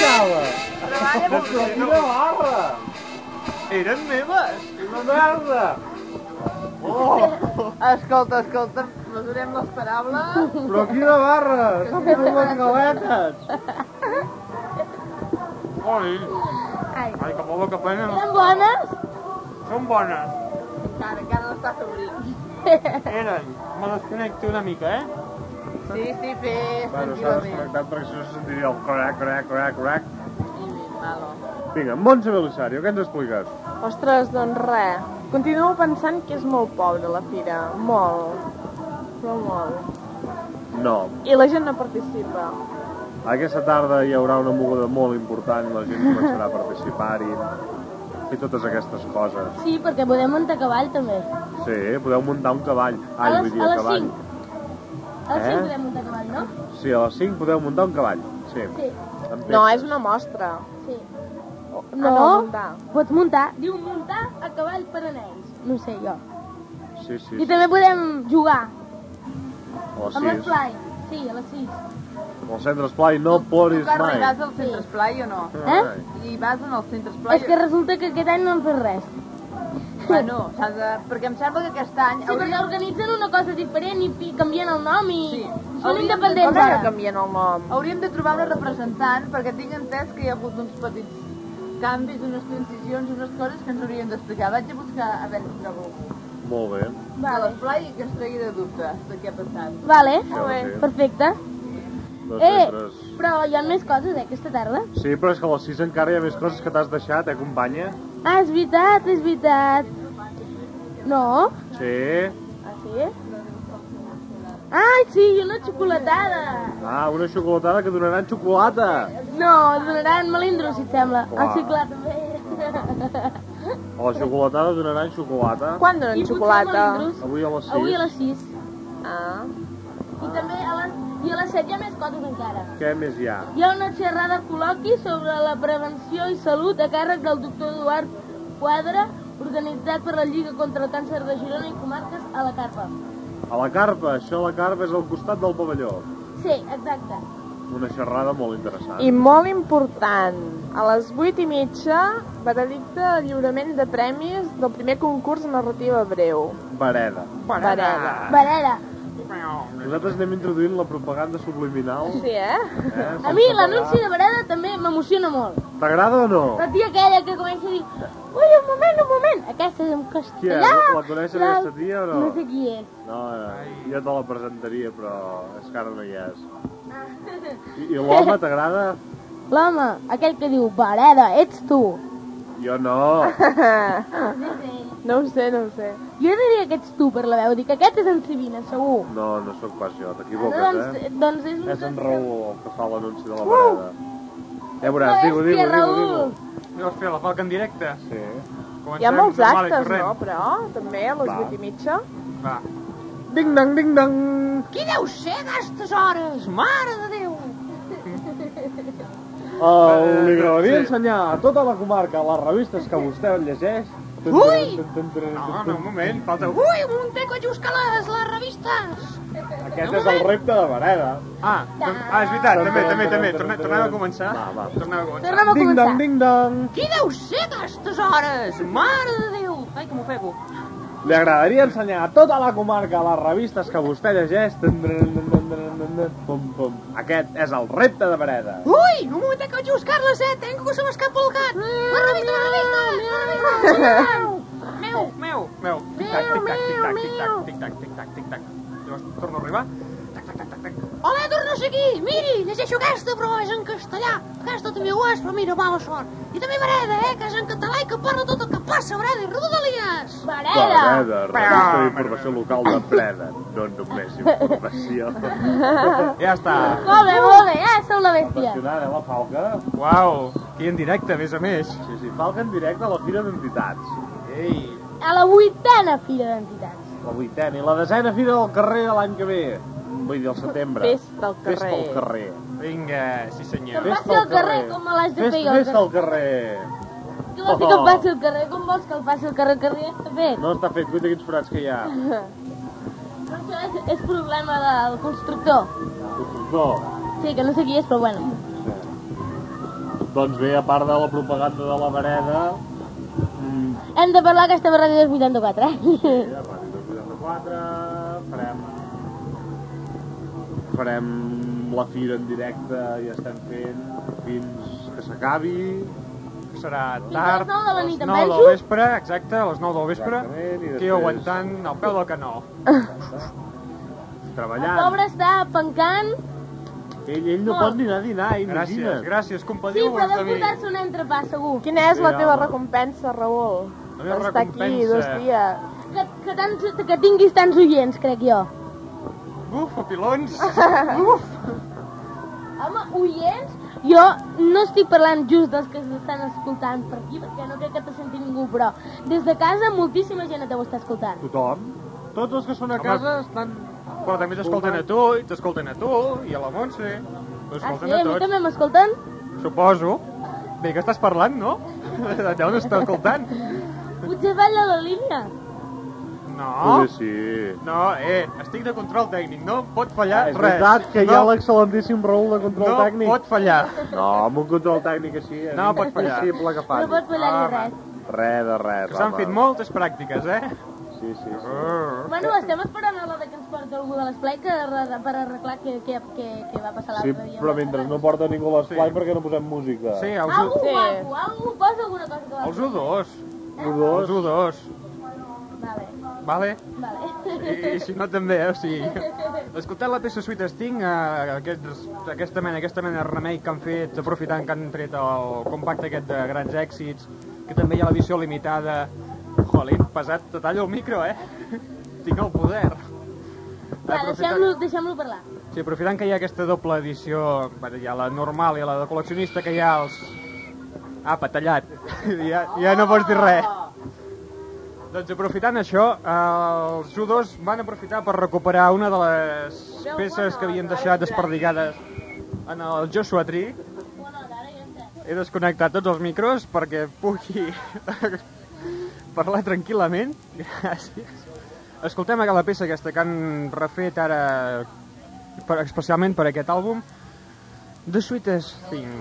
Cala! Treballa molt bé. Quina barra! Eren meves! Una merda! Oh! Escolta, escolta, mesurem les paraules. Però quina barra! S'han fotut les galetes! Ai, Ai que por que pena. Eren bones? Són bones. Encara, encara no està s'obrint. Eren. Me desconnecto una mica, eh? Sí, sí, fes, Bueno, s'ha tranquil·lament. desconnectat perquè si no se sentiria el crac, crac, crac, crac. Malo. Vinga, Montse Belisario, què ens has explicat? Ostres, doncs res. Continuo pensant que és molt pobra la fira. Molt. Però molt. No. I la gent no participa. Aquesta tarda hi haurà una moguda molt important, la gent començarà a participar-hi i totes aquestes coses. Sí, perquè podem muntar a cavall també. Sí, eh, podeu muntar un cavall. Ah, Ai, les- vull dir, a les cavall. cinc. A les Eh? 5 podem muntar a cavall, no? Sí, a les 5 podeu muntar un cavall. Sí. Sí. Amb No, peces. és una mostra. Sí. No, no muntar. pots Ah, muntar. Diu muntar a cavall per a nens. No ho sé, jo. Sí, sí. I també podem jugar. O amb sí, els play. Sí, a les 6. el centre esplai no doncs Tu, ploris Carme, mai. hi vas al centre esplai o no? Eh? I vas en els centres És esplai? que resulta que aquest any no han fet res. Bueno, s'ha de... Perquè em sembla que aquest any... Sí, perquè organitzen una cosa diferent i pi- canvien el nom i sí. són Hauríem de- independents hauríem de ara. canvien el nom. Hauríem de trobar una representant perquè tinc entès que hi ha hagut uns petits canvis, unes transicions, unes coses que ens haurien d'explicar. Vaig a buscar a veure si trobo. Molt bé. Vale. L'esplai que es tregui de dubtes de què ha passat. Vale, Molt bé. perfecte. Dos Eh, centres. però hi ha més coses, eh, aquesta tarda. Sí, però és que a les 6 encara hi ha més coses que t'has deixat, eh, companya? Ah, és veritat, és veritat. No? Sí. Ah, sí? Ai, sí, i una xocolatada. Ah, una xocolatada que donaran xocolata. No, donaran melindros, si et sembla. Clar. Ah, sí, clar, també. A la xocolatada donaran xocolata. Quan donen I potser xocolata? melindros. Avui a les 6. Avui a les 6. Ah. I també a les, i a les 7 hi ha més coses encara. Què més hi ha? Hi ha una xerrada col·loqui sobre la prevenció i salut a càrrec del doctor Eduard Quadra, organitzat per la Lliga contra el Càncer de Girona i comarques a la Carpa. A la carpa, això a la carpa és al costat del pavelló. Sí, exacte. Una xerrada molt interessant. I molt important, a les 8 i mitja, veredicte de lliurament de premis del primer concurs de narrativa breu. Vereda. Varela. Nosaltres anem introduint la propaganda subliminal. Sí, eh? Eh? A mi l'anunci de Varela també m'emociona molt. T'agrada o no? La tia aquella que comença a dir Ui, un moment, un moment, aquesta és en Qui és? castellà. La coneixes la- aquesta tia o no? No sé qui és. No, eh, jo te la presentaria, però és que ara no hi és. I, i l'home t'agrada? L'home, aquell que diu, Varela, ets tu. Jo no. No ho sé, no ho sé. Jo diria que ets tu per la veu, dic, aquest és en Sibina, segur. No, no sóc pas jo, Ah, t'equivoques, doncs, eh? doncs és un... Uh! És en Raül el que fa l'anunci de la vereda. Ja veuràs, digo, digo, digo, digo. Dius, fer la falca en directe. Sí. Hi ha molts actes, no, però, també, a les Va. 8 i mitja. Va. Ding dong, ding dong. Qui deu ser d'aquestes hores, mare de Déu? El, li agradaria ensenyar a tota la comarca les revistes que vostè llegeix. Ui! No, no, un moment, falta... Ui, Monteco Juscalàs, les revistes! Aquest és el repte de Vareda. Ah, doncs, ah, és veritat, també, també, també. Torna- Tornem a començar. Va, va. Tornem a començar. Tornem a Ding començar. dong, ding dong. Qui deu ser d'aquestes hores, mare de Déu? Ai, que m'ofego. Li agradaria ensenyar a tota la comarca les revistes que vostè llegeix. Pum, pum. Aquest és el repte de Vareda. Ui, un Monteco Juscalàs, eh? Tengo que se m'escapa el gat. La revista, la revista, la revista. Meu, meu. Meu, tic-tac, tic-tac, tic-tac, tic-tac, tic-tac, tic-tac, tic-tac. Llavors torno a arribar. Hola, torno a ser aquí. Miri, llegeixo aquesta, però és en castellà. Aquesta també ho és, però mira, mala sort. I també Vereda, eh, que és en català i que parla tot el que passa, a Vereda i Rodalies. Vareda, revista d'informació local de Breda. No només informació. Ja està. Molt bé, molt bé, eh? Sou la bèstia. Impressionant, eh, la Falca? Uau, aquí en directe, a més a més. Sí, sí, Falca en directe a la Fira d'Entitats. Ei, A la vuitena fira d'entitats. la vuitena i la desena Fira del Carrer de l'any que ve. Vull dir, al setembre. Festa al Festa al carrer. carrer. Vinga, sí senyor. Que passi al carrer com a les de Festa- Pegos. Festa al carrer. Tu vols dir Oh. que em passi al carrer? Com vols que el passi al carrer? El carrer ja està fet. No està fet, cuida quins forats que hi ha. Però això és, és problema del constructor. No. Sí, que no sé qui és, però bueno. Doncs bé, a part de la propaganda de la vereda, mm, Hem de parlar que estem a Ràdio 284, eh? a partir del 84 farem... farem la fira en directe i estem fent fins que s'acabi. serà Fins a les tard, nou de la les nit, em 9 del penso. vespre, exacte, a les 9 del vespre, que jo aguantant al peu del canó, El treballant. pobre està pencant. Ell, ell no Molt. pot ni anar a dinar, Gràcies, imagina't. gràcies, compadiu Sí, però de deu mi. portar-se un entrepà, segur. Quina és la Sí, teva home. recompensa, Raül? La meva Està aquí recompensa. dos dies. Que, que, tants, que tinguis tants oients, crec jo. Buf, a pilons. Uf! Home, oients, jo no estic parlant just dels que ens estan escoltant per aquí, perquè no crec que te senti ningú, però des de casa moltíssima gent et deu estar escoltant. Tothom. Tots els que són a Home, casa estan... Però també t'escolten a tu, i t'escolten a tu, i a la Montse. Ah, sí? T'escolten A a mi tots, també m'escolten? suposo. Bé, que estàs parlant, no? De on estàs escoltant? Potser balla la línia. No. Potser sí. Ah. Ah, No, eh, estic de control tècnic, no pot fallar És res. veritat que hi no, ha l'excel·lentíssim Raül de control No tècnic. pot fallar. No, amb un control tècnic així és No pot fallar. impossible que falli. No pot ah, fallar-hi res. Res de res, Que s'han home. fet moltes pràctiques, eh? Sí, sí, sí. Bueno, estem esperant a l'hora que ens porta algú de l'esplai que, re- per arreglar què, què, què, què va passar Sí, l'altre dia. però mentre no porta ningú l'esplai, sí. perquè no posem música? Sí, els, Algú sí. guapo, algú posa alguna cosa que va els U2. U2. Els U2. Vale, Vale? I, vale. I si no també, eh? o sigui... Escoltant la peça Sweet Sting, eh, aquests, aquesta, mena, aquesta mena de remei que han fet, aprofitant que han tret el compacte aquest de grans èxits, que també hi ha l'edició limitada... Jolín, pesat, te tallo el micro, eh? Tinc el poder. Va, deixem-lo deixem parlar. Sí, aprofitant que hi ha aquesta doble edició, bueno, hi ha la normal i la de col·leccionista, que hi ha els... Apa, tallat. ja, ja no pots dir res. Doncs aprofitant això, eh, els judos van aprofitar per recuperar una de les peces que havien deixat desperdigades en el Joshua Tree. He desconnectat tots els micros perquè pugui parlar tranquil·lament. Gràcies. Escoltem la peça aquesta que han refet ara per, especialment per aquest àlbum, The Sweetest Thing.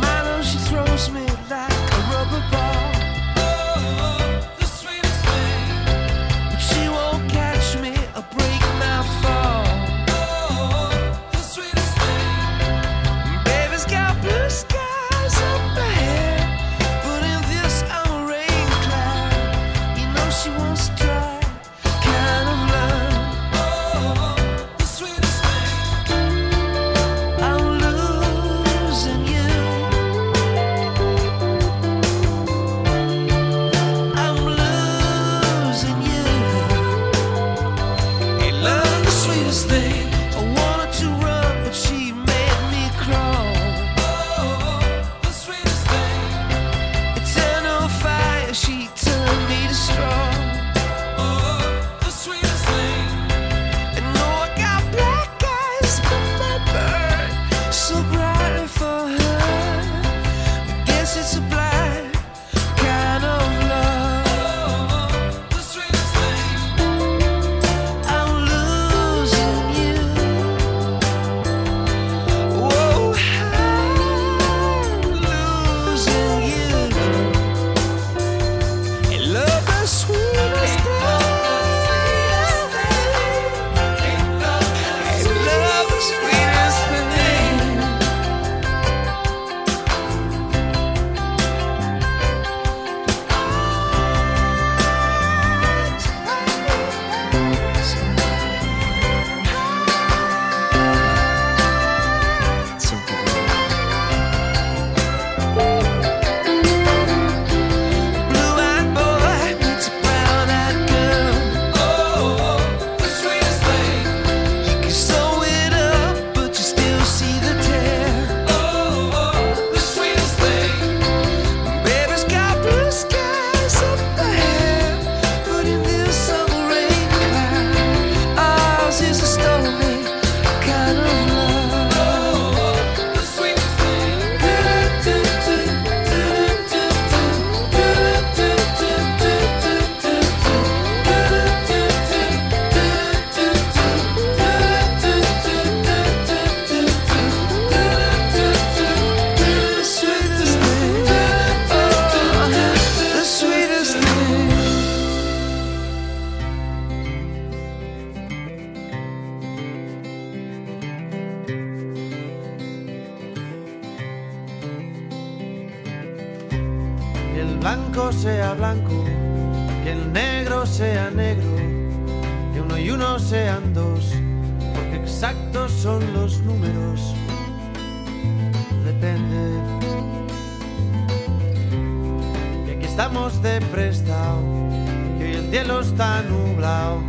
Milo, she throws me like a rubber ball. Oh, the sweetest thing. But she won't catch me or break my fall. the Oh, sweetest thing. Oh, Oh, Oh, Oh, Oh, Oh, blanco sea blanco, que el negro sea negro, que uno y uno sean dos, porque exactos son los números. Depende. Y aquí estamos de prestado, que hoy el cielo está nublado,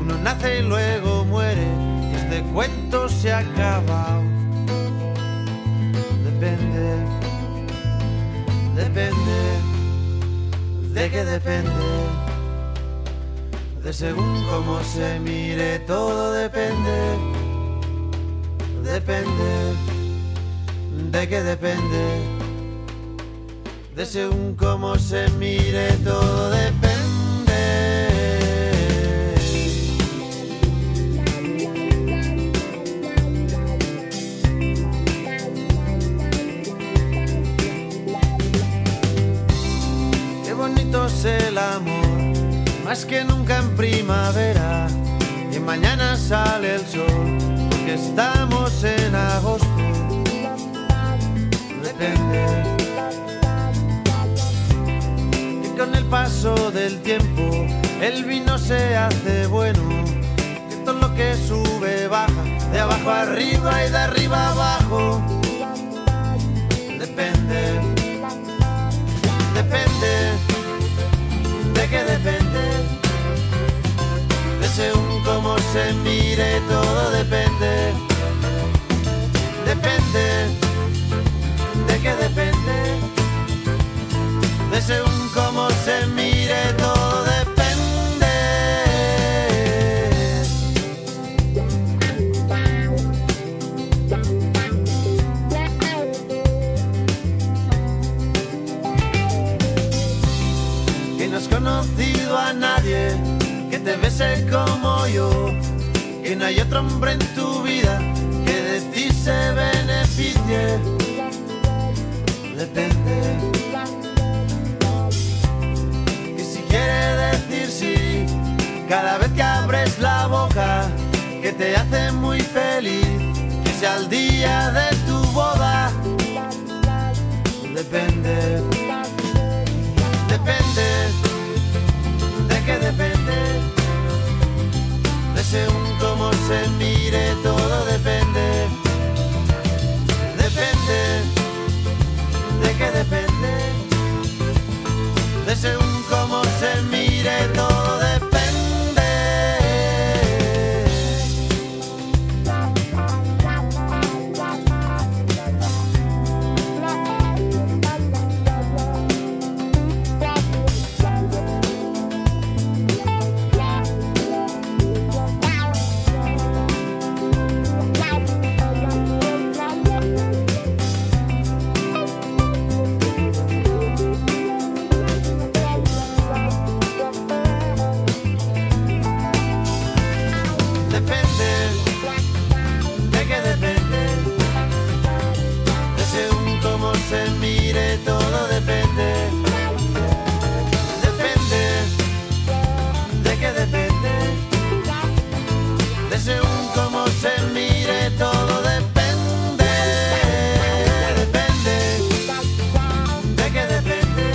uno nace y luego muere, y este cuento se ha acabado. Depende. Depende. ¿De qué depende? De según cómo se mire, todo depende. Depende. ¿De qué depende? De según cómo se mire, todo depende. Qué bonito es el amor, más que nunca en primavera. Y mañana sale el sol, porque estamos en agosto. Depende. Y con el paso del tiempo, el vino se hace bueno. Que todo lo que sube baja, de abajo arriba y de arriba abajo. Depende. Depende. ¿De qué depende? De según cómo se mire, todo depende. Depende. ¿De qué depende? De según cómo se mire, todo depende. que no has conocido a nadie que te bese como yo, que no hay otro hombre en tu vida que de ti se beneficie. Depende. Que si quiere decir sí, cada vez que abres la boca, que te hace muy feliz, que sea el día de tu boda. Depende. Depende, ¿de qué depende? De según cómo se mire, todo depende. Depende, ¿de qué depende? De según cómo se mire, todo depende. Depende, ¿de qué depende? De según cómo se mire, todo depende. Depende, ¿de qué depende? De según cómo se mire, todo depende. Depende, ¿de qué depende?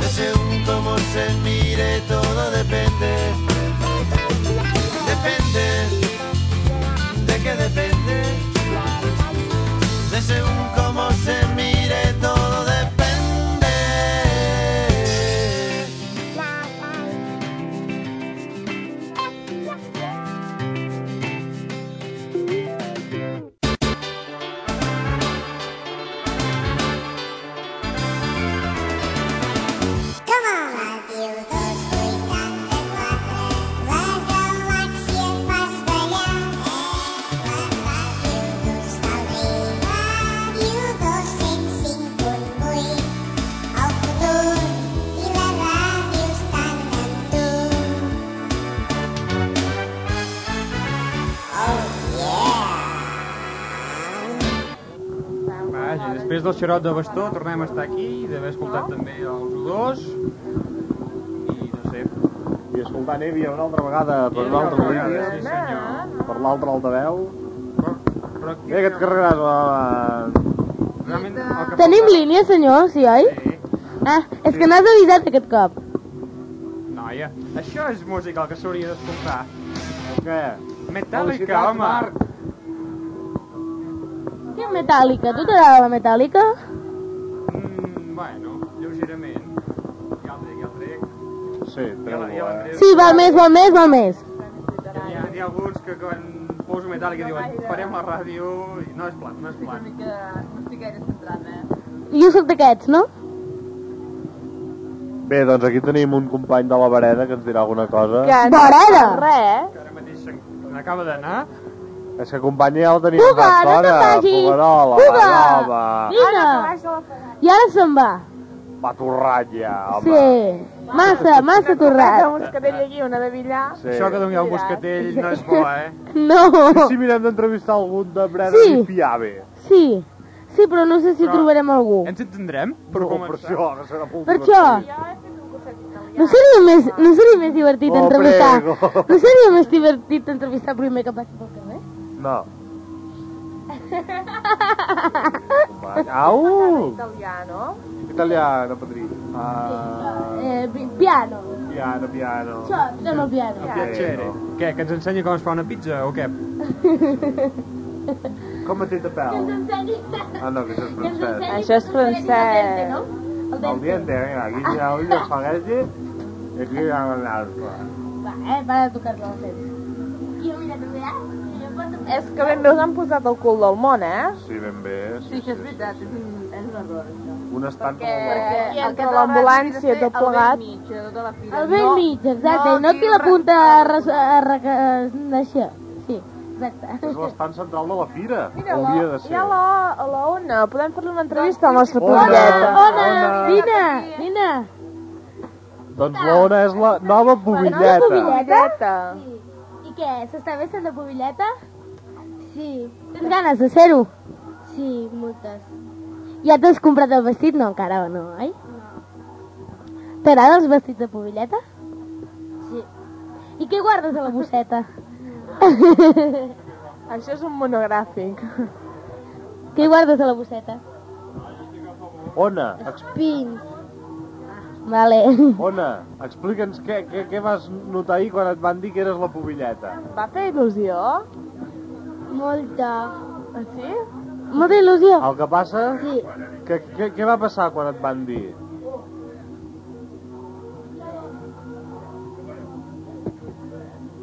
De según cómo se mire, todo depende. Depende, ¿de qué depende? De según cómo se mire, todo depende. Vaja, i després del xarot de bastó tornem a estar aquí, d'haver escoltat també els odors, i no sé. I escoltar Nèvia una altra vegada per una altra vegada, sí senyor. per l'altre altaveu. Vinga, que et carregaràs la... Realment, el que Tenim línia, senyor? Sí, oi? Ah, és que no has avisat aquest cop. Noia, això és música el que s'hauria d'escoltar. Què? Metallica, Felicitats, home. Marc. Què metàl·lica? Tu t'agrada la metàl·lica? Mm, bueno, lleugerament. Ja el trec, ja el trec. Sí, ja la- ja l'Andreu- Sí, val més, val més, val més. Hi ha, hi ha alguns que quan poso metàl·lica diuen farem la ràdio i no és plan, no és plan. Que no estic gaire centrant, eh? Jo sóc d'aquests, no? Bé, doncs aquí tenim un company de la vereda que ens dirà alguna cosa. Res, Que ara mateix se'n- n'acaba d'anar. És que companya ja el tenim eh? Fuga, entrat no fora. te'n vagis. Fugarola, Fuga. Barrova, Vine! I ara se'n va. Baturralla, home. Sí. Massa, massa Res, un torrat. moscatell aquí, una de billar. Sí. Això que doni el moscatell no és bo, eh? No. Si mirem d'entrevistar algun de Breda Sí. i Piave. Sí. Sí, però no sé si trobarem algú. Ens entendrem? Per no, per això, que serà molt Per això. No seria més, no seria més divertit Oh, entrevistar. prego. No seria més divertit entrevistar el primer que passi pel eh? carrer? No. Au! Italiano. Italiano, Patrí. Ah, Eh, pi- piano. piano, piano. Això, tothom el piano. Piacere. Què, que ens ensenyi com es fa una pizza o què? Com et dit a pèl? Ah, no, que això és francès. Això és francès. El diente, venga, aquí hi ha un espagueti i aquí hi ha un altre. Va, eh, para de tocar-la els dents. Jo, mira, també, És que ben bé us han posat el cul del món, eh? Sí, ben bé. Sí, això és veritat, és un, és un error, això. Un estat Perquè, molt guai. Entre perquè entre l'ambulància i tot plegat... El ben mig, exacte, i no aquí la punta a res- a re- a- d'això. Sí, exacte. És l'estat central de la fira. Mira, Hauria de Hi ha ser. la, a la Ona, podem fer-li una entrevista al nostre Ona, planeta. Ona, Vine, vine. Doncs l'ona és la nova pubilleta. Pobilleta? I què, s'està bé sent de pobilleta? Sí. Tens ganes de ser-ho? Sí, moltes. Ja t'has comprat el vestit? No, encara no, ¿eh? oi? No. T'agraden els vestits de pobilleta? Sí. I què guardes a la bosseta? Això és un monogràfic. què guardes a la bosseta? Ona, exp- Pins. Vale. Ona, explica'ns què, què, què vas notar ahir quan et van dir que eres la pubilleta. Va fer il·lusió? Molta. Ah, Sí? Molta il·lusió. El que passa... Sí. Que, que, què va passar quan et van dir?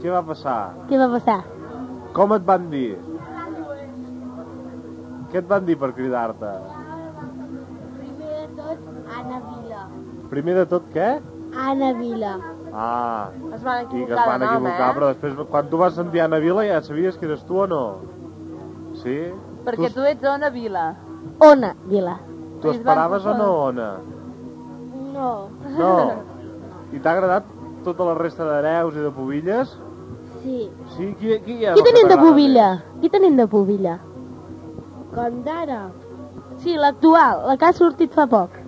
Què va passar? Què va passar? Com et van dir? Què et van dir per cridar-te? Primer de tot, Anna Vila. Primer de tot, què? Anna Vila. Ah, Es van i que es van eh? equivocar, eh? però després, quan tu vas sentir Anna Vila, ja sabies que eres tu o no? Sí? Perquè tu ets Ona Vila. Ona Vila. Tu, tu esperaves o no, Ona? No. No. I t'ha agradat tota la resta d'hereus i de pubilles? Sí. Sí, qui, qui hi ha? Qui tenim de pubilla? eh? Qui tenim de pubilla? Com d'ara? Sí, l'actual, la que ha sortit fa poc.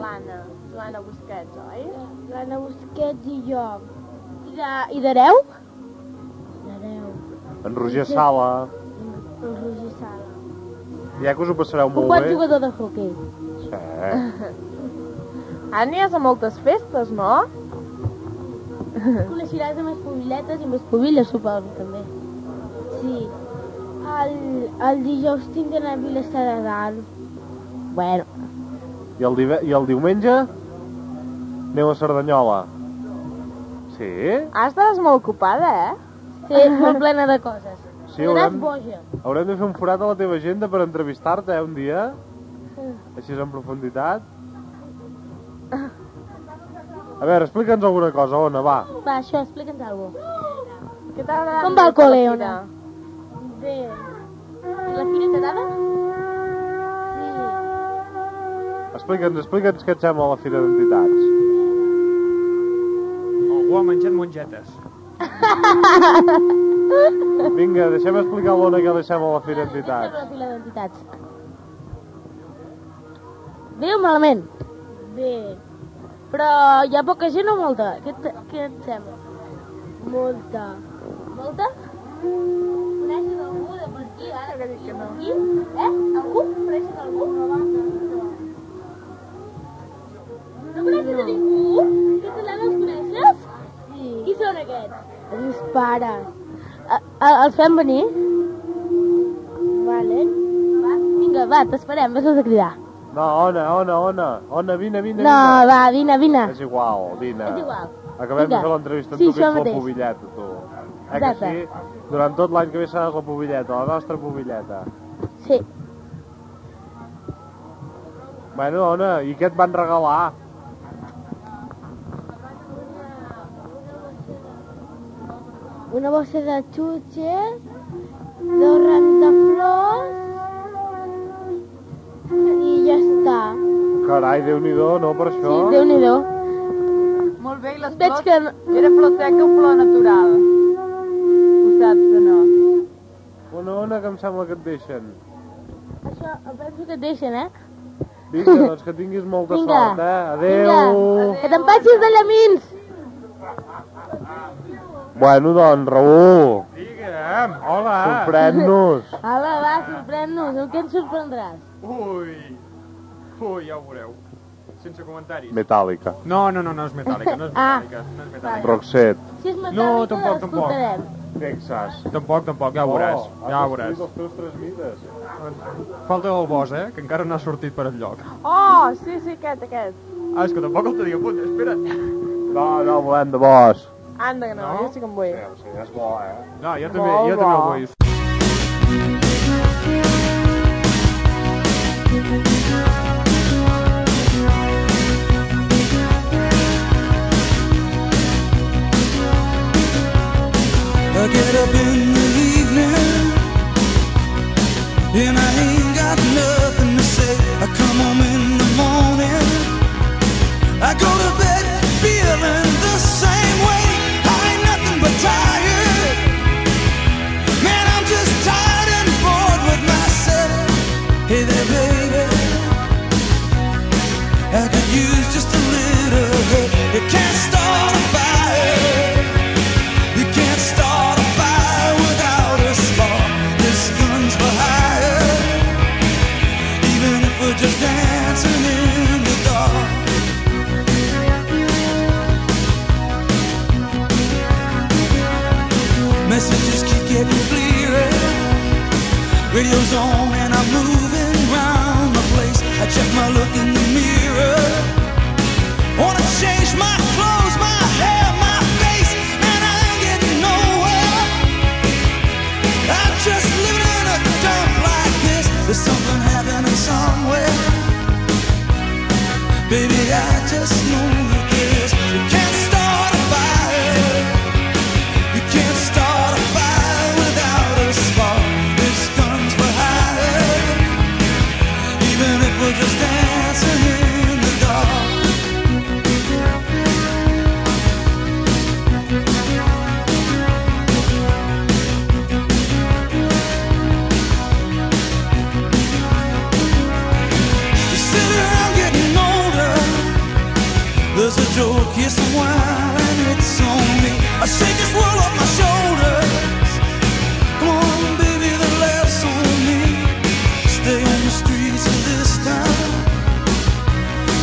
L'Anna, Joana Busquets, oi? L'Anna Busquets i jo. I de, i d'hereu? En Roger Sala. El Roger Sala. Ja que us ho passareu Un molt bon bé. Eh. jugador de hoquei. Sí. Ara n'hi has a moltes festes, no? Coneixeràs a més pubilletes i més pubilles, suposo, també. Sí. El, el dijous tindran a Vilassar de Dalt. Bueno. I el, dive- I el diumenge? Aneu a Cerdanyola. Sí? Ara estàs molt ocupada, eh? Sí, és molt plena de coses. Sí, haurem, boja. haurem de fer un forat a la teva agenda per entrevistar-te eh, un dia, així és en profunditat. A veure, explica'ns alguna cosa, Ona, va. Va, això, explica'ns alguna cosa. Què t'agrada? Com va el col·le, Ona? Bé. La fira t'agrada? Explica'ns, explica'ns què et sembla la Fira d'Entitats. Algú Oh, ha menjat mongetes. Vinga, deixem explicar a l'Ona què li sembla la Fira d'Entitats. Sobre la fila d'entitats. Bé o malament? Bé. Però hi ha poca gent o molta? Què et, què et sembla? Molta. Molta? coneixes algú de per aquí, ara? Que dic que no. Aquí? Eh? Algú? Coneixes algú? No coneixes a ningú? Que tu l'Anna els coneixes? Sí. Qui són aquests? Els meus pares. A, a, els fem venir? Vale. Va, vinga, va, t'esperem, vas a cridar. No, Ona, Ona, Ona. Ona, vine, vine, No, vine. va, vine, vine. És igual, vine. És igual. Acabem Vinga. de fer l'entrevista amb Sí, tu, que això ets la mateix. pobilleta, tu. Eh que Exacte. sí? Durant tot l'any que ve seràs la pobilleta, la nostra pobilleta. Sí. Bueno, Ona, i què et van regalar? Una bossa de xutxes, dos rams de flors i ja està. Carai, Déu-n'hi-do, no, per això? Sí, Déu-n'hi-do. Molt bé, i les Veig flors? que Era flor seca o flor natural? Ho saps o no? Ona, Ona, que em sembla que et deixen. Això em penso que et deixen, eh? Vinga, doncs que tinguis molta Vinga. sort, eh? Adéu! Vinga. Que te'n passis de llamins! Bueno, doncs, Raül, Digue'm, hola. sorprèn-nos. Hola, Ah. va, sorprèn-nos. Amb què ens sorprendràs? Ui. Ui, ja ho veureu. Sense comentaris. Metàl·lica. No, no, no, no és metàl·lica, no és Ah. metàl·lica, no és metàl·lica. Roxette. Si és metàl·lica, No, tampoc, tampoc. l'escoltarem. Texas. Oh, Tampoc, tampoc, ja ho veuràs, ja ho veuràs. Has destruït els teus tres mites. Falta el bosc, eh, que encara no ha sortit per enlloc. Oh, sí, sí, aquest, aquest. Ah, és que tampoc el tenia a punt, espera't. No, no, volem de bosc. Anda, que no, no? jo sí que em vull. Sí, és bo, eh? No, jo també- jo Molt també bo. el vull. I get up in the evening and I ain't got nothing to say. I come home in the morning. I go to bed feeling the same way. I ain't nothing but tired. Man, I'm just tired and bored with myself. Hey there, baby. I could use just a little help. You can't start a fire. You can't start a fire without a spark. This gun's for hire. Even if we're just dancing in the dark. Messages keep getting clearer. Radio's on and I'm moving round the place. I check my look in the mirror. Wanna change my clothes, my hair, my face, and I ain't getting nowhere. I'm just living in a dump like this. There's something happening somewhere. Baby, I just know that this. You can't start a fire. You can't start a fire without a spark. This gun's for hire. Even if we're just dancing in the dark. Sit around getting older. There's a joke, yes, a while, and it's on me. I shake this world off my shoulders. Come on, baby, the laughs on me. Stay on the streets of this town.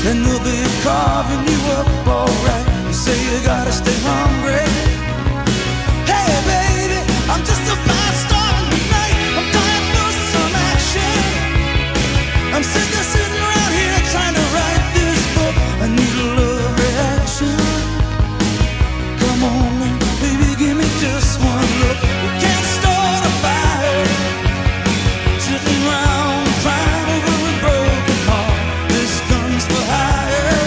Then they'll be carving you up, alright. You say you gotta stay hungry. Hey, baby, I'm just a fast star in the night. I'm dying for some action. I'm sitting, sitting around here trying to write this book. I need a love reaction. Come on, in, baby, give me just one look. You can't start a fire. Sitting around crying over a broken heart. This gun's for hire.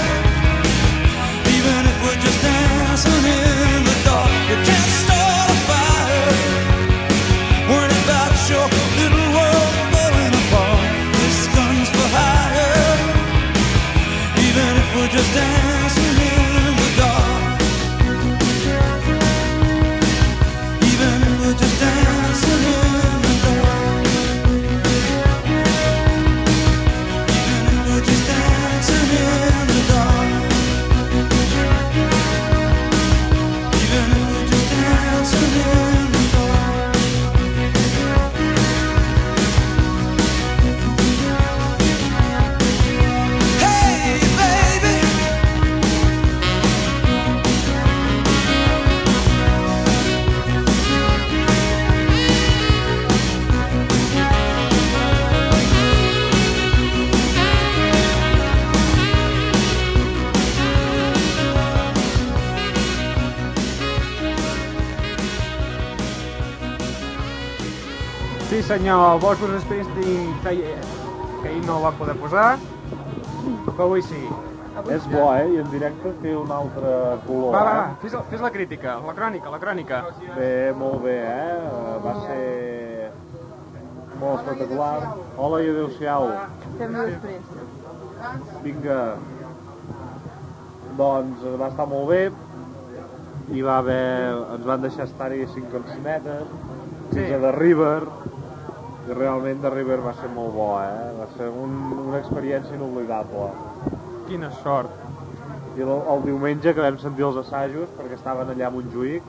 Even if we're just dancing in the dark, you can't start a fire. Sí senyor, vols vos Springsteen que, hi- eh, que ahir no el van poder posar, però avui sí. És bo, eh? I en directe té un altre color. Va, va, eh? va, fes, la- fes la crítica, la crònica, la crònica. Bé, molt bé, eh? Va ser molt espectacular. Hola i adéu-siau. Fem dos premsa. Vinga. Doncs va estar molt bé. Hi va haver... Ens van deixar estar-hi cinc cancionetes. Fins a The River. I realment The River va ser molt bo, eh? Va ser un, una experiència inoblidable. Quina sort. I el, el diumenge que vam sentir els assajos, perquè estaven allà a Montjuïc,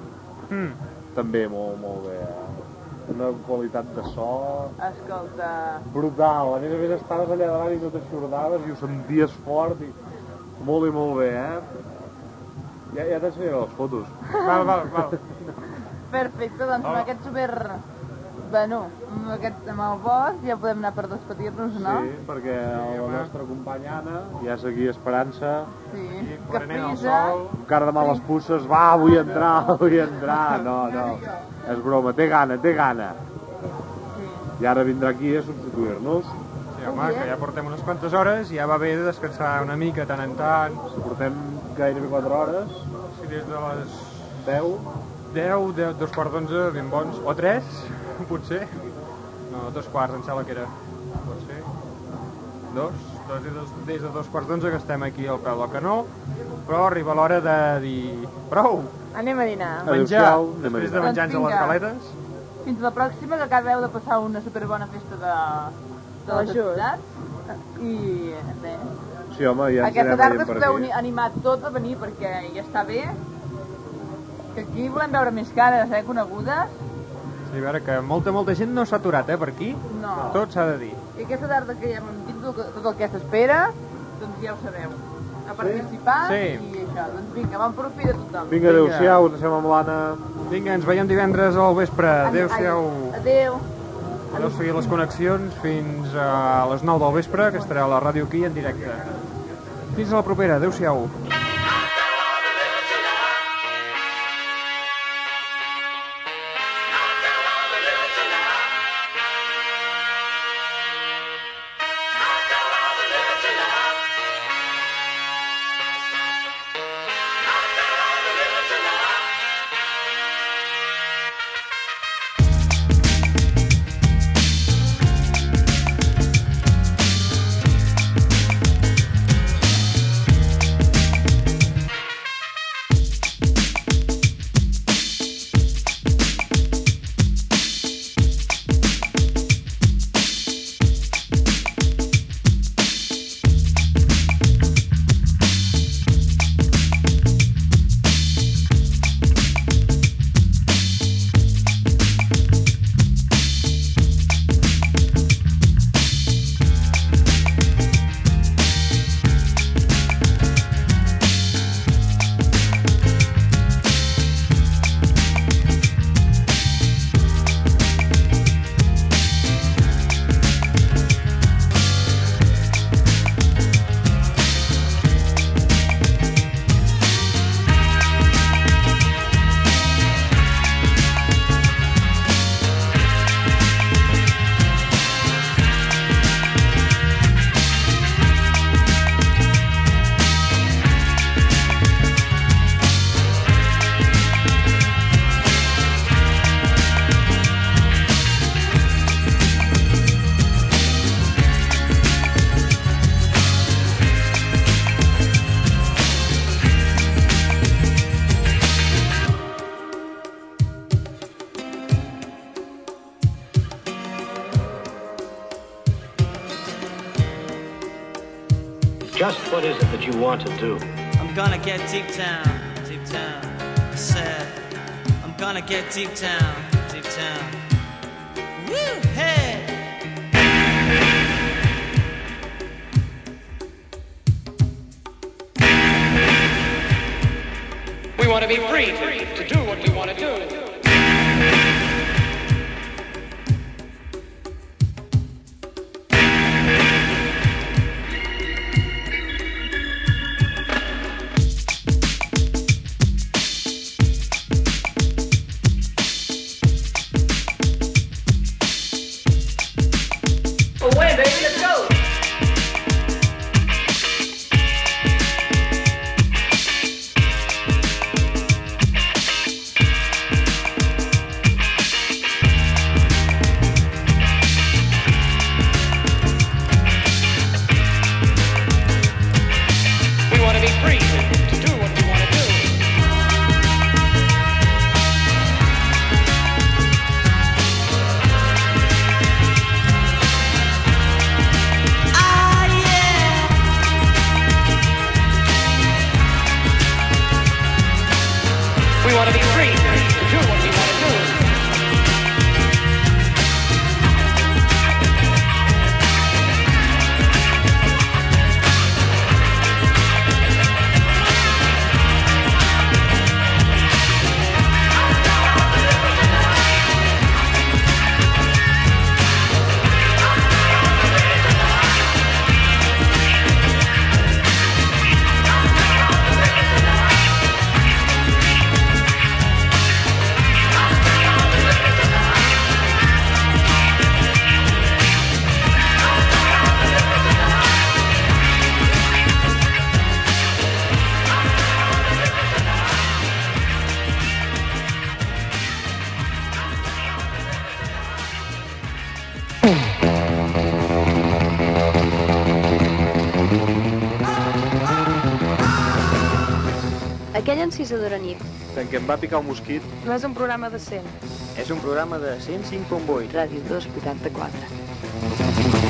Mm. també molt, molt bé. eh? Una qualitat de so Escolta... brutal. A més a més estaves allà davant i no t'aixordaves i ho senties fort i molt i molt bé, eh? Ja, ja t'ensenyaré les fotos. Val, val, val. Perfecte, doncs amb Hola. aquest super... Bueno, amb, aquest, amb el bosc ja podem anar per despedir-nos, no? Sí, perquè la nostra companya Anna ja és aquí Esperança. Sí. sí. Que Prenent el prisa. sol. Encara demà les puces, va, vull entrar, vull entrar. No, no, és broma, té gana, té gana. I ara vindrà aquí a substituir-nos. Sí, home, que ja portem unes quantes hores i ja va bé de descansar una mica tant en tant. Portem gairebé 4 hores. Sí, des de les... 10. 10, 10, dos quarts d'onze, ben bons. O 3, potser. No, dos quarts, em sembla que era. Pot ser. Dos. dos, i dos des de dos quarts d'onze que estem aquí al peu del canó. Però arriba l'hora de dir... Prou! Anem a dinar. A menjar. Adéu-siau, anem a Després de dinar. menjar a Doncs les vinga. galetes. Fins la pròxima, que acabeu de passar una superbona festa de... de la Ajut. societat. I res. Sí, home, ja ens Aquesta anem tarda veient us per podeu aquí. animar tots a venir perquè ja està bé. Que aquí volem veure més cares, eh, conegudes. Sí, a veure, que molta, molta gent no s'ha aturat, eh, per aquí. No. Tot s'ha de dir. I aquesta tarda que ja hem dit tot el que- tot el que s'espera, doncs ja ho sabeu. A participar Sí. i això. Doncs vinga, bon profit a tothom. Vinga, adéu-siau, ens deixem amb l'Anna. Vinga, ens veiem divendres al vespre. Adéu-siau. Adéu. Podeu seguir les connexions fins a les 9 del vespre, que estarà a la ràdio aquí en directe. Fins a la propera. Adéu-siau. Just what is it that you want to do? I'm gonna get deep down, deep down. I said, I'm gonna get deep down, deep down. Woo, hey! We want to be free to, to do what we want to do. free to do what you want to do. Ah, yeah. We want to be free to do what we want to do. Aquella encisadora nit. En què em va picar un mosquit. No és un programa de 100. És un programa de 105.8. Ràdio 284.